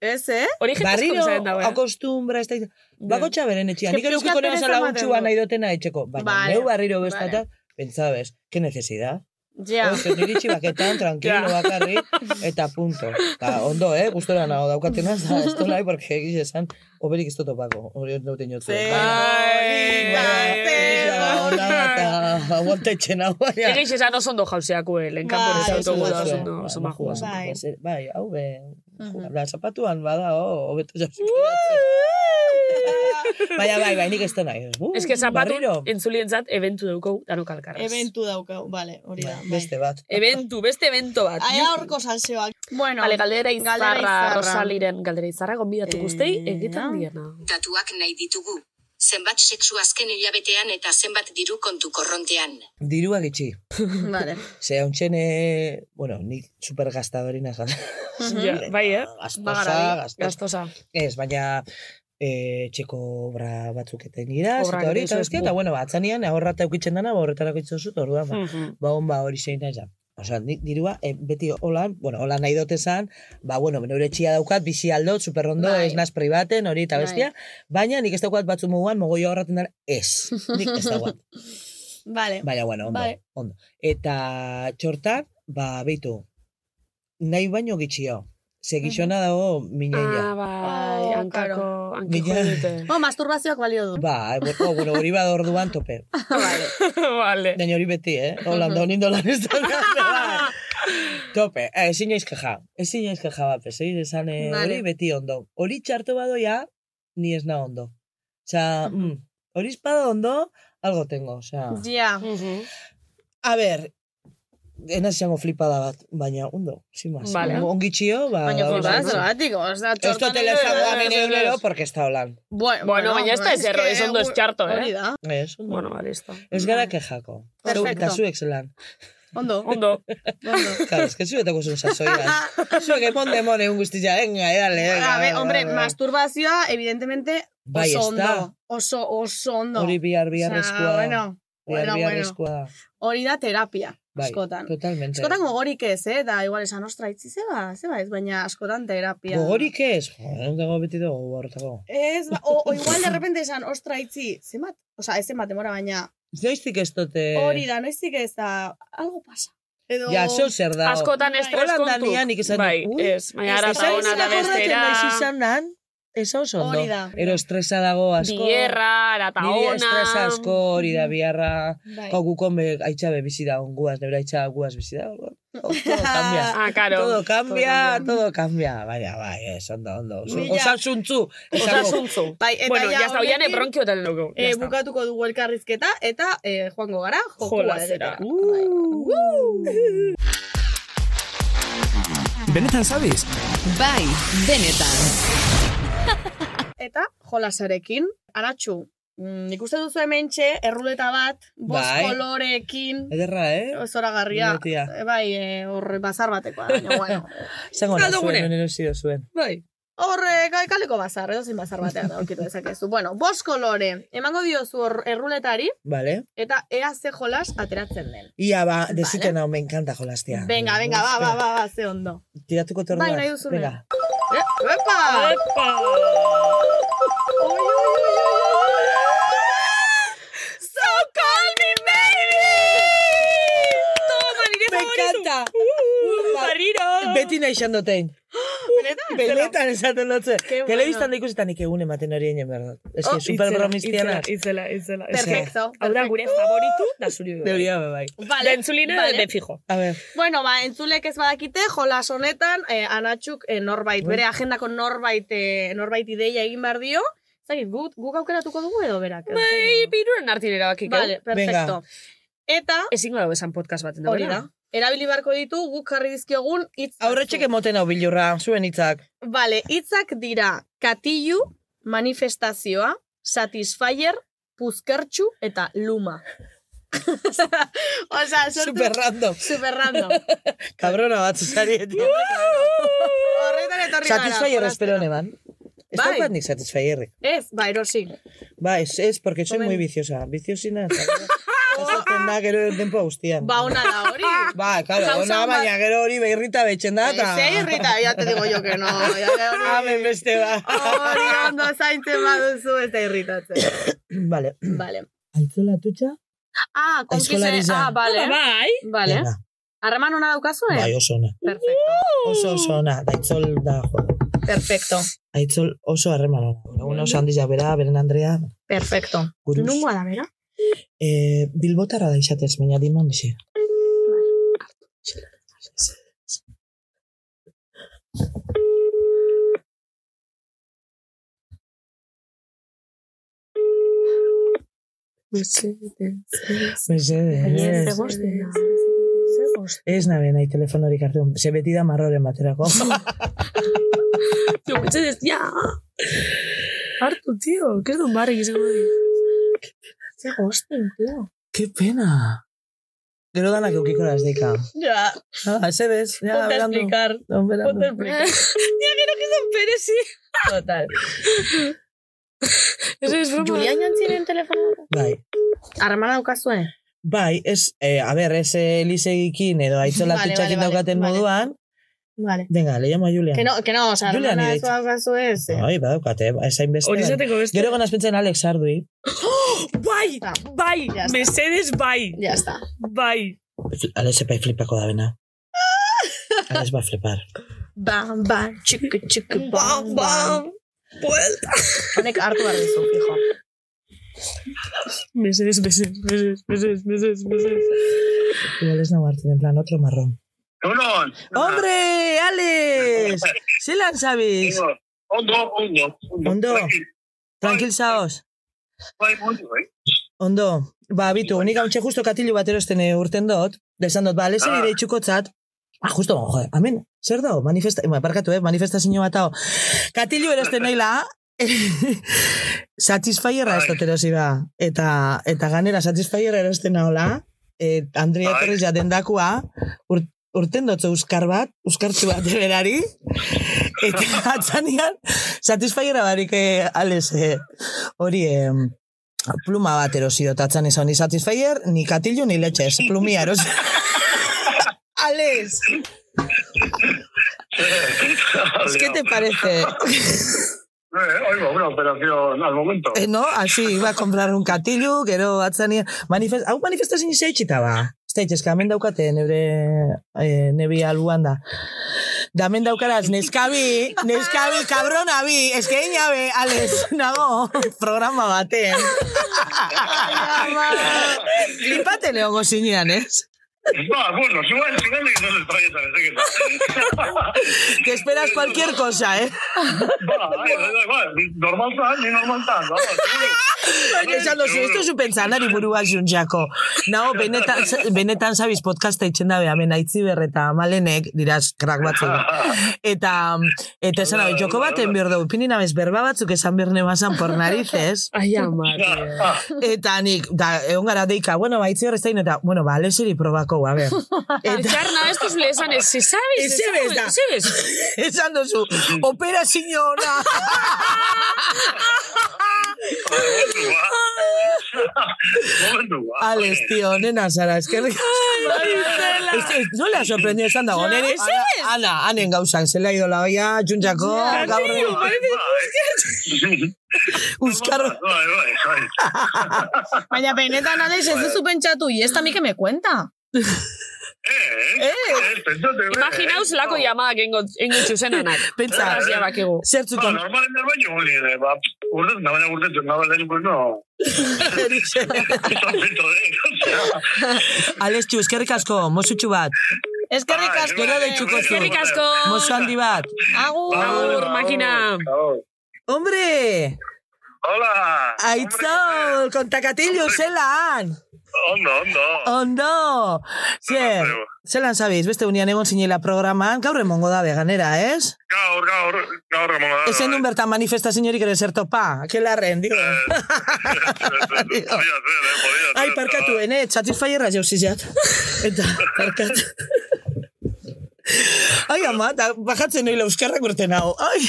[SPEAKER 2] ez, eh?
[SPEAKER 7] Hori jente
[SPEAKER 10] barriro
[SPEAKER 7] asko zaten dago, eh?
[SPEAKER 10] acostumbra, ez da, bako txaberen etxean,
[SPEAKER 2] Ke
[SPEAKER 10] nik erukiko
[SPEAKER 2] pixkat
[SPEAKER 10] neo
[SPEAKER 2] pereza
[SPEAKER 10] zala
[SPEAKER 2] ematen
[SPEAKER 10] untxua
[SPEAKER 2] du.
[SPEAKER 10] nahi dotena etxeko, baina
[SPEAKER 2] Vale,
[SPEAKER 10] neu barriro
[SPEAKER 2] vale.
[SPEAKER 10] bestata, pentsabez, ke necesidad?
[SPEAKER 2] Ja.
[SPEAKER 10] Oso, niri txibaketan, tranquilo,
[SPEAKER 7] Ja.
[SPEAKER 10] bakarri, eta punto. Ta, ondo, eh, gustora nago daukatena, eta ez du nahi, porque egiz esan, oberik ez dut eh, topako, hori ez duten jotu.
[SPEAKER 2] Ze-
[SPEAKER 7] Ai,
[SPEAKER 2] Bai,
[SPEAKER 7] bai.
[SPEAKER 10] Aguanta etxena, baina.
[SPEAKER 7] Egeiz esan oso ondo jauzeako, eh,
[SPEAKER 2] Bai,
[SPEAKER 7] lehenkampo ez
[SPEAKER 2] oso
[SPEAKER 7] autogu da,
[SPEAKER 10] eh,
[SPEAKER 2] ondo.
[SPEAKER 7] oso ondo, oso majo. oso
[SPEAKER 2] Bai.
[SPEAKER 10] Bai, bai, hau, be,
[SPEAKER 2] Mhm.
[SPEAKER 10] la zapatuan bada, oh, hobeto jasik. Baina, bai, bai, nik ez dut nahi. Uh,
[SPEAKER 7] Ez que zapatu Bai,
[SPEAKER 10] barriro.
[SPEAKER 7] entzulientzat eventu daukau danok alkarraz.
[SPEAKER 11] Eventu daukau, vale, hori da. bai.
[SPEAKER 10] Beste bat.
[SPEAKER 7] Eventu, beste evento bat.
[SPEAKER 11] Aia horko salseoak.
[SPEAKER 2] Bueno,
[SPEAKER 7] Vale, galdera
[SPEAKER 2] Galdera
[SPEAKER 7] izarra,
[SPEAKER 2] izarra.
[SPEAKER 7] Rosaliren galdera izarra, gonbidatu guztei,
[SPEAKER 2] Eh,
[SPEAKER 7] egiten diena.
[SPEAKER 12] Datuak nahi ditugu. Zenbat sexu azken hilabetean eta zenbat diru kontu korrontean.
[SPEAKER 10] Dirua gitxi.
[SPEAKER 2] vale.
[SPEAKER 10] Ze, hauntxene, bueno, nik supergastadorina zan.
[SPEAKER 2] Mhm.
[SPEAKER 7] Ja, bai, eh?
[SPEAKER 10] Gastosa,
[SPEAKER 7] Bagara,
[SPEAKER 10] gastosa.
[SPEAKER 7] gastosa.
[SPEAKER 10] Ez, baina e, txeko obra batzuk eten dira,
[SPEAKER 2] Obrak
[SPEAKER 10] eta hori,
[SPEAKER 2] ere
[SPEAKER 10] eta
[SPEAKER 2] ez
[SPEAKER 10] bestia,
[SPEAKER 2] bu.
[SPEAKER 10] eta bueno, ba, atzanean, ahorra eta eukitzen dana, ba, horretarako itzu zut, orduan,
[SPEAKER 7] Hmm.
[SPEAKER 10] ba,
[SPEAKER 2] Mhm.
[SPEAKER 10] ba, hon, ba, hori zein nahi zan. Osa, nik dirua, eh, beti holan, bueno, holan nahi dut esan, ba, bueno, neure txia daukat, bizi aldo, superrondo,
[SPEAKER 2] Bai.
[SPEAKER 10] ez naz pribaten, hori eta
[SPEAKER 2] Bai.
[SPEAKER 10] bestia, baina nik ez daukat batzu muguan, mogoio horraten dara, ez, nik ez daukat.
[SPEAKER 2] Vale.
[SPEAKER 10] Baina, bueno, ondo,
[SPEAKER 2] Bai.
[SPEAKER 10] ondo. Eta txortan, ba, beitu, nahi baino gitxio. Ze gizona dago mineia.
[SPEAKER 7] Ah, bai,
[SPEAKER 2] Oh,
[SPEAKER 7] hankako, hankiko
[SPEAKER 10] Mila-
[SPEAKER 7] dute.
[SPEAKER 2] Oh, masturbazioak balio du.
[SPEAKER 10] Ba, bo- oh, bueno, hori bada orduan tope.
[SPEAKER 7] vale.
[SPEAKER 10] Baina hori beti, eh? Hola, da honin dolan ez da. bai. Tope, eh, ezin joiz keja. Ezin joiz keja bat, ez esan eh,
[SPEAKER 2] Vale.
[SPEAKER 10] hori beti ondo. Hori txarto badoia, ni ez na ondo. Osa, mm, hori espada ondo, algo tengo, osa.
[SPEAKER 2] Ja.
[SPEAKER 7] Mhm.
[SPEAKER 10] A ber, ena izango flipada bat, baina ondo, sin más.
[SPEAKER 7] Vale.
[SPEAKER 10] Ongi txio, ba...
[SPEAKER 2] Baina
[SPEAKER 10] hori
[SPEAKER 2] flipada
[SPEAKER 10] oso.
[SPEAKER 2] zergatik, oza,
[SPEAKER 10] Ez dut elezagoa bene egunero, porque ez da holan.
[SPEAKER 2] eh. Bueno,
[SPEAKER 7] Bueno, baina ez da
[SPEAKER 2] es
[SPEAKER 7] ezer,
[SPEAKER 2] que
[SPEAKER 7] ez ondo ez txarto, eh?
[SPEAKER 2] Hori da,
[SPEAKER 10] Ez, ondo.
[SPEAKER 7] Bueno, ba, listo.
[SPEAKER 10] Ez gara kejako. Zu- Eta
[SPEAKER 2] Perfecto.
[SPEAKER 10] zuek zelan.
[SPEAKER 2] ondo,
[SPEAKER 7] Ondo.
[SPEAKER 2] ondo.
[SPEAKER 10] Claro, es que zuetako zuen sasoian. Zuek epon demon egun guztia, venga, edale, venga.
[SPEAKER 2] A ver,
[SPEAKER 10] venga,
[SPEAKER 2] hombre,
[SPEAKER 10] venga.
[SPEAKER 2] masturbazioa, evidentemente,
[SPEAKER 10] Bai,
[SPEAKER 2] oso
[SPEAKER 10] ez da.
[SPEAKER 2] ondo. Oso, oso ondo.
[SPEAKER 10] Hori bihar bihar
[SPEAKER 2] Osea,
[SPEAKER 10] eskua.
[SPEAKER 2] Bueno,
[SPEAKER 10] bihar
[SPEAKER 2] bueno,
[SPEAKER 10] bihar
[SPEAKER 2] bueno.
[SPEAKER 10] eskua. da.
[SPEAKER 2] hori da terapia,
[SPEAKER 10] Bai,
[SPEAKER 2] askotan.
[SPEAKER 10] totalmente.
[SPEAKER 2] Askotan gogorik ez, eh? Da, igual esan, ostra, itzi zeba, zeba ba ez, baina askotan terapia.
[SPEAKER 10] Gogorik ez? Joder, dago beti dago gortako.
[SPEAKER 2] Ez, ba, o, o igual de repente esan, ostra, itzi, zenbat, oza, ez zenbat demora, baina
[SPEAKER 10] Zoiztik ez dute...
[SPEAKER 2] hori da, noizik ez da, algo pasa. Edo...
[SPEAKER 10] Eh. Ja, zeu zer da.
[SPEAKER 7] Askotan
[SPEAKER 2] Bai.
[SPEAKER 7] estres
[SPEAKER 10] Holan
[SPEAKER 7] kontu.
[SPEAKER 10] danean nik esan
[SPEAKER 7] Bai,
[SPEAKER 10] dut, ui,
[SPEAKER 7] ez. Baina
[SPEAKER 2] ez,
[SPEAKER 7] ara
[SPEAKER 2] ez,
[SPEAKER 7] eta
[SPEAKER 2] ez,
[SPEAKER 7] ona
[SPEAKER 2] ez,
[SPEAKER 7] da
[SPEAKER 2] ez, ez,
[SPEAKER 7] bestera.
[SPEAKER 10] izan nan, ez oso ondo.
[SPEAKER 2] Hori da.
[SPEAKER 10] Ero estresa dago asko.
[SPEAKER 7] Bierra, ara eta
[SPEAKER 10] Niri
[SPEAKER 7] ona.
[SPEAKER 10] estresa asko, hori da, biharra.
[SPEAKER 2] Bai.
[SPEAKER 10] Gau gukonbe aitxabe bizi da, onguaz, neure aitxabe guaz bizi da. orduan, Todo cambia.
[SPEAKER 7] Ah, karo.
[SPEAKER 10] Todo cambia, todo cambia. Baina, bai, ez, ondo, ondo.
[SPEAKER 2] Mila-
[SPEAKER 10] Osasuntzu. esango.
[SPEAKER 7] Osasuntzu.
[SPEAKER 2] Bai, eta
[SPEAKER 7] bueno,
[SPEAKER 2] ja,
[SPEAKER 7] ya está, oian
[SPEAKER 2] honekin-
[SPEAKER 7] ebronkiotan dugu.
[SPEAKER 2] Eh, bukatuko dugu elkarrizketa eta eh, joango gara Uh. jokua
[SPEAKER 7] Jolazera.
[SPEAKER 2] egitera. Bai.
[SPEAKER 13] Benetan zabiz?
[SPEAKER 9] Bai, denetan.
[SPEAKER 2] Eta jolasarekin, aratxu, mm, nik uste duzu hemen txe, erruleta bat, bost
[SPEAKER 10] Bai.
[SPEAKER 2] kolorekin,
[SPEAKER 10] Ederra, eh?
[SPEAKER 2] zoragarria.
[SPEAKER 10] Lunetia.
[SPEAKER 2] Eh, Bai, eh, hor bazar batekoa, baina bueno.
[SPEAKER 10] Zango
[SPEAKER 2] Saldo gune.
[SPEAKER 10] nazuen, non erosio zuen.
[SPEAKER 2] Bai. Hor, eh, gai- kaleko bazar, edo zin bazar batean aurkitu dezakezu. Bueno, bost kolore, emango diozu hor erruletari,
[SPEAKER 10] Vale.
[SPEAKER 2] eta ea ze jolas ateratzen den.
[SPEAKER 10] Ia, ba, desiten hau, me encanta jolastia.
[SPEAKER 2] Venga, venga, ba, ba, ba, ba, ze ondo.
[SPEAKER 10] Tiratuko te
[SPEAKER 2] Bai,
[SPEAKER 10] orduan.
[SPEAKER 2] nahi duzu
[SPEAKER 10] Venga.
[SPEAKER 2] Eh, Epa! Oi, oi, oi, oi, oi. So call me baby! Toma, nire
[SPEAKER 10] Me
[SPEAKER 2] favoritu.
[SPEAKER 10] encanta.
[SPEAKER 7] Uh, Barriro.
[SPEAKER 10] Beti nahi izan dutein.
[SPEAKER 2] Benetan?
[SPEAKER 10] Beletan esaten dutze.
[SPEAKER 2] Qué bueno.
[SPEAKER 10] Telebistan da ikusetan nik egun ematen hori egin behar dut. Ez
[SPEAKER 7] Oh,
[SPEAKER 10] que super
[SPEAKER 7] itzela,
[SPEAKER 10] bromiztianak.
[SPEAKER 7] Itzela, itzela, itzela.
[SPEAKER 2] Perfecto.
[SPEAKER 7] Hau da gure favoritu, da zuri.
[SPEAKER 10] Deuria, be, bai.
[SPEAKER 7] Vale. Dentzulina
[SPEAKER 2] Vale.
[SPEAKER 7] vale. de fijo.
[SPEAKER 10] A ver,
[SPEAKER 2] Bueno, ba, entzulek ez badakite, jolas honetan, eh, anatxuk eh, norbait, bere agendako norbait, eh, norbait ideia egin behar dio. Zagit, guk, guk aukeratuko dugu edo berak.
[SPEAKER 7] Bai, piruren artin erabakik.
[SPEAKER 2] Vale, perfecto. Eta,
[SPEAKER 7] Ezingo dago esan podcast baten da.
[SPEAKER 2] hori da, erabili beharko ditu guk jarri dizkiogun hitz.
[SPEAKER 10] aurretxek emoten hau bilurra, zuen hitzak.
[SPEAKER 2] Vale, hitzak dira katilu, manifestazioa, satisfyer, puzkertxu eta luma. Osa, sortu...
[SPEAKER 10] Super random.
[SPEAKER 2] Super random.
[SPEAKER 10] Cabrona bat zuzari.
[SPEAKER 2] Horretan etorri gara.
[SPEAKER 10] Satisfyer espero
[SPEAKER 2] jolastera.
[SPEAKER 10] neban. Ez
[SPEAKER 2] Bai.
[SPEAKER 10] daukat nik satisfyerrik.
[SPEAKER 2] Ez, ba, erosi.
[SPEAKER 10] Ba, ez, ez, porque soy
[SPEAKER 2] Omen.
[SPEAKER 10] muy viciosa. Viciosinaz. Ezaten da gero denpo guztian.
[SPEAKER 2] Ba, ona da hori.
[SPEAKER 10] Ba, claro,
[SPEAKER 2] Gauza
[SPEAKER 10] ona
[SPEAKER 2] on bat-
[SPEAKER 10] baina gero hori behirrita betxen da, eta...
[SPEAKER 2] Se irrita, ya te digo yo que no. Ya que hori-
[SPEAKER 10] Amen beste ba.
[SPEAKER 2] Hori ondo zaintzen baduzu ez da irritatzen.
[SPEAKER 10] Vale.
[SPEAKER 2] Vale.
[SPEAKER 10] Altzola tutxa?
[SPEAKER 2] Ah, konkize...
[SPEAKER 10] Aizkolariza.
[SPEAKER 2] Ah, vale.
[SPEAKER 7] Bai.
[SPEAKER 2] Vale.
[SPEAKER 10] Ona.
[SPEAKER 2] Harreman ona daukazu,
[SPEAKER 10] Bai,
[SPEAKER 2] eh?
[SPEAKER 10] oso ona.
[SPEAKER 2] Perfecto.
[SPEAKER 10] Oso oso ona. Daitzol da, jo.
[SPEAKER 2] Perfecto.
[SPEAKER 10] Aitzol oso harreman ona. Lagun oso handia bera, beren Andrea,
[SPEAKER 2] Perfecto.
[SPEAKER 10] guruz.
[SPEAKER 2] Nungoa da, bera?
[SPEAKER 10] Eh, bilbotarra da izatez, baina diman bizi.
[SPEAKER 7] Pues
[SPEAKER 10] Pues Mesedez. Ez nabe nahi telefonorik hartu. Ze beti da marroren baterako.
[SPEAKER 7] Jo, betxe dez, ja. Hartu, tio, que ez duen barrik izango dut.
[SPEAKER 2] Ze gosten, tío.
[SPEAKER 10] Ke pena. Gero danak eukiko ez deika.
[SPEAKER 2] Ja,
[SPEAKER 10] Ah, ze bez. Ja,
[SPEAKER 2] ponte a
[SPEAKER 10] berandu.
[SPEAKER 2] explicar.
[SPEAKER 10] Non,
[SPEAKER 2] Ponte a
[SPEAKER 10] berandu.
[SPEAKER 2] explicar.
[SPEAKER 7] Ja, gero que zan perezi.
[SPEAKER 2] Total.
[SPEAKER 7] Eso es broma.
[SPEAKER 11] Julian jantziren telefono.
[SPEAKER 10] Bai.
[SPEAKER 11] Armana daukazue.
[SPEAKER 2] E.
[SPEAKER 10] Bai, ez, eh, a ber, ez eh, lisegikin edo aitzola
[SPEAKER 11] Vale,
[SPEAKER 10] vale,
[SPEAKER 11] vale, vale,
[SPEAKER 10] daukaten
[SPEAKER 11] vale.
[SPEAKER 10] moduan.
[SPEAKER 11] Vale.
[SPEAKER 10] Venga, le llamo a Julian.
[SPEAKER 11] Que no, que no, o sea,
[SPEAKER 10] Julian
[SPEAKER 11] armana
[SPEAKER 10] nire
[SPEAKER 11] ez daukazue
[SPEAKER 2] E,
[SPEAKER 11] ez. eh.
[SPEAKER 10] Bai, badaukate, eh, esain beste.
[SPEAKER 7] Hori izateko beste.
[SPEAKER 10] Gero ganaz pentsen Alex Ardui.
[SPEAKER 7] Bai,
[SPEAKER 2] Ah.
[SPEAKER 11] Ta,
[SPEAKER 7] bai,
[SPEAKER 11] Ya está.
[SPEAKER 7] mesedes bai,
[SPEAKER 11] Ya está.
[SPEAKER 7] bai.
[SPEAKER 10] Alex epai flipako da bena. Alex va a flipar.
[SPEAKER 11] Bam,
[SPEAKER 2] Ah,
[SPEAKER 11] bam, txuku, txuku, bam, bam.
[SPEAKER 7] Buelta.
[SPEAKER 11] Honek hartu behar dizu, fijo.
[SPEAKER 7] Mesedes, mesedes, mesedes, mesedes, mesedes, mesedes.
[SPEAKER 10] Igual ez nago hartzen, en plan, otro marrón.
[SPEAKER 14] Egunon.
[SPEAKER 10] Hombre, Alex! Zelan zabiz?
[SPEAKER 14] Egunon. Ondo, ondo.
[SPEAKER 10] Ondo. Tranquil zaoz.
[SPEAKER 14] Bai, ondo, eh?
[SPEAKER 10] Ondo. Ba, bitu, nik hauntxe justo katilu bat erosten eh, urten dot. Da esan dot, ba, Alexen
[SPEAKER 14] Ah.
[SPEAKER 10] ire itxukotzat. Ah, justo, jode, amen, zer dago, manifesta, ba, parkatu, eh, manifestazio bat dago. Katilu erosten naila, Satisfyerra ez dut erosi ba. Eta, eta ganera Satisfyerra erosten nahola, eh, Andrea
[SPEAKER 14] Bai.
[SPEAKER 10] Torres jaten dakua, ur, urten dotze uskar bat, uskartzu bat berari, eta atzanean Satisfyerra barik eh, ales, eh, hori, eh, pluma bat erosi dut atzan izan, ni Satisfyer, ni katilu, ni letxe, ez plumia erosi. Ales, ¿qué te parece?
[SPEAKER 14] Eh, oigo, una operación al momento.
[SPEAKER 10] Eh, no, así, iba a comprar un katilu, gero atzanean... Manifest, hau manifestazio zeitxita ba. Ez da itxezka, hemen daukate nebre, eh, nebi albuan da. Da hemen daukaraz, neskabi, neskabi, kabrona bi, eskein jabe, ales, nago, programa baten. Flipate leongo zinean, ez?
[SPEAKER 14] Va, bueno, igual, igual que no les traigas a veces.
[SPEAKER 10] Te esperas cualquier cosa, eh?
[SPEAKER 14] Va, eh, da igual, normal tan, ni normal tan, vamos.
[SPEAKER 10] Esan dozu, ez duzu pentsanari burua juntzako. Nao, benetan, benetan zabiz podcasta itxen dabe, hemen aitziber eta malenek, diraz, krak batzuk. Eta, eta esan dabe, joko baten behar dugu, pinin abez berba batzuk esan behar nebazan por narices.
[SPEAKER 7] Ai, amar.
[SPEAKER 10] Eta nik, da, egon gara deika, bueno, ba, aitziber ez da, eta, bueno, ba, leseri probako, a ber. Eta,
[SPEAKER 7] Elkarna, estos lesan ez, se sabes,
[SPEAKER 10] Ez zebez da.
[SPEAKER 7] sabes.
[SPEAKER 10] esan dozu, opera signora.
[SPEAKER 14] Momentu, ba.
[SPEAKER 10] Alex, tío, nena zara, eskerrik asko. Ez- ez- Nola sorprendió esan dago, nere? Ana, ¿eh? Ana, hanen gauzan, zela ido la olla, juntzako, gaur
[SPEAKER 14] eh, Bai,
[SPEAKER 10] Euskar,
[SPEAKER 14] bai, bai.
[SPEAKER 2] Baina benetan, Alex, ez duzu pentsatu, y esta mi este que me cuenta.
[SPEAKER 14] Eh, eh, eh, pentsate, eh,
[SPEAKER 7] Imaginaos
[SPEAKER 14] eh,
[SPEAKER 7] lako
[SPEAKER 14] no.
[SPEAKER 7] llamadak engotxu zen honak.
[SPEAKER 10] Pentsa.
[SPEAKER 7] Horraz jabakigu.
[SPEAKER 14] Ba,
[SPEAKER 10] zertzutan
[SPEAKER 14] normalen baino hori ere, ba, urtetzen da, baina urtetzen da, baina pues no,
[SPEAKER 10] erixe.
[SPEAKER 14] zapito, eh, osea.
[SPEAKER 10] Alex, txu, eskerrik asko, mozutxu bat,
[SPEAKER 2] Eskerrik
[SPEAKER 14] Ai,
[SPEAKER 2] asko.
[SPEAKER 10] gero deitxuko zu.
[SPEAKER 7] Eskerrik asko.
[SPEAKER 14] Ah,
[SPEAKER 10] mozu handi bat.
[SPEAKER 2] Agur.
[SPEAKER 7] Agur, makina.
[SPEAKER 14] Agur.
[SPEAKER 10] Hombre,
[SPEAKER 14] Hola!
[SPEAKER 10] aitzol, kontakatilu, zelan.
[SPEAKER 14] Ondo, ondo!
[SPEAKER 10] Oh. Ondo, zer, zelan zabiz, beste unian egon zinela programan, gaur emongo da ganera, ez?
[SPEAKER 14] Gaur, gaur, gaur emongo da.
[SPEAKER 10] Ezen duen bertan manifestaziorik ere zer topa, kelarren, digo.
[SPEAKER 14] Podía ser, eh, podía ser.
[SPEAKER 10] Ai, parkatu, ene, satisfyerra jauzi zizat. Eta, parkatu. Ai, ama, da, bajatzen noila euskarrak urten hau. Ai.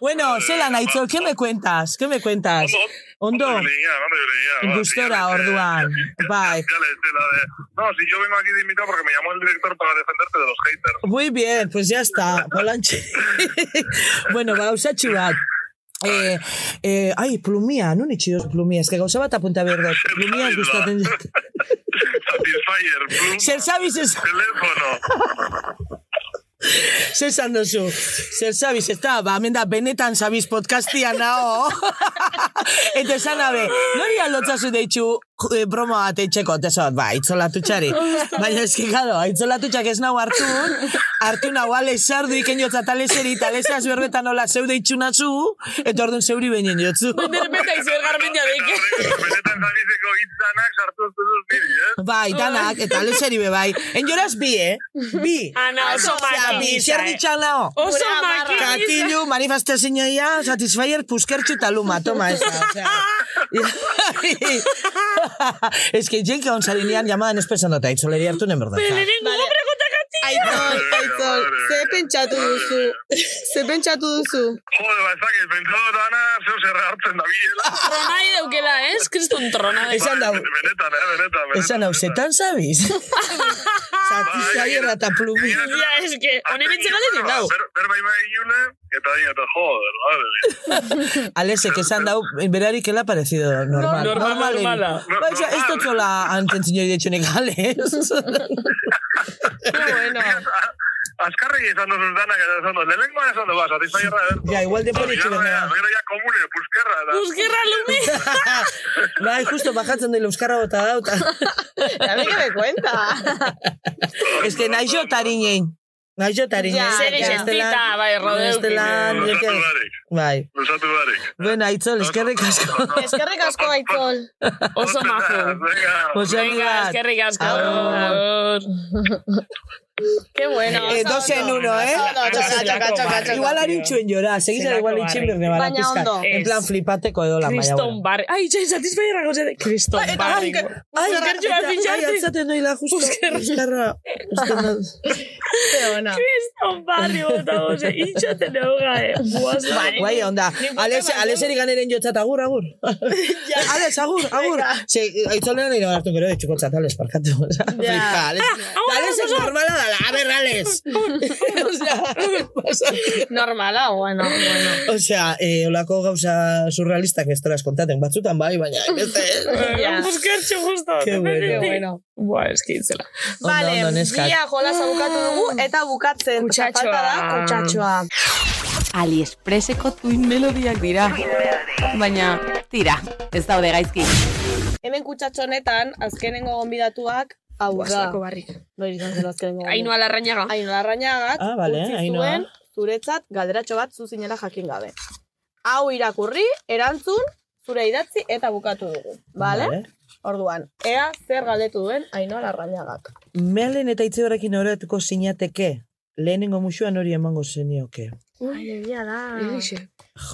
[SPEAKER 10] bueno, zelan, aitzo, ¿qué me cuentas? ¿Qué me cuentas? Ondo,
[SPEAKER 14] Eh, Ondo ibili ginen, ondo ibili ginen, ba,
[SPEAKER 10] gustora
[SPEAKER 14] sí,
[SPEAKER 10] orduan,
[SPEAKER 14] eh,
[SPEAKER 10] bai.
[SPEAKER 14] ya le hice la de, No, si yo vengo aquí de invitado porque me llamó el director para defenderte de los haters.
[SPEAKER 10] Muy bien, pues ya está, polantxe. bueno, ba, gauzatxu bat. Eh, eh, ai, plumia, nun itxi dozu plumia, eske gauza bat apunta behar dut. Plumia ez gustatzen zait.
[SPEAKER 14] Satisfyer, pluma,
[SPEAKER 10] Zer zabiz ez...
[SPEAKER 14] teléfono.
[SPEAKER 10] Zer zan duzu? Zer zabiz, ez da, ba, hemen da, benetan zabiz podcastia nao. Eta esan abe, nori aldotzazu deitxu eh, broma bat eitxeko, eta esan, ba, itzolatu txari. Baina eski, gado, itzolatu txak ez nau hartun, hartu nau ale sardu iken jotza taleseri, talesaz berbetan nola zeu deitxu nazu, eta orduan zeuri benien jotzu.
[SPEAKER 7] Beta izuer garmendia deike.
[SPEAKER 14] Eta horrek, Benetan zabizeko hitzanak sartu zuzuz niri, eh?
[SPEAKER 10] Bai, danak, eta leseri be bai. Enjoraz bi, eh? Bi.
[SPEAKER 7] Ana, oso
[SPEAKER 10] Osea, bi, oh?
[SPEAKER 7] makinisa,
[SPEAKER 10] zer
[SPEAKER 7] Ah, eh.
[SPEAKER 10] ditxan nao?
[SPEAKER 7] Oso
[SPEAKER 2] Gure amarra.
[SPEAKER 7] makinisa.
[SPEAKER 10] Katilu, manifestazioia, satisfyer, puskertxu eta luma, toma ez da, osea. Ez que jenka onzarinean llamadan espesan dota, itzolari hartu nen berdatza.
[SPEAKER 7] Lehenengo
[SPEAKER 2] Vale.
[SPEAKER 7] gombre konta katilu.
[SPEAKER 2] Aitzol, aitzol, ze pentsatu duzu, ze pentsatu duzu.
[SPEAKER 14] Jode, bazak, pentsatu dana, zeu zerra hartzen da bilela.
[SPEAKER 7] Tronai daukela, ez? Kriston trona.
[SPEAKER 10] Esan dau.
[SPEAKER 14] Benetan, eh, benetan, benetan.
[SPEAKER 10] Esan hau, zetan zabiz? Zatizaiera eta plumi.
[SPEAKER 7] Ja, ez que, honen etxe galetik dau.
[SPEAKER 14] Berba ima egile, eta dira, eta joder, madre.
[SPEAKER 10] Alesek esan dau, berarik ela parecido normal.
[SPEAKER 7] Normal, normala.
[SPEAKER 10] Baina, ez dutzola antentzinoi detxonek gales.
[SPEAKER 2] Bueno,
[SPEAKER 14] Azkarri izan duzu danak, eta esan duzu, lehenko esan ba, duzu, satisfaierra edertu.
[SPEAKER 10] Ja, igual de
[SPEAKER 14] Gero
[SPEAKER 10] politxe
[SPEAKER 14] ja,
[SPEAKER 10] dena.
[SPEAKER 14] gero ja komune, puskerra, da.
[SPEAKER 7] Buskerra lumi.
[SPEAKER 10] Bai, justo bajatzen dela Euskara bota dauta.
[SPEAKER 2] dame que me cuenta.
[SPEAKER 10] Ez que nahi jo tarinen. Nahi jo tarinen.
[SPEAKER 2] Ja,
[SPEAKER 7] Zer
[SPEAKER 2] Segi
[SPEAKER 10] Ez dela-
[SPEAKER 7] gestita, bai, rodeu.
[SPEAKER 10] Ez dela-
[SPEAKER 14] Luzatu barik,
[SPEAKER 10] Bai.
[SPEAKER 14] luzatu barik.
[SPEAKER 10] Bueno, aitzol, eskerrik asko.
[SPEAKER 2] Eskerrik asko, Aitzol.
[SPEAKER 7] Oso majo.
[SPEAKER 14] majo.
[SPEAKER 10] Osagi
[SPEAKER 7] Venga,
[SPEAKER 10] bat.
[SPEAKER 7] eskerrik asko.
[SPEAKER 10] Agur.
[SPEAKER 7] Agur.
[SPEAKER 2] Qué bueno.
[SPEAKER 10] Eh,
[SPEAKER 2] oso
[SPEAKER 10] dos en
[SPEAKER 2] ondo.
[SPEAKER 10] uno, eh?
[SPEAKER 2] Oso ondo, txaka, txaka, txaka, txaka.
[SPEAKER 10] Igual arintxuen jora, segizan
[SPEAKER 7] Zelako
[SPEAKER 10] igual arintxuen
[SPEAKER 7] barri.
[SPEAKER 10] berde bala
[SPEAKER 2] Baina
[SPEAKER 10] pizkat.
[SPEAKER 2] ondo.
[SPEAKER 10] En plan
[SPEAKER 7] Ez.
[SPEAKER 10] flipateko edo la maia.
[SPEAKER 7] Kriston barri. Ai, txai, satisfaierra gozete. Kriston barri.
[SPEAKER 10] Ai,
[SPEAKER 7] Oscar
[SPEAKER 10] eta-
[SPEAKER 7] joan
[SPEAKER 10] eta-
[SPEAKER 7] pintxatzen.
[SPEAKER 10] ai, altzaten noila justo. Euskarra. Euskarra.
[SPEAKER 2] Ze ona.
[SPEAKER 7] Kriston barri, bota goze. Itxaten euga, eh. Buaz,
[SPEAKER 2] Bai,
[SPEAKER 10] Guai, Bai, onda. Alese, aleseri ganeren jotzat agur, agur. Ales, agur, agur. Se, aitzolena nire hartu gero, etxukotzat, ales, parkatu. Flipa, ales.
[SPEAKER 2] Ah,
[SPEAKER 10] Ales es normala dala, a ber, ales. Osea,
[SPEAKER 2] Normala, bueno, bueno.
[SPEAKER 10] Osea, eh, olako gauza surrealistak ez telas kontaten, batzutan bai, baina, beste ez.
[SPEAKER 2] Ja.
[SPEAKER 7] Buskertxo justo.
[SPEAKER 10] Qué bueno.
[SPEAKER 2] Qué bueno.
[SPEAKER 7] Buah, eskitzela.
[SPEAKER 10] Ondo,
[SPEAKER 2] Vale,
[SPEAKER 10] ondo, neskak.
[SPEAKER 2] bia jolaza bukatu dugu eta bukatzen.
[SPEAKER 7] Kutsatxoa.
[SPEAKER 2] Falta da, Ah. kutsatxoa.
[SPEAKER 9] AliExpresseko tuin melodiak dira. Baina, tira, ez daude gaizki.
[SPEAKER 2] Hemen kutsatxo honetan, azkenengo gonbidatuak, hau da.
[SPEAKER 7] barrik.
[SPEAKER 2] Noiz izan zen azkenengo
[SPEAKER 7] Ainhoa larrañaga.
[SPEAKER 2] Ainhoa Larrañagak
[SPEAKER 10] Ah, vale,
[SPEAKER 2] utzi
[SPEAKER 10] Ainhoa.
[SPEAKER 2] zuen zuretzat galderatxo bat zuzinela jakin gabe. Hau irakurri, erantzun, zure idatzi eta bukatu dugu. Vale? Orduan, ea zer galdetu duen Ainhoa Larrañagak.
[SPEAKER 10] Melen eta itze horrekin horretuko sinateke, lehenengo musuan hori emango zenioke.
[SPEAKER 2] Ai, egia da.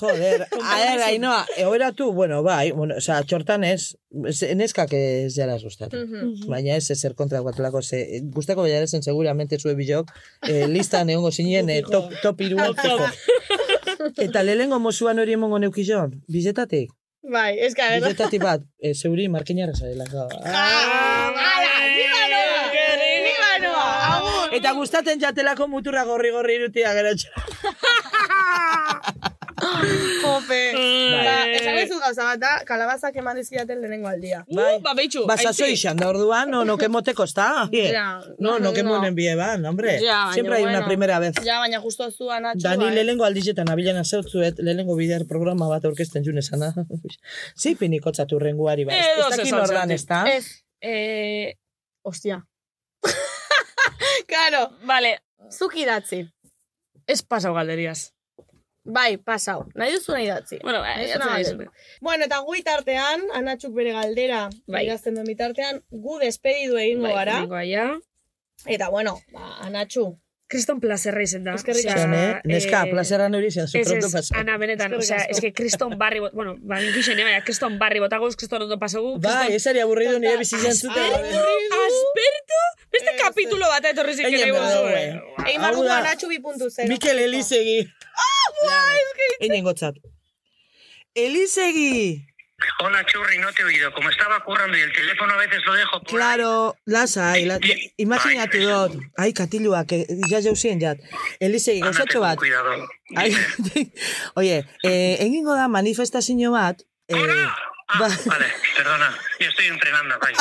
[SPEAKER 10] Joder, aher, ainoa, egoeratu, bueno, bai, bueno, oza, txortan ez, ez- neskak ez jaraz gustatu. Baina ez ezer kontra guatelako, ze, guztako baiarezen seguramente zue bilok, eh, listan egongo zinen eh, top, top iruan fijo. Eta lehengo mozuan hori emongo neukizion, bizetatik,
[SPEAKER 2] Bai, ez que, a ver,
[SPEAKER 10] bizetatik bat, eh, zeuri markinarra zarela.
[SPEAKER 2] Ah, ala, viva Noa! Viva Noa! Agur!
[SPEAKER 10] Eta gustaten jatelako muturra gorri-gorri irutia gerotxo.
[SPEAKER 2] Jope! Ba,
[SPEAKER 10] Bai.
[SPEAKER 2] esan dizut gauza bat da, kalabazak eman dizkidaten lehenengo aldia.
[SPEAKER 10] Bai.
[SPEAKER 7] Ba, beitxu.
[SPEAKER 10] Basazo izan da orduan, no, no kemoteko, está?
[SPEAKER 2] Ja,
[SPEAKER 10] no, no kemonen bie ban, hombre.
[SPEAKER 2] Ja, baina
[SPEAKER 10] Siempre hay una
[SPEAKER 2] bueno.
[SPEAKER 10] primera vez.
[SPEAKER 2] Ja, baina justu eh. zu anatxo,
[SPEAKER 10] Dani lehengo aldizetan abilan azautzuet, lehengo bider programa bat aurkezten jun esana. Zipin ikotzatu renguari ba. Ez
[SPEAKER 7] Edo
[SPEAKER 10] dakin
[SPEAKER 7] zesan
[SPEAKER 10] ordan,
[SPEAKER 7] zati.
[SPEAKER 10] ez da?
[SPEAKER 2] Ez, eh, ostia. Karo,
[SPEAKER 7] Vale,
[SPEAKER 2] zuk idatzi.
[SPEAKER 7] ez pasau galderias.
[SPEAKER 2] Bai, pasau. Nahi duzuna idatzi.
[SPEAKER 7] Bueno, ba,
[SPEAKER 2] Nahi
[SPEAKER 7] ez
[SPEAKER 2] duzuna
[SPEAKER 7] naiz.
[SPEAKER 2] galdetu. Bueno, eta gu tartean, anatxuk bere galdera
[SPEAKER 7] Bai.
[SPEAKER 2] irazten duen bitartean, gu despedidu Bai, egingo gara.
[SPEAKER 7] Gara.
[SPEAKER 2] Eta bueno, ba, anatxu.
[SPEAKER 7] Kriston plazerra izen da.
[SPEAKER 2] Eskerrik
[SPEAKER 7] Osea,
[SPEAKER 10] Zan, eh? Neska,
[SPEAKER 7] eh,
[SPEAKER 10] plazeran hori zen,
[SPEAKER 7] Ez,
[SPEAKER 10] zukrondo
[SPEAKER 7] ez,
[SPEAKER 10] pasau.
[SPEAKER 7] Ana, benetan,
[SPEAKER 2] Eskerrik
[SPEAKER 7] osea,
[SPEAKER 2] asko.
[SPEAKER 7] ez que kriston barri, bot- bueno, ba, nintzen, eh, baina kriston barri botagoz, kriston ondo pasogu,
[SPEAKER 10] Bai,
[SPEAKER 7] kriston...
[SPEAKER 10] ez ari aburrido nire bizitzen zuten.
[SPEAKER 7] Aspertu, beste
[SPEAKER 2] Ez, ez.
[SPEAKER 7] kapitulo bat etorri zik
[SPEAKER 10] Egin
[SPEAKER 7] ere
[SPEAKER 10] behar
[SPEAKER 7] bozu,
[SPEAKER 10] dugu,
[SPEAKER 7] eh.
[SPEAKER 10] eh.
[SPEAKER 2] Egin
[SPEAKER 10] Hau
[SPEAKER 2] barruko
[SPEAKER 10] da,
[SPEAKER 2] anatxu 2.0.
[SPEAKER 10] Mikel Elizegi. Ah, Einen gotzat. Elizegi!
[SPEAKER 14] Hola, Churri, no te he oído. Como estaba currando y el teléfono a veces lo dejo pues, por...
[SPEAKER 10] Claro, lasai, la,
[SPEAKER 14] Bai.
[SPEAKER 10] imaginatu dut, ai, katiluak, eh, ja jauzien jat, elizegi
[SPEAKER 14] Ándate
[SPEAKER 10] gauzatxo
[SPEAKER 14] con
[SPEAKER 10] bat,
[SPEAKER 14] Cuidado.
[SPEAKER 10] ai, oie, eh, egingo da manifestazio bat, eh,
[SPEAKER 14] Ah,
[SPEAKER 10] ba,
[SPEAKER 14] vale, perdona. Yo estoy entrenando, vaya.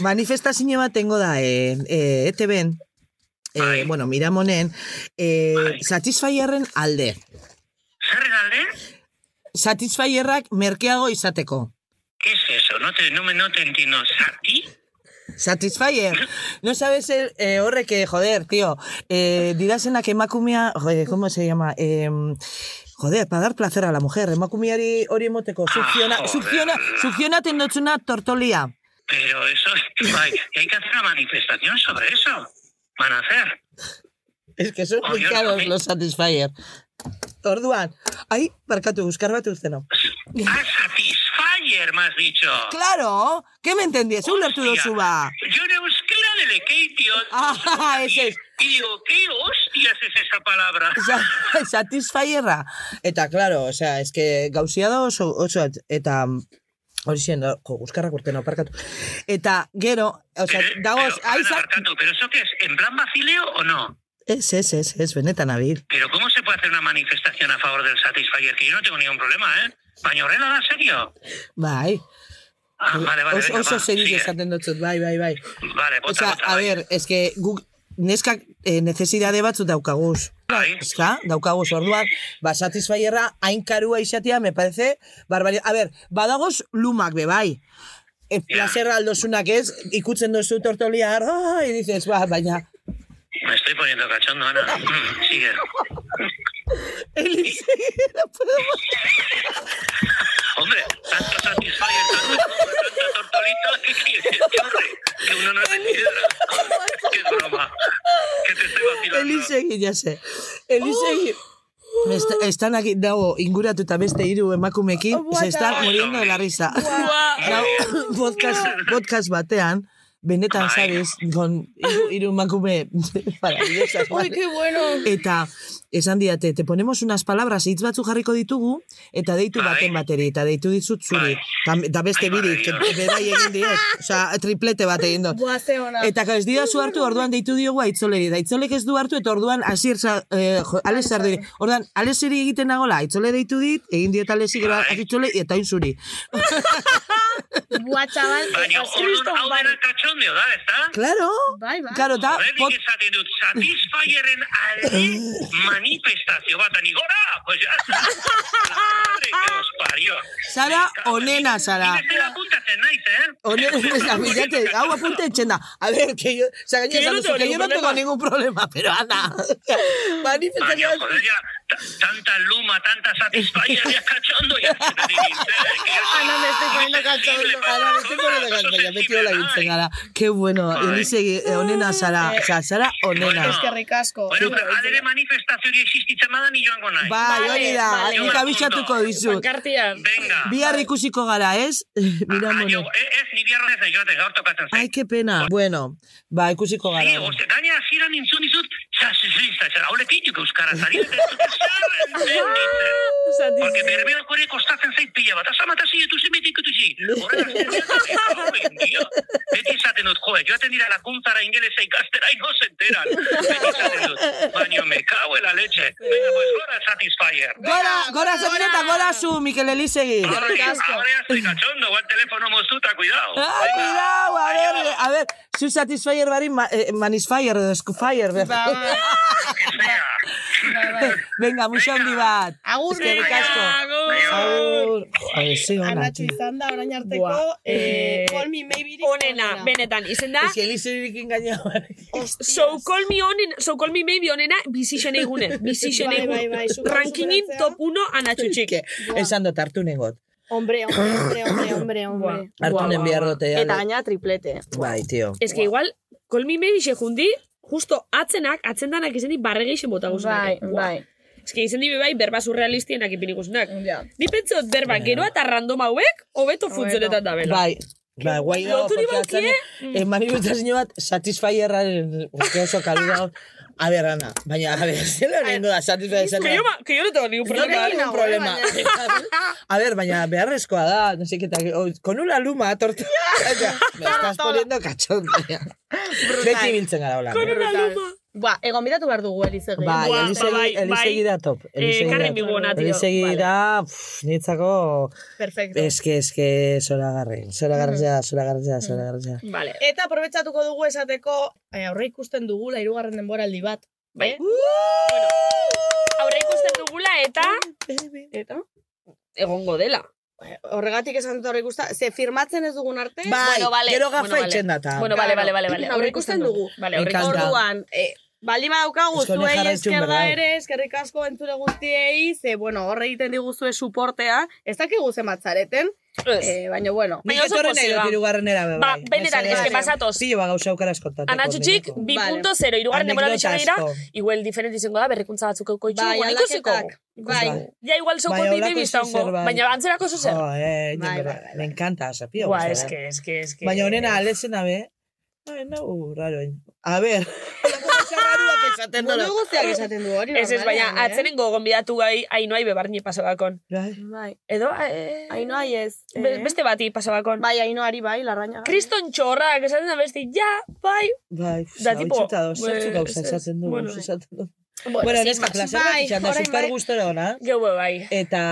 [SPEAKER 10] manifestazio bat tengo da, eh, eh, ETB-en, eh,
[SPEAKER 14] Bai.
[SPEAKER 10] bueno, miramonen, eh,
[SPEAKER 14] Bai.
[SPEAKER 10] satisfaierren alde,
[SPEAKER 14] ¿Sarren alde?
[SPEAKER 10] satisfaierrak merkeago izateko.
[SPEAKER 14] ¿Qué es eso? No te, no me, no te entiendo. ¿Sati?
[SPEAKER 10] Satisfyer. No sabes el eh, horre que, joder, tío. Eh, dirasenak emakumea, joder, ¿cómo se llama? Eh, joder, para dar placer a la mujer. Emakumeari hori emoteko. Succiona,
[SPEAKER 14] Ah, joder.
[SPEAKER 10] succiona, succiona tendotzuna tortolia.
[SPEAKER 14] Pero eso es... Vaya, que hay que hacer una manifestación sobre eso. Van a hacer.
[SPEAKER 10] Es que son muy
[SPEAKER 14] Joder,
[SPEAKER 10] caros
[SPEAKER 14] joder.
[SPEAKER 10] los Satisfyer. Orduan. Ay, barkatu, buscar bat uzteno.
[SPEAKER 14] Ah, Satisfyer, me has dicho.
[SPEAKER 10] Claro, ¿qué me entendías? Un lertu
[SPEAKER 14] Hostia.
[SPEAKER 10] dozu ba.
[SPEAKER 14] Yo euskera delekeitio, atención.
[SPEAKER 10] Ah, ese es.
[SPEAKER 14] Y digo, ¿qué hostias es esa palabra?
[SPEAKER 10] Sa- Satisfyerra. Eta, claro, osea, eske gauzia da oso, oso, at- eta hori zen, jo, buskarrak urtena, parkatu. Eta, gero, osea, dagoz,
[SPEAKER 14] Pero, Eh, Ana,
[SPEAKER 10] aiza...
[SPEAKER 14] Barkatu, ¿Pero eso qué es? ¿En plan vacileo o no?
[SPEAKER 10] Ez, ez, ez, ez, benetan abil.
[SPEAKER 14] ¿Pero cómo se puede hacer una manifestación a favor del Satisfyer? Que yo no tengo ningún problema, ¿eh? ¿Bañorela da serio?
[SPEAKER 10] Bai.
[SPEAKER 14] Ah, vale, vale.
[SPEAKER 10] Oso,
[SPEAKER 14] venga,
[SPEAKER 10] oso
[SPEAKER 14] va,
[SPEAKER 10] serio
[SPEAKER 14] sigue.
[SPEAKER 10] esaten dutzut, bai, bai, bai.
[SPEAKER 14] Vale, bota,
[SPEAKER 10] Osea,
[SPEAKER 14] bota,
[SPEAKER 10] a
[SPEAKER 14] bai.
[SPEAKER 10] ber, eske guk neskak eh, necesidade batzut daukaguz.
[SPEAKER 14] Bai.
[SPEAKER 10] Eska, daukaguz, orduan, ba, satisfaierra hain karua izatea, me parece, barbaria. A ber, badagoz lumak be, bai. E, plazerra aldozunak ez, ikutzen duzu tortolia, ah, y dices, ba, baina,
[SPEAKER 14] Me estoy poniendo cachondo, Ana. Mm, sigue.
[SPEAKER 10] Elise, no puedo
[SPEAKER 14] Hombre, tanto Satisfyer, tanto, tanto tortolito, ¿qué quieres? Que, hombre, que uno no es de piedra. Qué broma. Que te estoy vacilando.
[SPEAKER 10] Elisegi, ya sé. Elisegi. Está, están aquí, dago, inguratuta beste hiru emakumekin, se están muriendo de la risa. Dago, podcast, podcast batean, benetan sabes, con hiru, hiru emakume maravillosas.
[SPEAKER 2] Uy, qué bueno.
[SPEAKER 10] Eta, esan diate, te ponemos unas palabras hitz batzu jarriko ditugu, eta deitu baten bateri, eta deitu dizut zuri. Tam- Eta beste biri, que berai egin diet. Osa, triplete bat egin dut.
[SPEAKER 2] Buah, ze ona.
[SPEAKER 10] Eta ez dira zu hartu, orduan deitu diogu aitzoleri. Da itzolek ez du hartu, eta orduan asier, za- eh, jo,
[SPEAKER 2] Bai,
[SPEAKER 10] ales zardiri. Orduan, aleseri egiten nagola, aitzole deitu dit, egin diot alesi, gero aitzole, eta hain zuri.
[SPEAKER 2] Buah, chaval.
[SPEAKER 14] Baina,
[SPEAKER 2] ez kriston
[SPEAKER 14] orduan hau
[SPEAKER 2] bai.
[SPEAKER 14] dena katxondeo da, ez da?
[SPEAKER 10] Claro,
[SPEAKER 2] Bai, bai.
[SPEAKER 10] claro, da, Ah, pot,
[SPEAKER 14] Horretik esaten dut, satisfieren alde manifestazio bat, ani gora! Pues ya, está. la madre que os parió.
[SPEAKER 10] Sara,
[SPEAKER 14] Bai,
[SPEAKER 10] onena, Sara.
[SPEAKER 14] Ni bezala apuntatzen naiz, eh?
[SPEAKER 10] Oner, la billete, hau apunte etxenda. A ver, que yo, o sea, que, yo, que yo no tengo ningún problema, pero anda.
[SPEAKER 14] Baina,
[SPEAKER 10] Manifestación.
[SPEAKER 14] joder, ya, ta- tanta luma, tanta satisfyer, ya cachondo, ya. eh,
[SPEAKER 10] Ana, Ah, me estoy poniendo cachondo. Ana, me estoy poniendo cachondo. Baina, beti hola gintzen gara. Qué bueno,
[SPEAKER 14] Bai.
[SPEAKER 10] Elise, eh, onena Sara. O sea, Sara, onena.
[SPEAKER 14] Bueno.
[SPEAKER 2] Eskerrik asko.
[SPEAKER 14] Bueno, pero alere manifestazio existitzen badan, ni joango naiz.
[SPEAKER 10] Bai,
[SPEAKER 2] Vale,
[SPEAKER 10] hori da,
[SPEAKER 2] vale.
[SPEAKER 10] nik abisatuko dizut.
[SPEAKER 7] Kartian.
[SPEAKER 14] Venga.
[SPEAKER 10] Bihar ikusiko gara, ez? Mira,
[SPEAKER 14] Ah,
[SPEAKER 10] mono.
[SPEAKER 14] jo, eh, Ez, ni biarra ez nahi joaten, gaur tokatzen zait.
[SPEAKER 10] Ai, qué pena. Bueno, ba, ikusiko
[SPEAKER 14] Ni,
[SPEAKER 10] gara.
[SPEAKER 14] oste, gaina ziren intzun izut, zazizista, zera, haule kituk euskaraz, ari dut ez dut ezer entenditzen. Porque berberak hori kostatzen zait pila bat, asa matazi ditu zemetik utuzi. Horrela, zemetik dio. Beti izaten dut, joe, joaten dira lakuntzara ingelesa ikastera ino zenteran. Beti izaten dut, baina me cago en la leche. Venga, pues gora satisfyer.
[SPEAKER 10] Gora, gora, zemina eta gora zu, Mikel Elisegi.
[SPEAKER 14] Ahora ahora ya estoy cachondo, va el teléfono mozuta, cuidado.
[SPEAKER 10] Ah, cuidado, a ver, a ver, zu satisfyer bari ma, eh, manisfyer edo eskufyer.
[SPEAKER 14] Que sea.
[SPEAKER 10] Venga, muxo handi bat.
[SPEAKER 2] Agur,
[SPEAKER 10] Eskerrik
[SPEAKER 2] venga,
[SPEAKER 10] asko.
[SPEAKER 14] Venga.
[SPEAKER 10] Agur. Joder, ze ona,
[SPEAKER 2] Anatxo
[SPEAKER 10] tio.
[SPEAKER 2] izan da, orain arteko,
[SPEAKER 10] Buah,
[SPEAKER 2] eh,
[SPEAKER 7] eh,
[SPEAKER 2] call me maybe.
[SPEAKER 7] Onena, benetan, izen da,
[SPEAKER 10] Ez que Elisegirikin gaina.
[SPEAKER 7] So Call Me Onen, So Call Me Maybe onena, bizixen egunen, bizixen
[SPEAKER 2] Bai,
[SPEAKER 7] egunen.
[SPEAKER 2] bai, bai, super,
[SPEAKER 7] Rankingin
[SPEAKER 2] superatzea.
[SPEAKER 7] top 1 anatxutxik.
[SPEAKER 10] Esan dut, hartu nengot.
[SPEAKER 2] Hombre, hombre, hombre, hombre, hombre.
[SPEAKER 10] Hartu
[SPEAKER 7] Buah,
[SPEAKER 10] nen
[SPEAKER 7] buah,
[SPEAKER 10] behar
[SPEAKER 7] buah.
[SPEAKER 10] dute. ale.
[SPEAKER 11] Eta gaina triplete.
[SPEAKER 10] Bai, tio.
[SPEAKER 7] Ez
[SPEAKER 2] ba.
[SPEAKER 7] que igual, Call Me Maybe xe jundi, justo atzenak, atzendanak izenik barrege izen bota
[SPEAKER 2] Bai,
[SPEAKER 7] guzunak.
[SPEAKER 2] bai.
[SPEAKER 7] Ez que izen dibe bai, berba surrealistienak ipin ikusunak.
[SPEAKER 2] Ja.
[SPEAKER 7] Ni pentsot berba, geroa eta random hauek, hobeto funtzonetan da bela.
[SPEAKER 10] Bai. Ba, guai dago, eh,
[SPEAKER 7] Loturi
[SPEAKER 10] porque
[SPEAKER 7] baukie?
[SPEAKER 10] atzane, manifestazio bat, satisfyerraren, uste oso kalidad. A ver, Ana, baina, a ver, zela nengo da,
[SPEAKER 2] Ba,
[SPEAKER 10] satisfyerraren.
[SPEAKER 7] Que yo, ma- que yo no tengo ningún
[SPEAKER 10] No
[SPEAKER 7] problema.
[SPEAKER 10] tengo ningún problema. A ver, baina beharrezkoa da, no sé qué tal. o- Con una luma, torta. Me estás poniendo cachondo. ya. Beti biltzen gara hola.
[SPEAKER 2] Ba, egon bidatu behar dugu, Elizegi.
[SPEAKER 10] Bai,
[SPEAKER 7] Buah, bai,
[SPEAKER 10] elizegi,
[SPEAKER 7] bai.
[SPEAKER 10] elizegi da top. Elizegi
[SPEAKER 7] Karen
[SPEAKER 10] da top.
[SPEAKER 7] Bigona, tío.
[SPEAKER 10] Elizegi
[SPEAKER 7] Vale.
[SPEAKER 10] da, pff, nitzako,
[SPEAKER 2] Perfecto.
[SPEAKER 10] es que, es que, zora garren,
[SPEAKER 7] Mm.
[SPEAKER 10] zora garrtzea, zora garrtzea, zora garrtzea.
[SPEAKER 7] Vale.
[SPEAKER 2] Eta aprobetsatuko dugu esateko, eh, aurre ikusten dugula hirugarren denboraldi bat.
[SPEAKER 7] Bai. Bueno, aurre ikusten dugula eta... Eta? Egongo dela.
[SPEAKER 2] Horregatik esan dut aurre ikusta, ze firmatzen ez dugun arte,
[SPEAKER 10] Bai,
[SPEAKER 7] Bueno, vale.
[SPEAKER 10] gero
[SPEAKER 7] Bueno,
[SPEAKER 10] gafa
[SPEAKER 7] vale.
[SPEAKER 10] itxen data.
[SPEAKER 7] Bueno, vale, vale, vale. vale.
[SPEAKER 2] Aurre ikusten dugu.
[SPEAKER 7] Vale,
[SPEAKER 10] Me
[SPEAKER 7] aurre
[SPEAKER 10] encanta.
[SPEAKER 7] ikusten dugu.
[SPEAKER 2] orduan, eh, baldin badaukagu
[SPEAKER 10] Eskolen
[SPEAKER 2] zuei
[SPEAKER 10] jarraitzun
[SPEAKER 2] eskerda
[SPEAKER 10] berdau.
[SPEAKER 2] ere, eskerrik asko entzule guztiei, ze, bueno, horre egiten diguzue suportea, ez dakigu zenbat zareten,
[SPEAKER 7] Ez.
[SPEAKER 2] eh, baina, bueno,
[SPEAKER 10] Nik
[SPEAKER 7] Baina oso
[SPEAKER 10] etorri nahi
[SPEAKER 7] pozik,
[SPEAKER 10] dut
[SPEAKER 7] ba.
[SPEAKER 10] irugarrenera, be,
[SPEAKER 7] Ba,
[SPEAKER 10] bai.
[SPEAKER 7] benetan,
[SPEAKER 10] Mesedez.
[SPEAKER 7] es que pasatoz.
[SPEAKER 10] Pilo ba gauza eukaraz kontateko.
[SPEAKER 7] Anatxutxik
[SPEAKER 10] minuko.
[SPEAKER 7] 2.0, irugarren demora
[SPEAKER 10] Anekdota
[SPEAKER 7] bitxan dira,
[SPEAKER 10] asko.
[SPEAKER 7] igual diferent izango da, berrikuntza batzuk euko itxu,
[SPEAKER 2] bai,
[SPEAKER 7] bai, ikusiko.
[SPEAKER 2] aldaketak. Bai,
[SPEAKER 10] Bai.
[SPEAKER 7] Ja, igual soko
[SPEAKER 10] Bai,
[SPEAKER 7] bai,
[SPEAKER 10] holako
[SPEAKER 7] bibi izango,
[SPEAKER 10] zerbait.
[SPEAKER 7] baina antzerako zuzer.
[SPEAKER 10] Jo, eh,
[SPEAKER 2] Bai,
[SPEAKER 10] jende,
[SPEAKER 2] bai, bai,
[SPEAKER 10] me encanta, esa pilo.
[SPEAKER 7] Gua,
[SPEAKER 10] gauza
[SPEAKER 7] es
[SPEAKER 10] da.
[SPEAKER 7] que, es que, es que...
[SPEAKER 10] Baina honena, aletzen abe, Ai, nau, raro. hain. A ber, txarruak esaten
[SPEAKER 11] Mundu guztiak esaten du hori.
[SPEAKER 7] Ez ez, baina
[SPEAKER 11] normalean, eh?
[SPEAKER 7] atzenen gonbidatu gai ainoai bebarni pasabakon.
[SPEAKER 10] Bai.
[SPEAKER 11] Bai.
[SPEAKER 7] Edo, eh,
[SPEAKER 11] Ainoai ez. eh?
[SPEAKER 7] be- beste bati pasabakon.
[SPEAKER 11] Bai, ainoari bai, larraña.
[SPEAKER 7] Kriston txorrak, esaten da beste, ja, bai.
[SPEAKER 10] Bai,
[SPEAKER 7] Da,
[SPEAKER 10] da,
[SPEAKER 7] tipo,
[SPEAKER 10] tipo, da, zertzu
[SPEAKER 7] eh,
[SPEAKER 10] gauza
[SPEAKER 7] ez, ez.
[SPEAKER 10] esaten du,
[SPEAKER 7] Bueno, eh.
[SPEAKER 10] bueno, esaten du.
[SPEAKER 7] Bueno,
[SPEAKER 10] Bueno,
[SPEAKER 7] sin
[SPEAKER 10] neska,
[SPEAKER 7] más.
[SPEAKER 10] placer bat
[SPEAKER 11] bai,
[SPEAKER 10] izan da,
[SPEAKER 11] orain
[SPEAKER 10] super
[SPEAKER 11] bai.
[SPEAKER 10] gustora ona.
[SPEAKER 7] Geu bai.
[SPEAKER 10] Eta,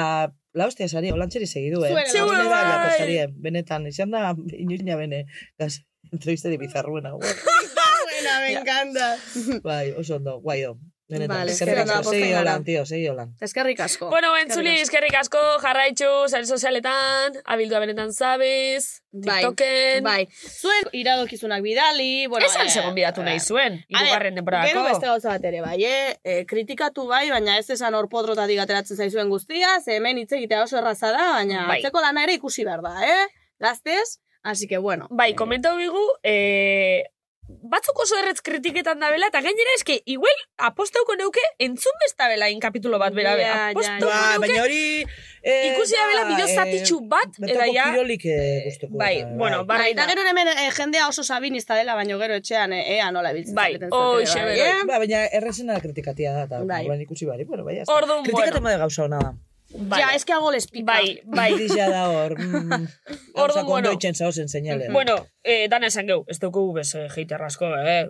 [SPEAKER 10] la hostia, sari, olantxeri segidu, eh?
[SPEAKER 11] Zuela,
[SPEAKER 10] Zure
[SPEAKER 7] bai.
[SPEAKER 10] baiako sari, eh? benetan, izan da, inuina bene, gaz, entrevista de bizarruena, guai.
[SPEAKER 11] Buena, me encanta.
[SPEAKER 10] bai, oso ondo, guai do. Benetan,
[SPEAKER 11] Vale,
[SPEAKER 10] vale,
[SPEAKER 11] eskerrik
[SPEAKER 10] eskerrik
[SPEAKER 11] asko,
[SPEAKER 10] asko, segi
[SPEAKER 11] pozten gara.
[SPEAKER 10] holan, tio, segi holan.
[SPEAKER 11] Eskerrik asko.
[SPEAKER 7] Bueno, entzuli, eskerrik asko, jarraitzu, sare sozialetan, abildua benetan zabiz,
[SPEAKER 11] Bai,
[SPEAKER 7] TikToken.
[SPEAKER 11] Bai. Zuen iradokizunak bidali, bueno...
[SPEAKER 7] Esan
[SPEAKER 11] eh,
[SPEAKER 7] segon bidatu nahi zuen,
[SPEAKER 11] A ber,
[SPEAKER 7] irugarren
[SPEAKER 11] Gero beste
[SPEAKER 7] temporadako.
[SPEAKER 11] gauza bat ere, bai, eh? E, kritikatu bai, baina ez esan hor podrotatik ateratzen zaizuen guztia, ze hemen hitz egitea oso erraza da, baina
[SPEAKER 7] Bai.
[SPEAKER 11] atzeko lana ere ikusi behar da, eh? Gaztez, así que bueno.
[SPEAKER 7] Bai, komentau bigu, eh, batzuk oso erretz kritiketan da bela, eta gainera eske, igual, apostauko neuke, entzun besta bela inkapitulo bat bera,
[SPEAKER 11] Ja, ja,
[SPEAKER 7] yeah, apostauko
[SPEAKER 10] Ba,
[SPEAKER 7] neuke,
[SPEAKER 10] baina hori... Eh,
[SPEAKER 7] ikusi da bela bideo zatitxu bat, eta ja,
[SPEAKER 10] Bertako kirolik eh, gustuko.
[SPEAKER 7] bai,
[SPEAKER 10] da,
[SPEAKER 7] bueno,
[SPEAKER 11] Bai,
[SPEAKER 7] barreina.
[SPEAKER 11] eta gero hemen eh, jendea oso sabinista dela, baino gero etxean eh, ea nola biltzen
[SPEAKER 7] Bai, hoxe,
[SPEAKER 11] bai,
[SPEAKER 7] bera.
[SPEAKER 11] eh?
[SPEAKER 10] Ba, baina errezena kritikatia da, eta
[SPEAKER 11] Bai.
[SPEAKER 10] bai. ikusi bari, bueno, bai,
[SPEAKER 7] Orduan,
[SPEAKER 10] Kritikate
[SPEAKER 7] bueno.
[SPEAKER 10] bueno. gauza hona da.
[SPEAKER 7] Vale.
[SPEAKER 11] Ja, es que hago les pica.
[SPEAKER 7] Bai, bai.
[SPEAKER 10] Bai. Dizia da hor, mm,
[SPEAKER 7] Orduan,
[SPEAKER 10] gauzak
[SPEAKER 7] bueno.
[SPEAKER 10] ondo itxen zauzen seinale.
[SPEAKER 7] Bueno, eh, dana esan geu, ez dugu bez eh, jeiter asko, eh?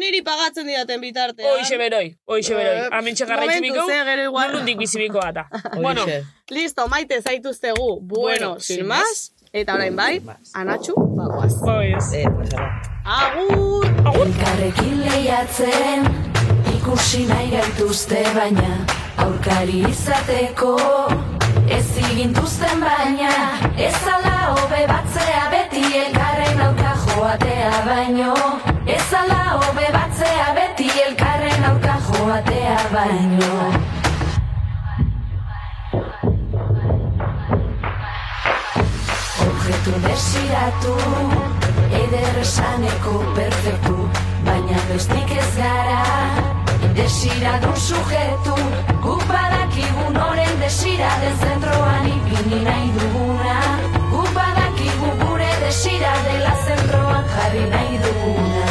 [SPEAKER 11] Niri pagatzen didaten bitartean.
[SPEAKER 7] Hoixe beroi, hoixe beroi. Hemen txekarraitzu
[SPEAKER 11] Momentuz,
[SPEAKER 7] bikau,
[SPEAKER 11] eh, gero igual.
[SPEAKER 7] nondik bizibiko gata. bueno,
[SPEAKER 11] Listo, maite zaituztegu. Bueno,
[SPEAKER 7] Bueno,
[SPEAKER 11] sin
[SPEAKER 7] sin
[SPEAKER 11] más. Eta orain bai, anatxu, bagoaz.
[SPEAKER 7] pues...
[SPEAKER 10] Eh, pasara.
[SPEAKER 11] Agur!
[SPEAKER 15] Elkarrekin lehiatzen ikusi nahi gaituzte baina aurkari izateko ez igintuzten baina ez ala hobe batzea beti elkarren aurka joatea baino ez ala hobe batzea beti elkarren aurka joatea baino Objetu desiratu, eder esaneko perfektu, baina bestik ez gara, desiradun sujetu, guk badakigu noren desiraden zentroan ipini nahi duguna, guk badakigu gure desira dela zentroan jarri nahi duguna.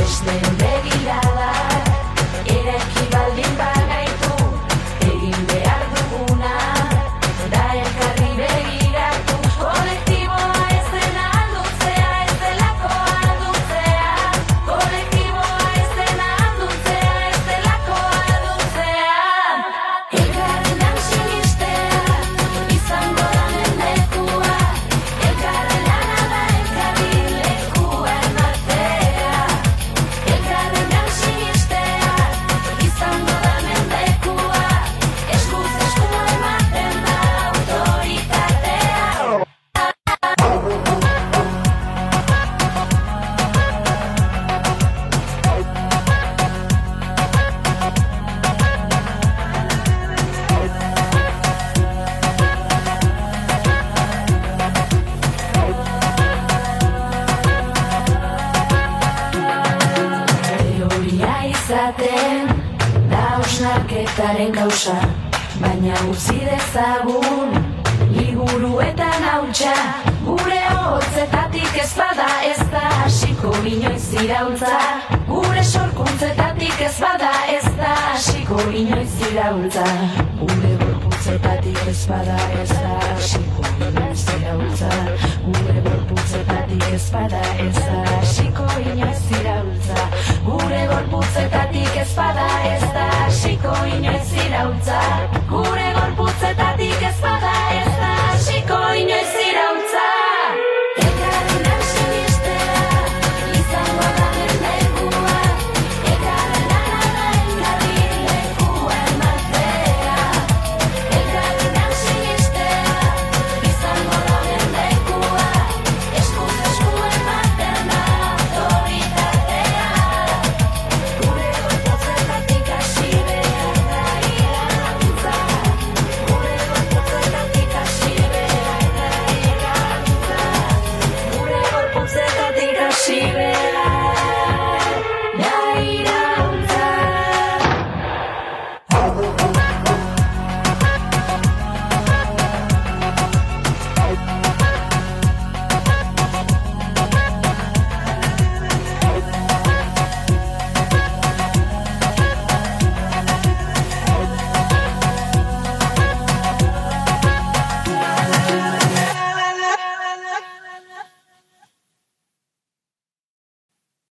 [SPEAKER 15] Besteen begirada, eraiki baldin bagaitu, egin behar duguna, da elkarri begiratu, kolektiboa ez dena aldutzea, ez delako aldutzea, kolektiboa ez dena aldutzea, ez delako aldutzea. Elkarrean sinistea, izango da mendekua, elkarrean da elkarri lekua ematea. Elkarrean sinistea, izango da mendekua, eskuz esku ematen da autoritatea. Teoria izaten da ausnarketaren gauza Baina utzi dezagun liburuetan hautsa Gure hotzetatik ez bada ez da hasiko inoiz iraultza Gure sorkuntzetatik ez bada ez da hasiko inoiz iraultza Gure gorputzetatik ez bada ez da hasiko inoiz iraultza Gure gorputzetatik ez bada ez da hasiko inoiz iraultza Gure gorputzetatik ez bada ez da hasiko inoiz iraultza Gure